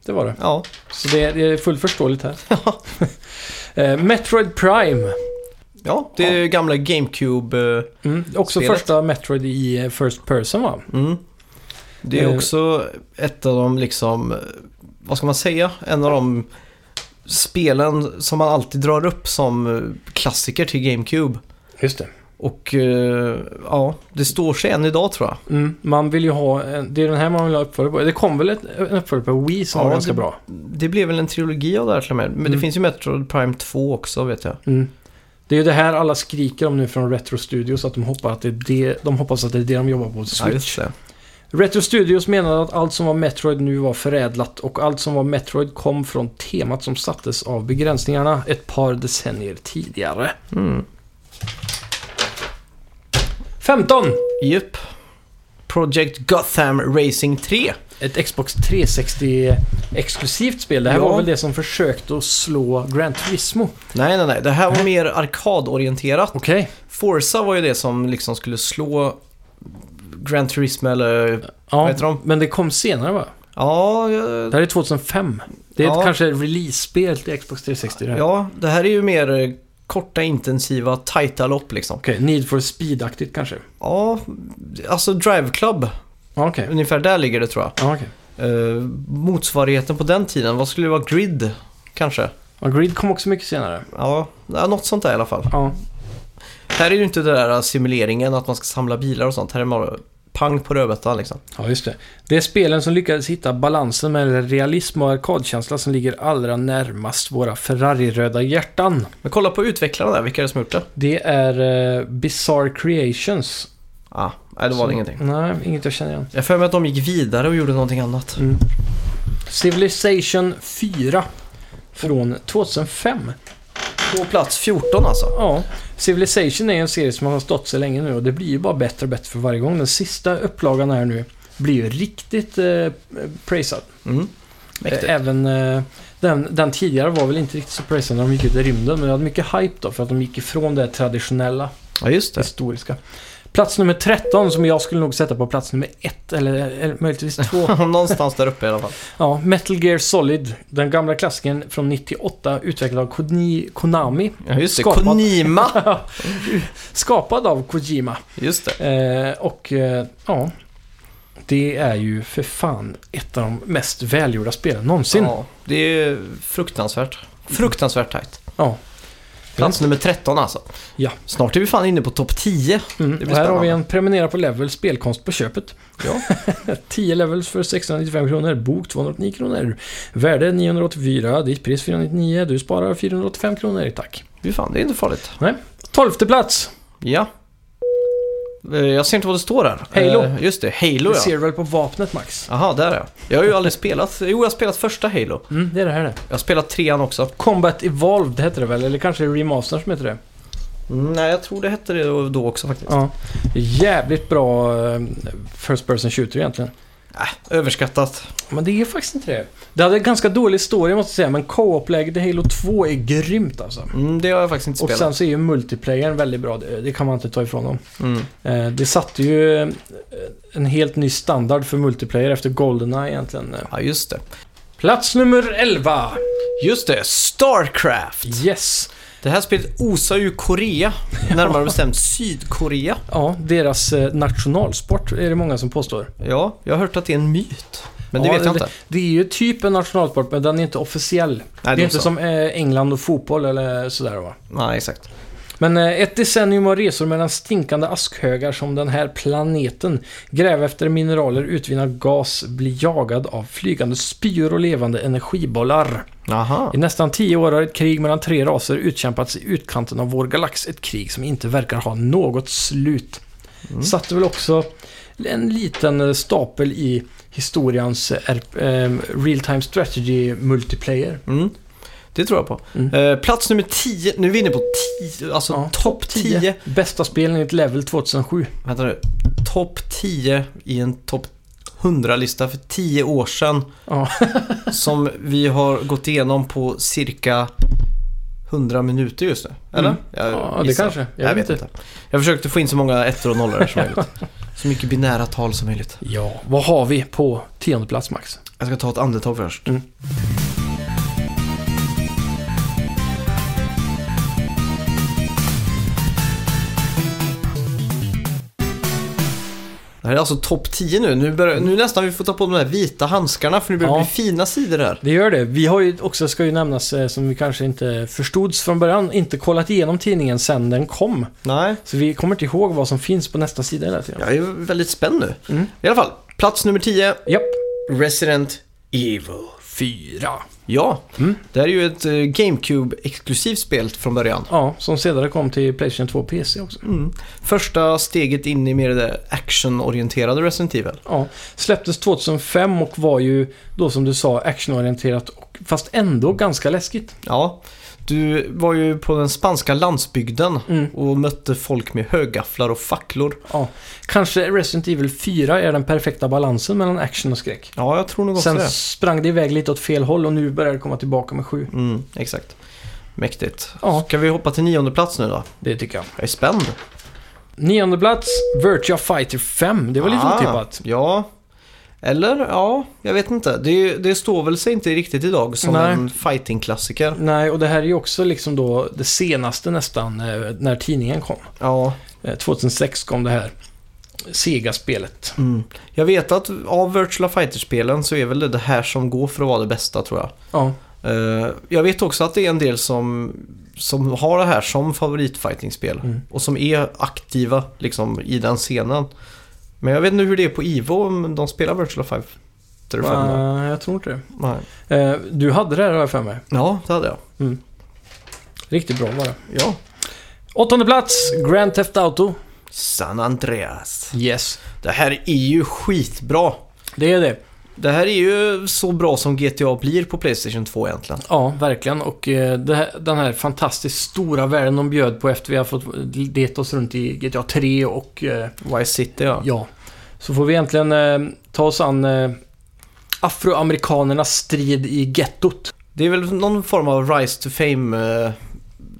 Speaker 2: det var det.
Speaker 1: Ja,
Speaker 2: Så det, det är fullt förståeligt här. eh, Metroid Prime.
Speaker 1: ja det är gamla GameCube. eh,
Speaker 2: Mm, också
Speaker 1: Spelet.
Speaker 2: första Metroid i eh, First Person va?
Speaker 1: Mm. Det
Speaker 2: Eh.
Speaker 1: är också ett av de liksom, eh, vad ska man säga, en av de spelen som man alltid drar upp som eh, klassiker till GameCube.
Speaker 2: Just det.
Speaker 1: Och eh, ja, det står sig än idag tror jag.
Speaker 2: Mm, man vill ju ha, en, det är den här man vill ha uppföljare på. Det kom väl ett, en uppföljare på Wii som
Speaker 1: Ja,
Speaker 2: var ganska
Speaker 1: det-
Speaker 2: bra.
Speaker 1: Det blev väl en trilogi av det här till och med. Men det
Speaker 2: Mm.
Speaker 1: finns ju Metroid Prime 2 också vet jag.
Speaker 2: Mm. Det är ju det här alla skriker om nu från Retro Studios, att de, hoppar att det är det, de hoppas att det är det de jobbar på.
Speaker 1: Ja,
Speaker 2: Switch.
Speaker 1: just det.
Speaker 2: Retro Studios menade att allt som var Metroid nu var förädlat och allt som var Metroid kom från temat som sattes av begränsningarna ett par decennier tidigare.
Speaker 1: Mm.
Speaker 2: 15!
Speaker 1: Jupp. Project Gotham Racing 3.
Speaker 2: Ett Xbox 360 exklusivt spel. Det här
Speaker 1: Ja.
Speaker 2: var väl det som försökte att slå Gran Turismo.
Speaker 1: Nej, nej, nej. Det här
Speaker 2: Äh?
Speaker 1: var mer arkadorienterat.
Speaker 2: Okej.
Speaker 1: Forza var ju det som liksom skulle slå Gran Turismo eller... Vad heter
Speaker 2: Ja,
Speaker 1: de?
Speaker 2: men det kom senare va?
Speaker 1: Ja, ja,
Speaker 2: Det här är 2005. Det är ett
Speaker 1: Ja.
Speaker 2: kanske ett release-spel till Xbox 360 det här.
Speaker 1: ja, det här är ju mer eh, korta, intensiva, tajta lopp liksom.
Speaker 2: Okej, Need for Speed-aktigt kanske.
Speaker 1: Ja, alltså Drive Club.
Speaker 2: Ja, Okej.
Speaker 1: Ungefär där ligger det tror jag.
Speaker 2: Ja, okej.
Speaker 1: Eh, motsvarigheten på den tiden, vad skulle det vara? Grid, kanske?
Speaker 2: Ja, Grid kom också mycket senare.
Speaker 1: Ja, ja, något sånt där i alla fall.
Speaker 2: Ja,
Speaker 1: Här är ju inte det där eh, simuleringen att man ska samla bilar och sånt. Här är man pang på rödbetan liksom.
Speaker 2: ja just det. Det är spelen som lyckades hitta balansen mellan realism och arkadkänsla som ligger allra närmast våra Ferrari-röda hjärtan.
Speaker 1: Men kolla på utvecklarna där, vilka är det som gjort det?
Speaker 2: Det är eh, Bizarre Creations.
Speaker 1: Ah, nej, det var
Speaker 2: Så-
Speaker 1: det ingenting.
Speaker 2: Nej, inget jag känner igen.
Speaker 1: Jag har för mig att de gick vidare och gjorde någonting annat.
Speaker 2: Mm. Civilization 4 från 2005.
Speaker 1: På plats 14 alltså.
Speaker 2: Ja, Civilization är ju en serie som har stått sig länge nu och det blir ju bara bättre och bättre för varje gång. Den sista upplagan här nu blir ju riktigt eh, prisad.
Speaker 1: Mm.
Speaker 2: Eh,
Speaker 1: Mäktigt.
Speaker 2: Även eh, den, den tidigare var väl inte riktigt så prisad när de gick ut i rymden, men det hade mycket hype då för att de gick ifrån det traditionella,
Speaker 1: Ja, just det.
Speaker 2: historiska. Plats nummer 13 som jag skulle nog sätta på plats nummer 1 eller, eller möjligtvis 2.
Speaker 1: Någonstans där uppe i alla fall.
Speaker 2: Ja, Metal Gear Solid, den gamla klassikern från 98 utvecklad av Koni- Konami.
Speaker 1: Ja, just det.
Speaker 2: Skapat.
Speaker 1: Konima!
Speaker 2: Skapad av Kojima.
Speaker 1: Just det.
Speaker 2: Eh, och eh, ja, det är ju för fan ett av de mest välgjorda spelen någonsin. Ja.
Speaker 1: Ja, det är fruktansvärt. Fruktansvärt tajt. Plats nummer 13 alltså.
Speaker 2: Ja.
Speaker 1: Snart är vi fan inne på topp 10.
Speaker 2: Mm.
Speaker 1: blir
Speaker 2: och här har vi
Speaker 1: spännande.
Speaker 2: en prenumerera på level spelkonst på köpet.
Speaker 1: Ja.
Speaker 2: 10 levels för 695 kronor, bok 289 kronor, värde 984, ditt pris 499, du sparar 485 kronor, tack.
Speaker 1: Fy fan, det är inte farligt.
Speaker 2: Tolfte plats!
Speaker 1: Ja. Eh, Jag ser inte vad det står här.
Speaker 2: Halo.
Speaker 1: Eh, Just det,
Speaker 2: Du
Speaker 1: Halo
Speaker 2: ser
Speaker 1: ja.
Speaker 2: väl på vapnet Max?
Speaker 1: Jaha, där ja. Jag har ju aldrig spelat. Jo, jag har spelat första Halo.
Speaker 2: Mm, det är det här det.
Speaker 1: Jag har spelat trean också.
Speaker 2: Combat Evolved heter det väl, eller kanske Remaster som heter det?
Speaker 1: Mm, Nej, jag tror det hette det då också faktiskt.
Speaker 2: Ja. Jävligt bra eh, First Person Shooter egentligen.
Speaker 1: Överskattat.
Speaker 2: Men det är faktiskt inte det. Det hade en ganska dålig story måste jag säga, men co-op-läget i Halo 2 är grymt alltså.
Speaker 1: Mm, det har jag faktiskt inte
Speaker 2: Och
Speaker 1: spelat.
Speaker 2: sen så är ju multiplayern väldigt bra, det det kan man inte ta ifrån dem.
Speaker 1: Mm.
Speaker 2: Eh, Det satte ju eh, en helt ny standard för multiplayer efter Goldeneye egentligen.
Speaker 1: Ja, just det.
Speaker 2: Plats nummer 11!
Speaker 1: Just det, Starcraft!
Speaker 2: Yes!
Speaker 1: Det här spelet osar ju Korea, närmare bestämt Sydkorea.
Speaker 2: Ja, deras eh, nationalsport är det många som påstår.
Speaker 1: Ja, jag har hört att det är en myt. Men det
Speaker 2: Ja,
Speaker 1: vet jag
Speaker 2: det-
Speaker 1: inte.
Speaker 2: Det är ju typ en nationalsport, men den är inte officiell.
Speaker 1: Nej,
Speaker 2: det är inte som eh, England och fotboll eller sådär va.
Speaker 1: Nej, exakt.
Speaker 2: Men eh, ett decennium av resor mellan stinkande askhögar som den här planeten. Gräva efter mineraler, utvinna gas, bli jagad av flygande spyor och levande energibollar.
Speaker 1: Aha.
Speaker 2: I nästan tio år har ett krig mellan tre raser utkämpats i utkanten av vår galax. Ett krig som inte verkar ha något slut.
Speaker 1: Mm.
Speaker 2: Satte väl också en liten eh, stapel i historians eh, RP, eh, Real Time Strategy Multiplayer.
Speaker 1: Mm. Det tror jag på.
Speaker 2: Mm.
Speaker 1: Eh, plats nummer 10. Nu är vi inne på 10, alltså
Speaker 2: Ja,
Speaker 1: topp 10.
Speaker 2: Bästa spelen enligt Level 2007.
Speaker 1: Vänta nu. Topp 10 i en topp 100-lista för 10 år sedan.
Speaker 2: Ja.
Speaker 1: som vi har gått igenom på cirka 100 minuter just nu. Eller?
Speaker 2: Mm.
Speaker 1: Jag
Speaker 2: Ja, det
Speaker 1: gissar.
Speaker 2: kanske.
Speaker 1: Jag, vet inte. Jag försökte få in så många ettor och nollor som möjligt. Så mycket binära tal som möjligt.
Speaker 2: Ja, vad har vi på tionde plats Max?
Speaker 1: Jag ska ta ett andetag först.
Speaker 2: Mm.
Speaker 1: Det här är alltså topp 10 nu. Nu, börjar, nu nästan vi får ta på de här vita handskarna för nu börjar det
Speaker 2: Ja.
Speaker 1: bli fina sidor här.
Speaker 2: Det gör det. Vi har ju också, ska ju nämnas, eh, som vi kanske inte förstods från början, inte kollat igenom tidningen sen den kom.
Speaker 1: Nej.
Speaker 2: Så vi kommer inte ihåg vad som finns på nästa sida hela tiden.
Speaker 1: Jag är väldigt spänd nu.
Speaker 2: Mm.
Speaker 1: I alla fall, plats nummer 10.
Speaker 2: Japp.
Speaker 1: Resident Evil.
Speaker 2: Fyra.
Speaker 1: Ja,
Speaker 2: Mm.
Speaker 1: det här är ju ett eh, GameCube-exklusivt spel från början.
Speaker 2: Ja, som senare kom till Playstation 2 och PC också. Mm.
Speaker 1: Första steget in i mer det där actionorienterade Resident Evil.
Speaker 2: Ja, släpptes 2005 och var ju då som du sa actionorienterat och fast ändå ganska läskigt.
Speaker 1: Ja, du var ju på den spanska landsbygden
Speaker 2: Mm.
Speaker 1: och mötte folk med högafflar och facklor.
Speaker 2: Ja, kanske Resident Evil 4 är den perfekta balansen mellan action och skräck.
Speaker 1: Ja, jag tror nog också
Speaker 2: Sen
Speaker 1: det.
Speaker 2: sprang det iväg lite åt fel håll och nu börjar det komma tillbaka med 7.
Speaker 1: Mm, exakt. Mäktigt.
Speaker 2: Ja,
Speaker 1: Kan vi hoppa till nionde plats nu då?
Speaker 2: det tycker jag.
Speaker 1: Jag är spänd.
Speaker 2: Nionde plats, Virtua Fighter 5. Det var lite
Speaker 1: Ah,
Speaker 2: otippat.
Speaker 1: Ja. Eller, ja, jag vet inte. Det, det står väl sig inte riktigt idag som
Speaker 2: Nej.
Speaker 1: en fighting-klassiker.
Speaker 2: Nej, och det här är ju också liksom då det senaste nästan eh, när tidningen kom.
Speaker 1: Ja.
Speaker 2: Eh, 2006 kom det här Sega-spelet.
Speaker 1: Mm. Jag vet att av Virtual Fighter-spelen så är väl det det här som går för att vara det bästa tror jag.
Speaker 2: Ja,
Speaker 1: Eh, jag vet också att det är en del som, som har det här som favoritfighting-spel.
Speaker 2: Mm.
Speaker 1: Och som är aktiva liksom, i den scenen. Men jag vet inte hur det är på Ivo om de spelar Virtual Fighter 5. då.
Speaker 2: Nej, jag tror inte det.
Speaker 1: Nej.
Speaker 2: Eh, Du hade det här har jag för mig.
Speaker 1: Ja, det hade jag.
Speaker 2: Riktigt bra var det.
Speaker 1: Ja.
Speaker 2: Åttonde plats, Grand Theft Auto.
Speaker 1: San Andreas.
Speaker 2: Yes.
Speaker 1: Det här är ju skitbra.
Speaker 2: Det är det.
Speaker 1: Det här är ju så bra som GTA blir på Playstation 2 egentligen.
Speaker 2: Ja, verkligen. Och eh, det här, den här fantastiskt stora världen de bjöd på efter vi har fått leta oss runt i GTA 3 och... eh,
Speaker 1: Vice City ja.
Speaker 2: Ja. Så får vi äntligen eh, ta oss an eh, afroamerikanernas strid i gettot.
Speaker 1: Det är väl någon form av Rise to Fame, eh,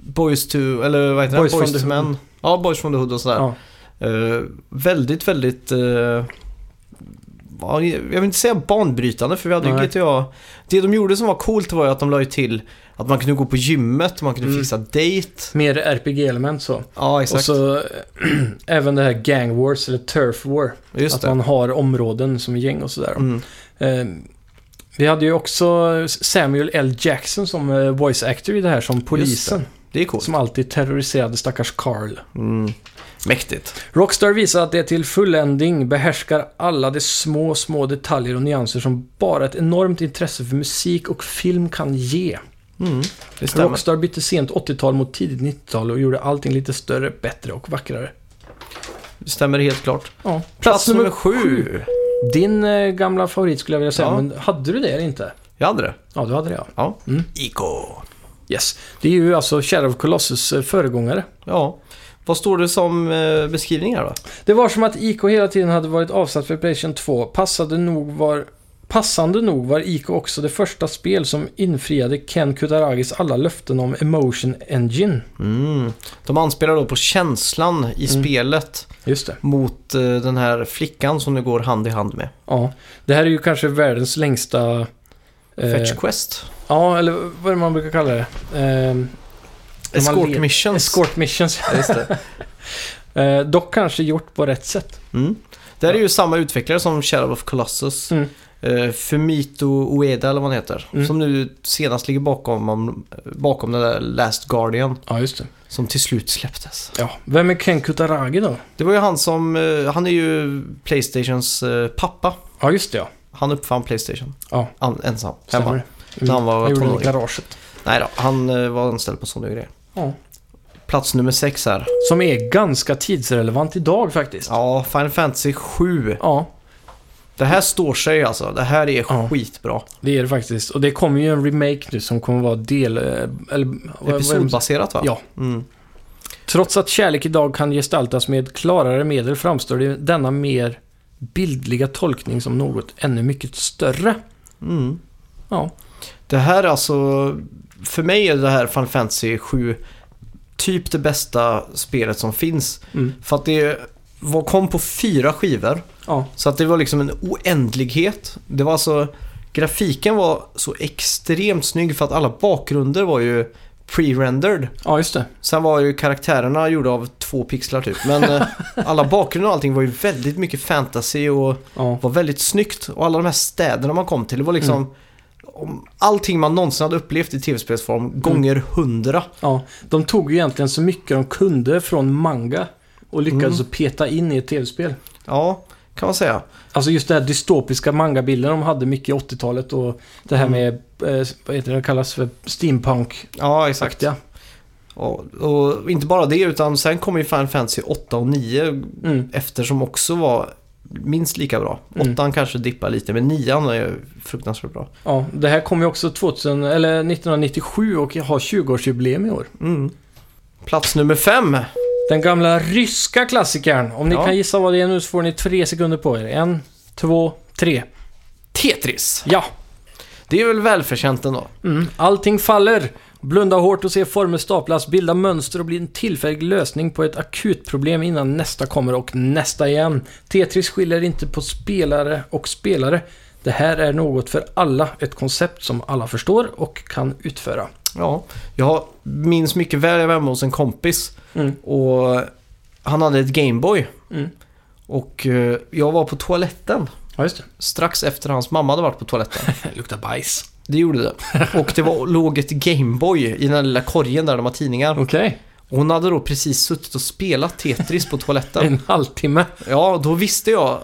Speaker 1: Boys to, eller vad heter
Speaker 2: Boys
Speaker 1: det?
Speaker 2: from the
Speaker 1: Men.
Speaker 2: Hood.
Speaker 1: Ja, Boys from the Hood och sådär.
Speaker 2: Ja.
Speaker 1: Eh, väldigt, väldigt... eh, ja, jag vill inte säga banbrytande för vi hade ju
Speaker 2: Nej.
Speaker 1: GTA. Det de gjorde som var coolt var ju att de la ju till att man kunde gå på gymmet, man kunde
Speaker 2: Mm.
Speaker 1: fixa date.
Speaker 2: Mer RPG-element så.
Speaker 1: Ja, exakt.
Speaker 2: Och så eh, även det här Gang Wars eller Turf War.
Speaker 1: Just
Speaker 2: att
Speaker 1: det.
Speaker 2: man har områden som är gäng och sådär.
Speaker 1: Mm.
Speaker 2: Eh, vi hade ju också Samuel L. Jackson som eh, voice actor i det här, som polisen.
Speaker 1: Det är coolt.
Speaker 2: Som alltid terroriserade stackars Carl.
Speaker 1: Mm. Mäktigt.
Speaker 2: Rockstar visar att det till fulländning behärskar alla de små, små detaljer och nyanser som bara ett enormt intresse för musik och film kan ge.
Speaker 1: Mm. Det stämmer.
Speaker 2: Rockstar bytte sent 80-tal mot tidigt 90-tal och gjorde allting lite större, bättre och vackrare.
Speaker 1: Det stämmer helt klart.
Speaker 2: Ja.
Speaker 1: Plats nummer sju.
Speaker 2: Din eh, gamla favorit skulle jag vilja säga,
Speaker 1: Ja.
Speaker 2: men hade du det eller inte?
Speaker 1: Jag hade det.
Speaker 2: Ja, du hade det ja.
Speaker 1: Ja.
Speaker 2: Mm.
Speaker 1: Ico.
Speaker 2: Yes. Det är ju alltså Shadow of Colossus eh, föregångare.
Speaker 1: Ja. Vad står det som eh, beskrivning här då?
Speaker 2: Det var som att IK hela tiden hade varit avsatt för Playstation 2. Passade nog var, passande nog var IK också det första spel som infriade Ken Kutaragis alla löften om Emotion Engine.
Speaker 1: Mm. De anspelar då på känslan i
Speaker 2: Mm.
Speaker 1: spelet
Speaker 2: Just det.
Speaker 1: mot eh, den här flickan som nu går hand i hand med.
Speaker 2: Ja. Det här är ju kanske världens längsta... Eh,
Speaker 1: Fetch Quest.
Speaker 2: ja, eller vad är det man brukar kalla det? Eh,
Speaker 1: Escort
Speaker 2: led-
Speaker 1: Missions.
Speaker 2: escort missions.
Speaker 1: Ja, Just det.
Speaker 2: eh, dock kanske gjort på rätt sätt.
Speaker 1: Mm. Det här är ju samma utvecklare som Shadow of Colossus.
Speaker 2: Mm.
Speaker 1: Eh, Fumito Ueda eller vad han heter.
Speaker 2: Mm.
Speaker 1: Som nu senast ligger bakom, om- bakom den där Last Guardian.
Speaker 2: Ja, just det.
Speaker 1: Som till slut släpptes.
Speaker 2: Ja. Vem är Ken Kutaragi då?
Speaker 1: Det var ju han som, eh, han är ju Playstations eh, pappa.
Speaker 2: Ja, just det ja.
Speaker 1: Han uppfann Playstation.
Speaker 2: Ja.
Speaker 1: An, ensam.
Speaker 2: Stämmer
Speaker 1: Hemma.
Speaker 2: det?
Speaker 1: När han var
Speaker 2: Jag gjorde det i
Speaker 1: tonåring.
Speaker 2: garaget.
Speaker 1: Nej då, han eh, var anställd på sådana grejer.
Speaker 2: Ja.
Speaker 1: Plats nummer sex här.
Speaker 2: Som är ganska tidsrelevant idag faktiskt. Ja.
Speaker 1: Ja, Final Fantasy 7. Det här står sig alltså. Det här är
Speaker 2: Ja.
Speaker 1: skitbra.
Speaker 2: det är det faktiskt. Och det kommer ju en remake nu som kommer vara del... eh, Eller, vad- vad är det?
Speaker 1: Episodbaserat va?
Speaker 2: Ja.
Speaker 1: Mm.
Speaker 2: Trots att kärlek idag kan gestaltas med klarare medel framstår det denna mer bildliga tolkning som något ännu mycket större.
Speaker 1: Mm.
Speaker 2: Ja,
Speaker 1: Det här är alltså, för mig är det här Final Fantasy 7 typ det bästa spelet som finns.
Speaker 2: Mm.
Speaker 1: För att det är var, kom på fyra skivor.
Speaker 2: Ja.
Speaker 1: Så att det var liksom en oändlighet. Det var alltså, grafiken var så extremt snygg för att alla bakgrunder var ju pre-rendered.
Speaker 2: ja, just det.
Speaker 1: Sen var ju karaktärerna gjorda av två pixlar typ. Men eh, alla bakgrunder och allting var ju väldigt mycket fantasy och
Speaker 2: Ja.
Speaker 1: var väldigt snyggt. Och alla de här städerna man kom till, det var liksom
Speaker 2: Mm.
Speaker 1: om allting man någonsin hade upplevt i tv-spelsform gånger
Speaker 2: Mm.
Speaker 1: hundra.
Speaker 2: Ja, de tog ju egentligen så mycket de kunde från manga och lyckades att peta in i ett tv-spel.
Speaker 1: Ja, kan man säga.
Speaker 2: Alltså just det här dystopiska mangabilden de hade mycket i 80-talet och det här med, eh, vad heter det, det kallas för steampunk
Speaker 1: Ja, exakt.
Speaker 2: ja.
Speaker 1: Och, och inte bara det, utan sen kom ju Final Fantasy 8 och 9
Speaker 2: Mm.
Speaker 1: efter som också var minst lika bra.
Speaker 2: Mm.
Speaker 1: Åttan kanske dippar lite, men nian är ju fruktansvärt bra.
Speaker 2: Ja, det här kom ju också 2000, eller 1997 och har 20-årsjubileum i år.
Speaker 1: Mm. Plats nummer fem.
Speaker 2: Den gamla ryska klassikern. Om ni
Speaker 1: Ja.
Speaker 2: kan gissa vad det är nu så får ni tre sekunder på er. En, två, tre.
Speaker 1: Tetris.
Speaker 2: Ja!
Speaker 1: Det är väl välförtjänt ändå.
Speaker 2: Mm. Allting faller. Blunda hårt och se former staplas, bilda mönster och bli en tillfällig lösning på ett akut problem innan nästa kommer och nästa igen. Tetris skiljer inte på spelare och spelare. Det här är något för alla, ett koncept som alla förstår och kan utföra.
Speaker 1: Ja, jag minns mycket väl jag var hemma hos en kompis
Speaker 2: Mm.
Speaker 1: och han hade ett Gameboy.
Speaker 2: Mm.
Speaker 1: Och eh, jag var på toaletten
Speaker 2: Ja, just det.
Speaker 1: strax efter hans mamma hade varit på toaletten.
Speaker 2: Luktar bajs.
Speaker 1: Det gjorde det. Och det var, låg ett Gameboy i den där lilla korgen där de har tidningar. Och
Speaker 2: Okej.
Speaker 1: hon hade då precis suttit och spelat Tetris på toaletten.
Speaker 2: En halvtimme.
Speaker 1: Ja, då visste jag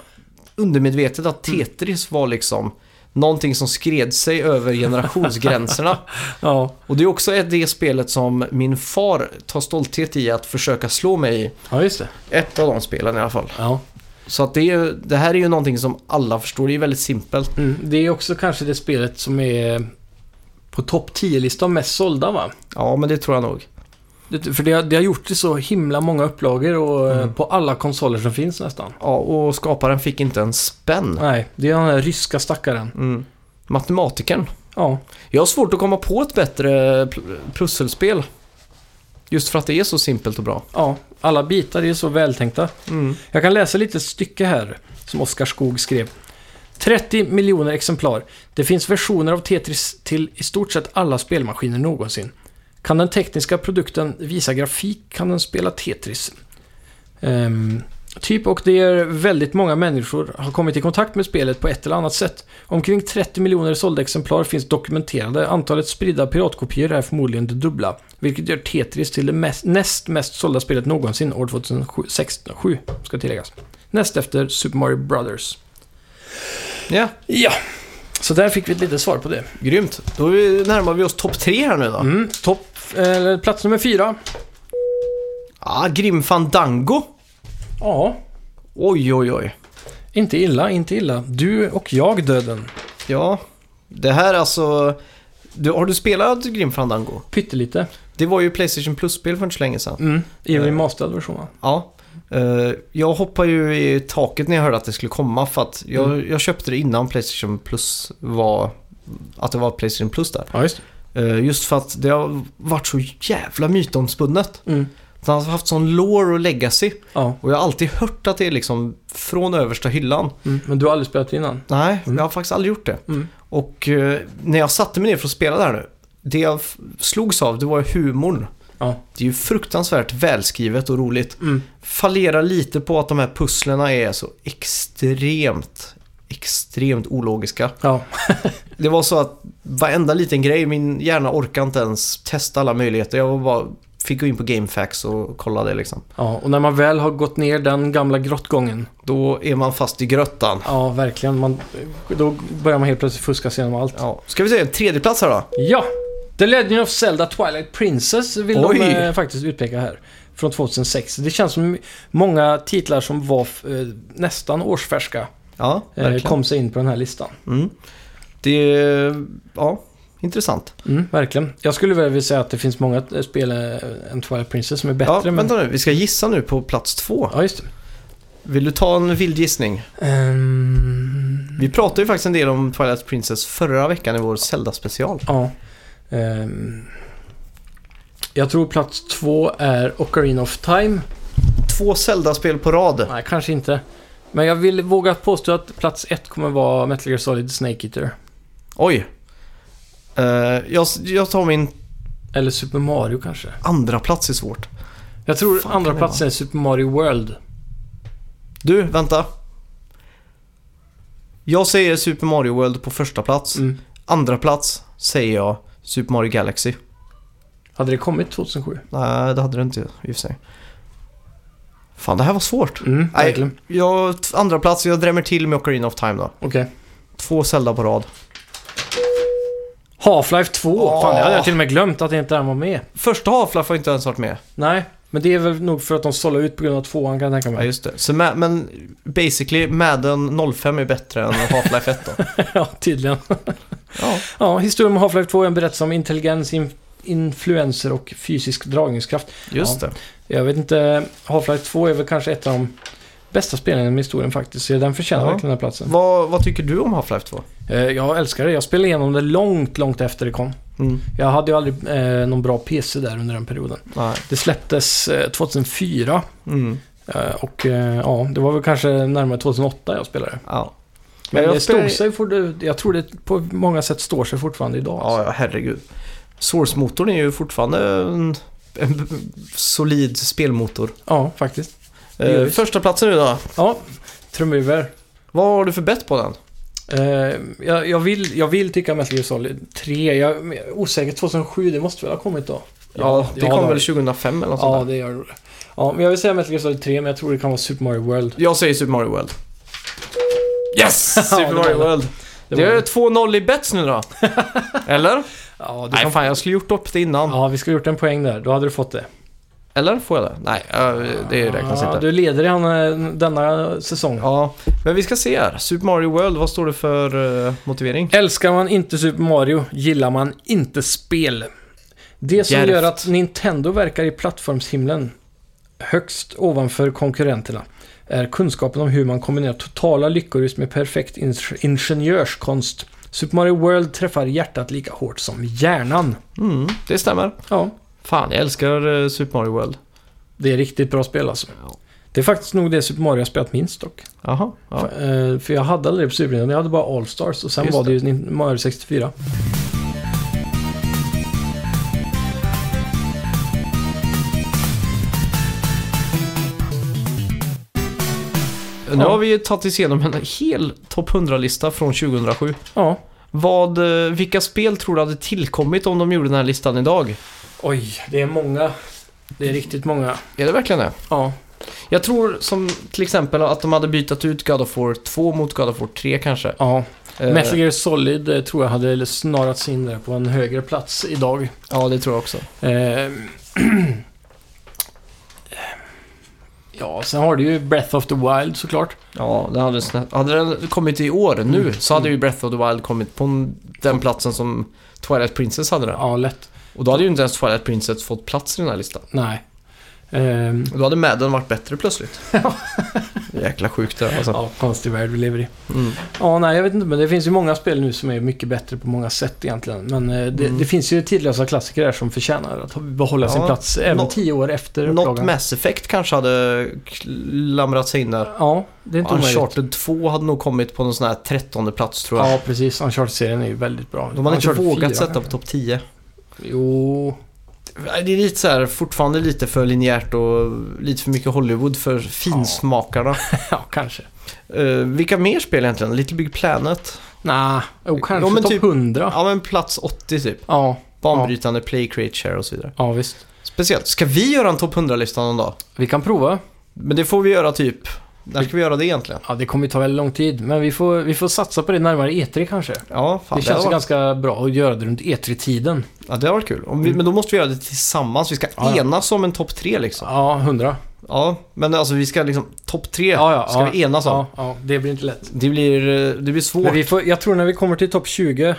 Speaker 1: undermedvetet att
Speaker 2: Mm.
Speaker 1: Tetris var liksom någonting som skred sig över generationsgränserna.
Speaker 2: Ja.
Speaker 1: Och det är också ett- det spelet som min far tar stolthet i att försöka slå mig i.
Speaker 2: ja, just det.
Speaker 1: Ett av de spelen i alla fall.
Speaker 2: Ja.
Speaker 1: Så att det, är, ju- det här är ju någonting som alla förstår. Det är väldigt simpelt.
Speaker 2: Mm. Det är också kanske det spelet som är på topp 10-listan mest sålda, va?
Speaker 1: Ja, men det tror jag nog.
Speaker 2: Det, för det, har- det har gjort det så himla många upplagor och
Speaker 1: Mm.
Speaker 2: eh, på alla konsoler som finns nästan.
Speaker 1: Ja, och skaparen fick inte en spänn.
Speaker 2: Nej, det är den här ryska stackaren.
Speaker 1: Mm. Matematikern.
Speaker 2: Ja,
Speaker 1: Jag har svårt att komma på ett bättre pl- pusselspel. Just för att det är så simpelt och bra.
Speaker 2: ja. Alla bitar är ju så vältänkta.
Speaker 1: Mm.
Speaker 2: Jag kan läsa lite stycke här, som Oskar Skog skrev. 30 miljoner exemplar. Det finns versioner av Tetris till i stort sett alla spelmaskiner någonsin. Kan den tekniska produkten visa grafik kan den spela Tetris. Ehm, typ och det är väldigt många människor har kommit i kontakt med spelet på ett eller annat sätt. Omkring 30 miljoner sålda exemplar finns dokumenterade. Antalet spridda piratkopior är förmodligen det dubbla. Vilket gör Tetris till det mest, näst mest sålda spelet någonsin år 2007, ska tilläggas. Näst efter Super Mario Brothers.
Speaker 1: Ja,
Speaker 2: Ja, så där fick vi ett litet svar på det.
Speaker 1: grymt. Då är vi- närmar vi oss topp tre här nu då.
Speaker 2: Mm, topp, eller plats nummer fyra.
Speaker 1: Ah, Grim Fandango.
Speaker 2: Ja,
Speaker 1: Oj, oj, oj.
Speaker 2: inte illa, inte illa. Du och jag, döden.
Speaker 1: Ja, det här alltså... Du, har du spelat Grim Fandango?
Speaker 2: Pyttelite.
Speaker 1: Det var ju Playstation Plus-spel för inte så länge sedan.
Speaker 2: Mm, I
Speaker 1: Eh.
Speaker 2: remasterad version, va?
Speaker 1: Ja. Eh, jag hoppade ju i taket när jag hörde att det skulle komma för att jag, jag köpte det innan Playstation Plus var... Att det var Playstation Plus där.
Speaker 2: Ja, just det.
Speaker 1: Eh, just för att det har varit så jävla mytomspunnet.
Speaker 2: Mm.
Speaker 1: Den har haft sån lore och legacy.
Speaker 2: Ja,
Speaker 1: Och jag har alltid hört att det är liksom från översta hyllan.
Speaker 2: mm. men du har aldrig spelat innan?
Speaker 1: Nej,
Speaker 2: Mm.
Speaker 1: jag har faktiskt aldrig gjort det.
Speaker 2: Mm.
Speaker 1: Och eh, när jag satte mig ner för att spela det här nu, det jag f- slogs av det var humorn.
Speaker 2: Ja.
Speaker 1: Det är ju fruktansvärt välskrivet och roligt.
Speaker 2: Mm.
Speaker 1: Fallerar lite på att de här pusslerna är så extremt, extremt ologiska.
Speaker 2: Ja,
Speaker 1: Det var så att varenda liten grej, min hjärna orkade inte ens testa alla möjligheter. Jag var bara, fick gå in på GameFAQs och kolla det liksom.
Speaker 2: ja, och när man väl har gått ner den gamla grottgången.
Speaker 1: Då är man fast i gröttan.
Speaker 2: Ja, verkligen. Man, då börjar man helt plötsligt fuska sig igenom allt.
Speaker 1: Ja. Ska vi se, en tredje plats här då?
Speaker 2: Ja! The Legend of Zelda Twilight Princess vill
Speaker 1: Oj.
Speaker 2: de eh, faktiskt utpeka här. Från 2006. Det känns som många titlar som var eh, nästan årsfärska
Speaker 1: Ja,
Speaker 2: eh,
Speaker 1: verkligen.
Speaker 2: kom sig in på den här listan.
Speaker 1: Mm. Det är, ja, intressant.
Speaker 2: Mm, verkligen. Jag skulle väl vilja säga att det finns många eh, spel eh, än Twilight Princess som är bättre.
Speaker 1: Ja,
Speaker 2: men...
Speaker 1: Vänta nu, vi ska gissa nu på plats två.
Speaker 2: Ja, just det.
Speaker 1: Vill du ta en vild gissning?
Speaker 2: Ehm,
Speaker 1: Vi pratade ju faktiskt en del om Twilight Princess förra veckan i vår Zelda-special.
Speaker 2: ja. Ehm, jag tror plats två är Ocarina of Time.
Speaker 1: två Zelda-spel på rad.
Speaker 2: Nej, kanske inte. Men jag vill våga påstå att plats ett kommer vara Metal Gear Solid Snake Eater.
Speaker 1: Oj. Eh, jag, jag tar min
Speaker 2: Eller Super Mario kanske.
Speaker 1: andra plats i svårt.
Speaker 2: Jag tror
Speaker 1: Fan,
Speaker 2: andra
Speaker 1: kan det
Speaker 2: platsen är Super Mario World.
Speaker 1: Du, vänta. Jag säger Super Mario World på första plats.
Speaker 2: Mm.
Speaker 1: Andra plats säger jag Super Mario Galaxy.
Speaker 2: Hade det kommit 2007?
Speaker 1: Nej, det hade det inte i och för sig. Fan, det här var svårt.
Speaker 2: Mm,
Speaker 1: Nej.
Speaker 2: verkligen.
Speaker 1: Jag, t- andra plats, jag drämmer till med Ocarina of Time då.
Speaker 2: Okej.
Speaker 1: Två Zelda på rad.
Speaker 2: Half-Life 2. Fan, det hade
Speaker 1: Åh.
Speaker 2: jag till och med glömt att inte den var med.
Speaker 1: Första Half-Life har inte ens varit med.
Speaker 2: Nej, men det är väl nog för att de sållade ut på grund av tvåan kan jag tänka
Speaker 1: Ja,
Speaker 2: mig.
Speaker 1: just det. Så ma- men basically, Madden 05 är bättre än Half-Life 1 då.
Speaker 2: ja, tydligen.
Speaker 1: Ja.
Speaker 2: Ja, historien om Half-Life 2 är en berättelse om intelligens, in influenser och fysisk dragningskraft.
Speaker 1: Just det.
Speaker 2: Jag vet inte, Half-Life 2 är väl kanske ett av de bästa spelen inom historien faktiskt, så den förtjänar
Speaker 1: Ja.
Speaker 2: verkligen den här platsen.
Speaker 1: Vad, vad tycker du om Half-Life 2?
Speaker 2: Eh, Jag älskar det, jag spelade igenom det långt, långt efter det kom.
Speaker 1: Mm.
Speaker 2: Jag hade ju aldrig eh, någon bra PC där under den perioden.
Speaker 1: Nej.
Speaker 2: Det släpptes eh, 2004
Speaker 1: Mm.
Speaker 2: eh, och eh, ja, det var väl kanske närmare 2008 jag spelade.
Speaker 1: Ja.
Speaker 2: Men
Speaker 1: jag
Speaker 2: det
Speaker 1: spelar-
Speaker 2: stod sig fort, jag tror det på många sätt står sig fortfarande idag.
Speaker 1: Ja, ja, herregud. Source-motorn är ju fortfarande en, en solid spelmotor.
Speaker 2: ja faktiskt. Det gör
Speaker 1: Eh,
Speaker 2: vi.
Speaker 1: första platsen nu då.
Speaker 2: Ja, trumvirvel.
Speaker 1: Vad har du för bett på den?
Speaker 2: Eh, jag, jag, vill, jag vill tycka Metal Gear Solid 3. Jag, men jag är osäker, 2007, det måste väl ha kommit då?
Speaker 1: Ja, det
Speaker 2: ja,
Speaker 1: kom
Speaker 2: då.
Speaker 1: väl 2005 eller något
Speaker 2: Ja,
Speaker 1: sånt där.
Speaker 2: det gör det. Ja, men jag vill säga Metal Gear Solid 3, men jag tror det kan vara Super Mario World.
Speaker 1: Jag säger Super Mario World. Yes!
Speaker 2: Ja,
Speaker 1: Super
Speaker 2: det
Speaker 1: Mario
Speaker 2: var det.
Speaker 1: World.
Speaker 2: Det
Speaker 1: Det
Speaker 2: var
Speaker 1: är
Speaker 2: det.
Speaker 1: 2-0 i bets nu då. Eller?
Speaker 2: Ja, du
Speaker 1: Nej,
Speaker 2: kan...
Speaker 1: fan jag skulle gjort upp det innan.
Speaker 2: ja, vi skulle gjort en poäng där. Då hade du fått det.
Speaker 1: Eller? Får jag det? Nej, eh, det räknas
Speaker 2: ja,
Speaker 1: inte.
Speaker 2: Du leder i han, eh, denna säsong.
Speaker 1: Ja, men vi ska se här. Super Mario World, vad står det för eh, motivering?
Speaker 2: Älskar man inte Super Mario gillar man inte spel. Det som
Speaker 1: Djärvt.
Speaker 2: gör att Nintendo verkar i plattformshimlen högst ovanför konkurrenterna är kunskapen om hur man kombinerar totala lyckorus med perfekt ins- ingenjörskonst. Super Mario World träffar hjärtat lika hårt som hjärnan.
Speaker 1: Mm, det stämmer.
Speaker 2: Ja,
Speaker 1: Fan, jag älskar eh, Super Mario World.
Speaker 2: det är riktigt bra spel alltså.
Speaker 1: Ja.
Speaker 2: Det är faktiskt nog det Super Mario jag spelat minst dock.
Speaker 1: Jaha. Ja.
Speaker 2: För, eh, för jag hade aldrig det på Super Nintendo, jag hade bara All Stars och sen
Speaker 1: Just
Speaker 2: var det
Speaker 1: det.
Speaker 2: ju Nin- Mario 64.
Speaker 1: Nu
Speaker 2: Ja.
Speaker 1: har vi ju tagit oss igenom en hel topp 100-lista från 2007.
Speaker 2: Ja,
Speaker 1: Vad, eh, vilka spel tror du hade tillkommit om de gjorde den här listan idag?
Speaker 2: Oj, det är många. Det är riktigt många.
Speaker 1: Är det verkligen det?
Speaker 2: Ja.
Speaker 1: Jag tror som till exempel att de hade bytt ut God of War 2 mot God of War 3 kanske.
Speaker 2: ja.
Speaker 1: Eh,
Speaker 2: Metal Gear Solid eh, tror jag hade snarats in där på en högre plats idag.
Speaker 1: Ja, det tror jag också.
Speaker 2: Eh, ja, sen har du ju Breath of the Wild såklart.
Speaker 1: Ja, det hade, snä- hade den kommit i år nu så hade ju Breath of the Wild kommit på n- den platsen som Twilight Princess hade den.
Speaker 2: Ja, lätt.
Speaker 1: Och då hade ju inte ens Twilight Princess fått plats i den här listan.
Speaker 2: Nej. Eh,
Speaker 1: Och då hade Madden varit bättre plötsligt. Jäkla sjukt det där, alltså.
Speaker 2: ja, konstig värld vi lever i.
Speaker 1: Mm.
Speaker 2: Ja, nej, jag vet inte, men det finns ju många spel nu som är mycket bättre på många sätt egentligen. Men eh, det, det finns ju tidlösa klassiker där som förtjänar att behålla sin
Speaker 1: Ja.
Speaker 2: plats även
Speaker 1: Nå-
Speaker 2: tio år efter
Speaker 1: Något
Speaker 2: upplagan.
Speaker 1: Mass Effect kanske hade klamrat sig in där.
Speaker 2: Ja, det är inte omöjligt.
Speaker 1: Uncharted 2 hade nog kommit på någon sån här trettonde plats tror jag.
Speaker 2: Ja, precis. Uncharted-serien är ju väldigt bra.
Speaker 1: De hade inte
Speaker 2: Uncharted
Speaker 1: vågat
Speaker 2: 4,
Speaker 1: sätta på
Speaker 2: kanske.
Speaker 1: topp 10.
Speaker 2: Jo...
Speaker 1: Det är lite så här, fortfarande lite för linjärt och lite för mycket Hollywood för finsmakarna.
Speaker 2: ja, kanske.
Speaker 1: Eh, vilka mer spel egentligen? Little Big Planet?
Speaker 2: Nej, oh, kanske
Speaker 1: Ja, men
Speaker 2: topp
Speaker 1: typ-
Speaker 2: 100. Ja.
Speaker 1: Ja men plats 80 typ.
Speaker 2: ja,
Speaker 1: Banbrytande Play Create Share och så vidare.
Speaker 2: visst.
Speaker 1: Speciellt. Ska vi göra en topp 100-lista någon dag?
Speaker 2: Vi kan prova.
Speaker 1: Men det får vi göra typ... När ska vi göra det egentligen?
Speaker 2: Ja, det kommer ju ta väldigt lång tid, men vi får, vi får satsa på det närmare E3 kanske.
Speaker 1: Ja, fan,
Speaker 2: det
Speaker 1: det,
Speaker 2: känns
Speaker 1: hade
Speaker 2: ju
Speaker 1: varit,
Speaker 2: ganska bra att göra det runt E E3-tiden.
Speaker 1: ja, det hade varit kul. Om vi, men då måste vi göra det tillsammans. Vi ska
Speaker 2: Mm. Ja, ja.
Speaker 1: enas om en topp 3 liksom.
Speaker 2: Ja, 100.
Speaker 1: Ja, men alltså vi ska liksom... Topp 3
Speaker 2: Ja, ja,
Speaker 1: ska
Speaker 2: ja,
Speaker 1: vi enas om.
Speaker 2: Ja, ja, det blir inte lätt.
Speaker 1: Det blir, eh, det blir svårt.
Speaker 2: Men vi får, jag tror när vi kommer till topp 20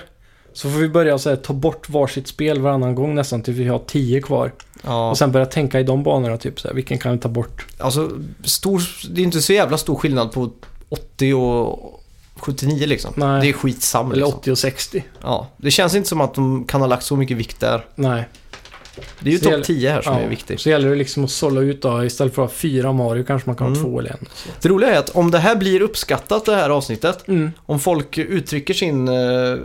Speaker 2: så får vi börja så här, ta bort varsitt spel varannan gång nästan tills vi har 10 kvar.
Speaker 1: Ja.
Speaker 2: Och sen börja tänka i de banorna, typ så här, vilken kan vi ta bort?
Speaker 1: Alltså, stor, det är inte så jävla stor skillnad på 80 och 79 liksom.
Speaker 2: Nej.
Speaker 1: Det är skitsamma
Speaker 2: Eller
Speaker 1: liksom.
Speaker 2: 80 och 60.
Speaker 1: Ja, det känns inte som att de kan ha lagt så mycket vikt där.
Speaker 2: Nej.
Speaker 1: Det är ju
Speaker 2: Så det
Speaker 1: topp
Speaker 2: gäller-
Speaker 1: 10 här som
Speaker 2: ja,
Speaker 1: är viktigt.
Speaker 2: Så gäller det liksom att sålla ut då, istället för att ha fyra Mario kanske man kan
Speaker 1: Mm.
Speaker 2: ha två eller en. Så.
Speaker 1: Det roliga är att om det här blir uppskattat det här avsnittet, om folk uttrycker sin... eh,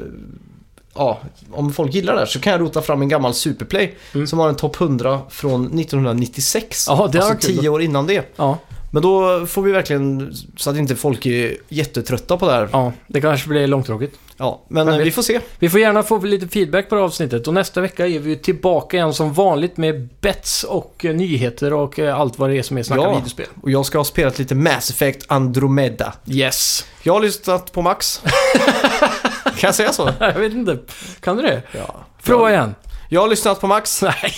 Speaker 1: ja, om folk gillar det här så kan jag rota fram en gammal Superplay som har en topp 100 från 1996.
Speaker 2: Jaha, Mm. det var
Speaker 1: alltså
Speaker 2: kul.
Speaker 1: 10 år innan det.
Speaker 2: Ja,
Speaker 1: Men då får vi verkligen, så att inte folk är jättetrötta på det här.
Speaker 2: ja, det kanske blir långtråkigt.
Speaker 1: Ja, men
Speaker 2: Men
Speaker 1: eh,
Speaker 2: vi-
Speaker 1: vi får se.
Speaker 2: Vi får gärna få lite feedback på det här avsnittet och nästa vecka är vi ju tillbaka igen som vanligt med bets och eh, nyheter och eh, allt vad det är som är Snacka
Speaker 1: Ja.
Speaker 2: videospel.
Speaker 1: Och jag ska ha spelat lite Mass Effect Andromeda.
Speaker 2: Yes!
Speaker 1: Jag har lyssnat på Max. kan jag säga så?
Speaker 2: Jag vet inte, kan du det?
Speaker 1: Ja.
Speaker 2: Fråga igen.
Speaker 1: Jag har lyssnat på Max.
Speaker 2: Nej,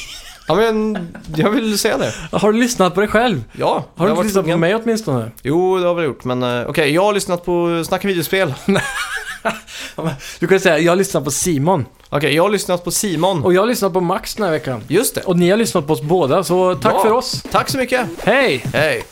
Speaker 1: Ja, men jag vill säga det.
Speaker 2: har du lyssnat på dig själv?
Speaker 1: Ja,
Speaker 2: Har du
Speaker 1: jag
Speaker 2: inte
Speaker 1: varit
Speaker 2: lyssnat på
Speaker 1: tvungen.
Speaker 2: mig åtminstone?
Speaker 1: Jo, det har jag väl gjort, men eh, okej, jag har lyssnat på Snacka videospel. Okej,
Speaker 2: Du kan säga, jag har lyssnat på Simon.
Speaker 1: jag har lyssnat på Simon.
Speaker 2: Och jag har lyssnat på Max den här veckan.
Speaker 1: Just det.
Speaker 2: Och ni har lyssnat på oss båda, så tack
Speaker 1: Ja.
Speaker 2: för oss.
Speaker 1: Tack så mycket.
Speaker 2: Hej!
Speaker 1: Hej.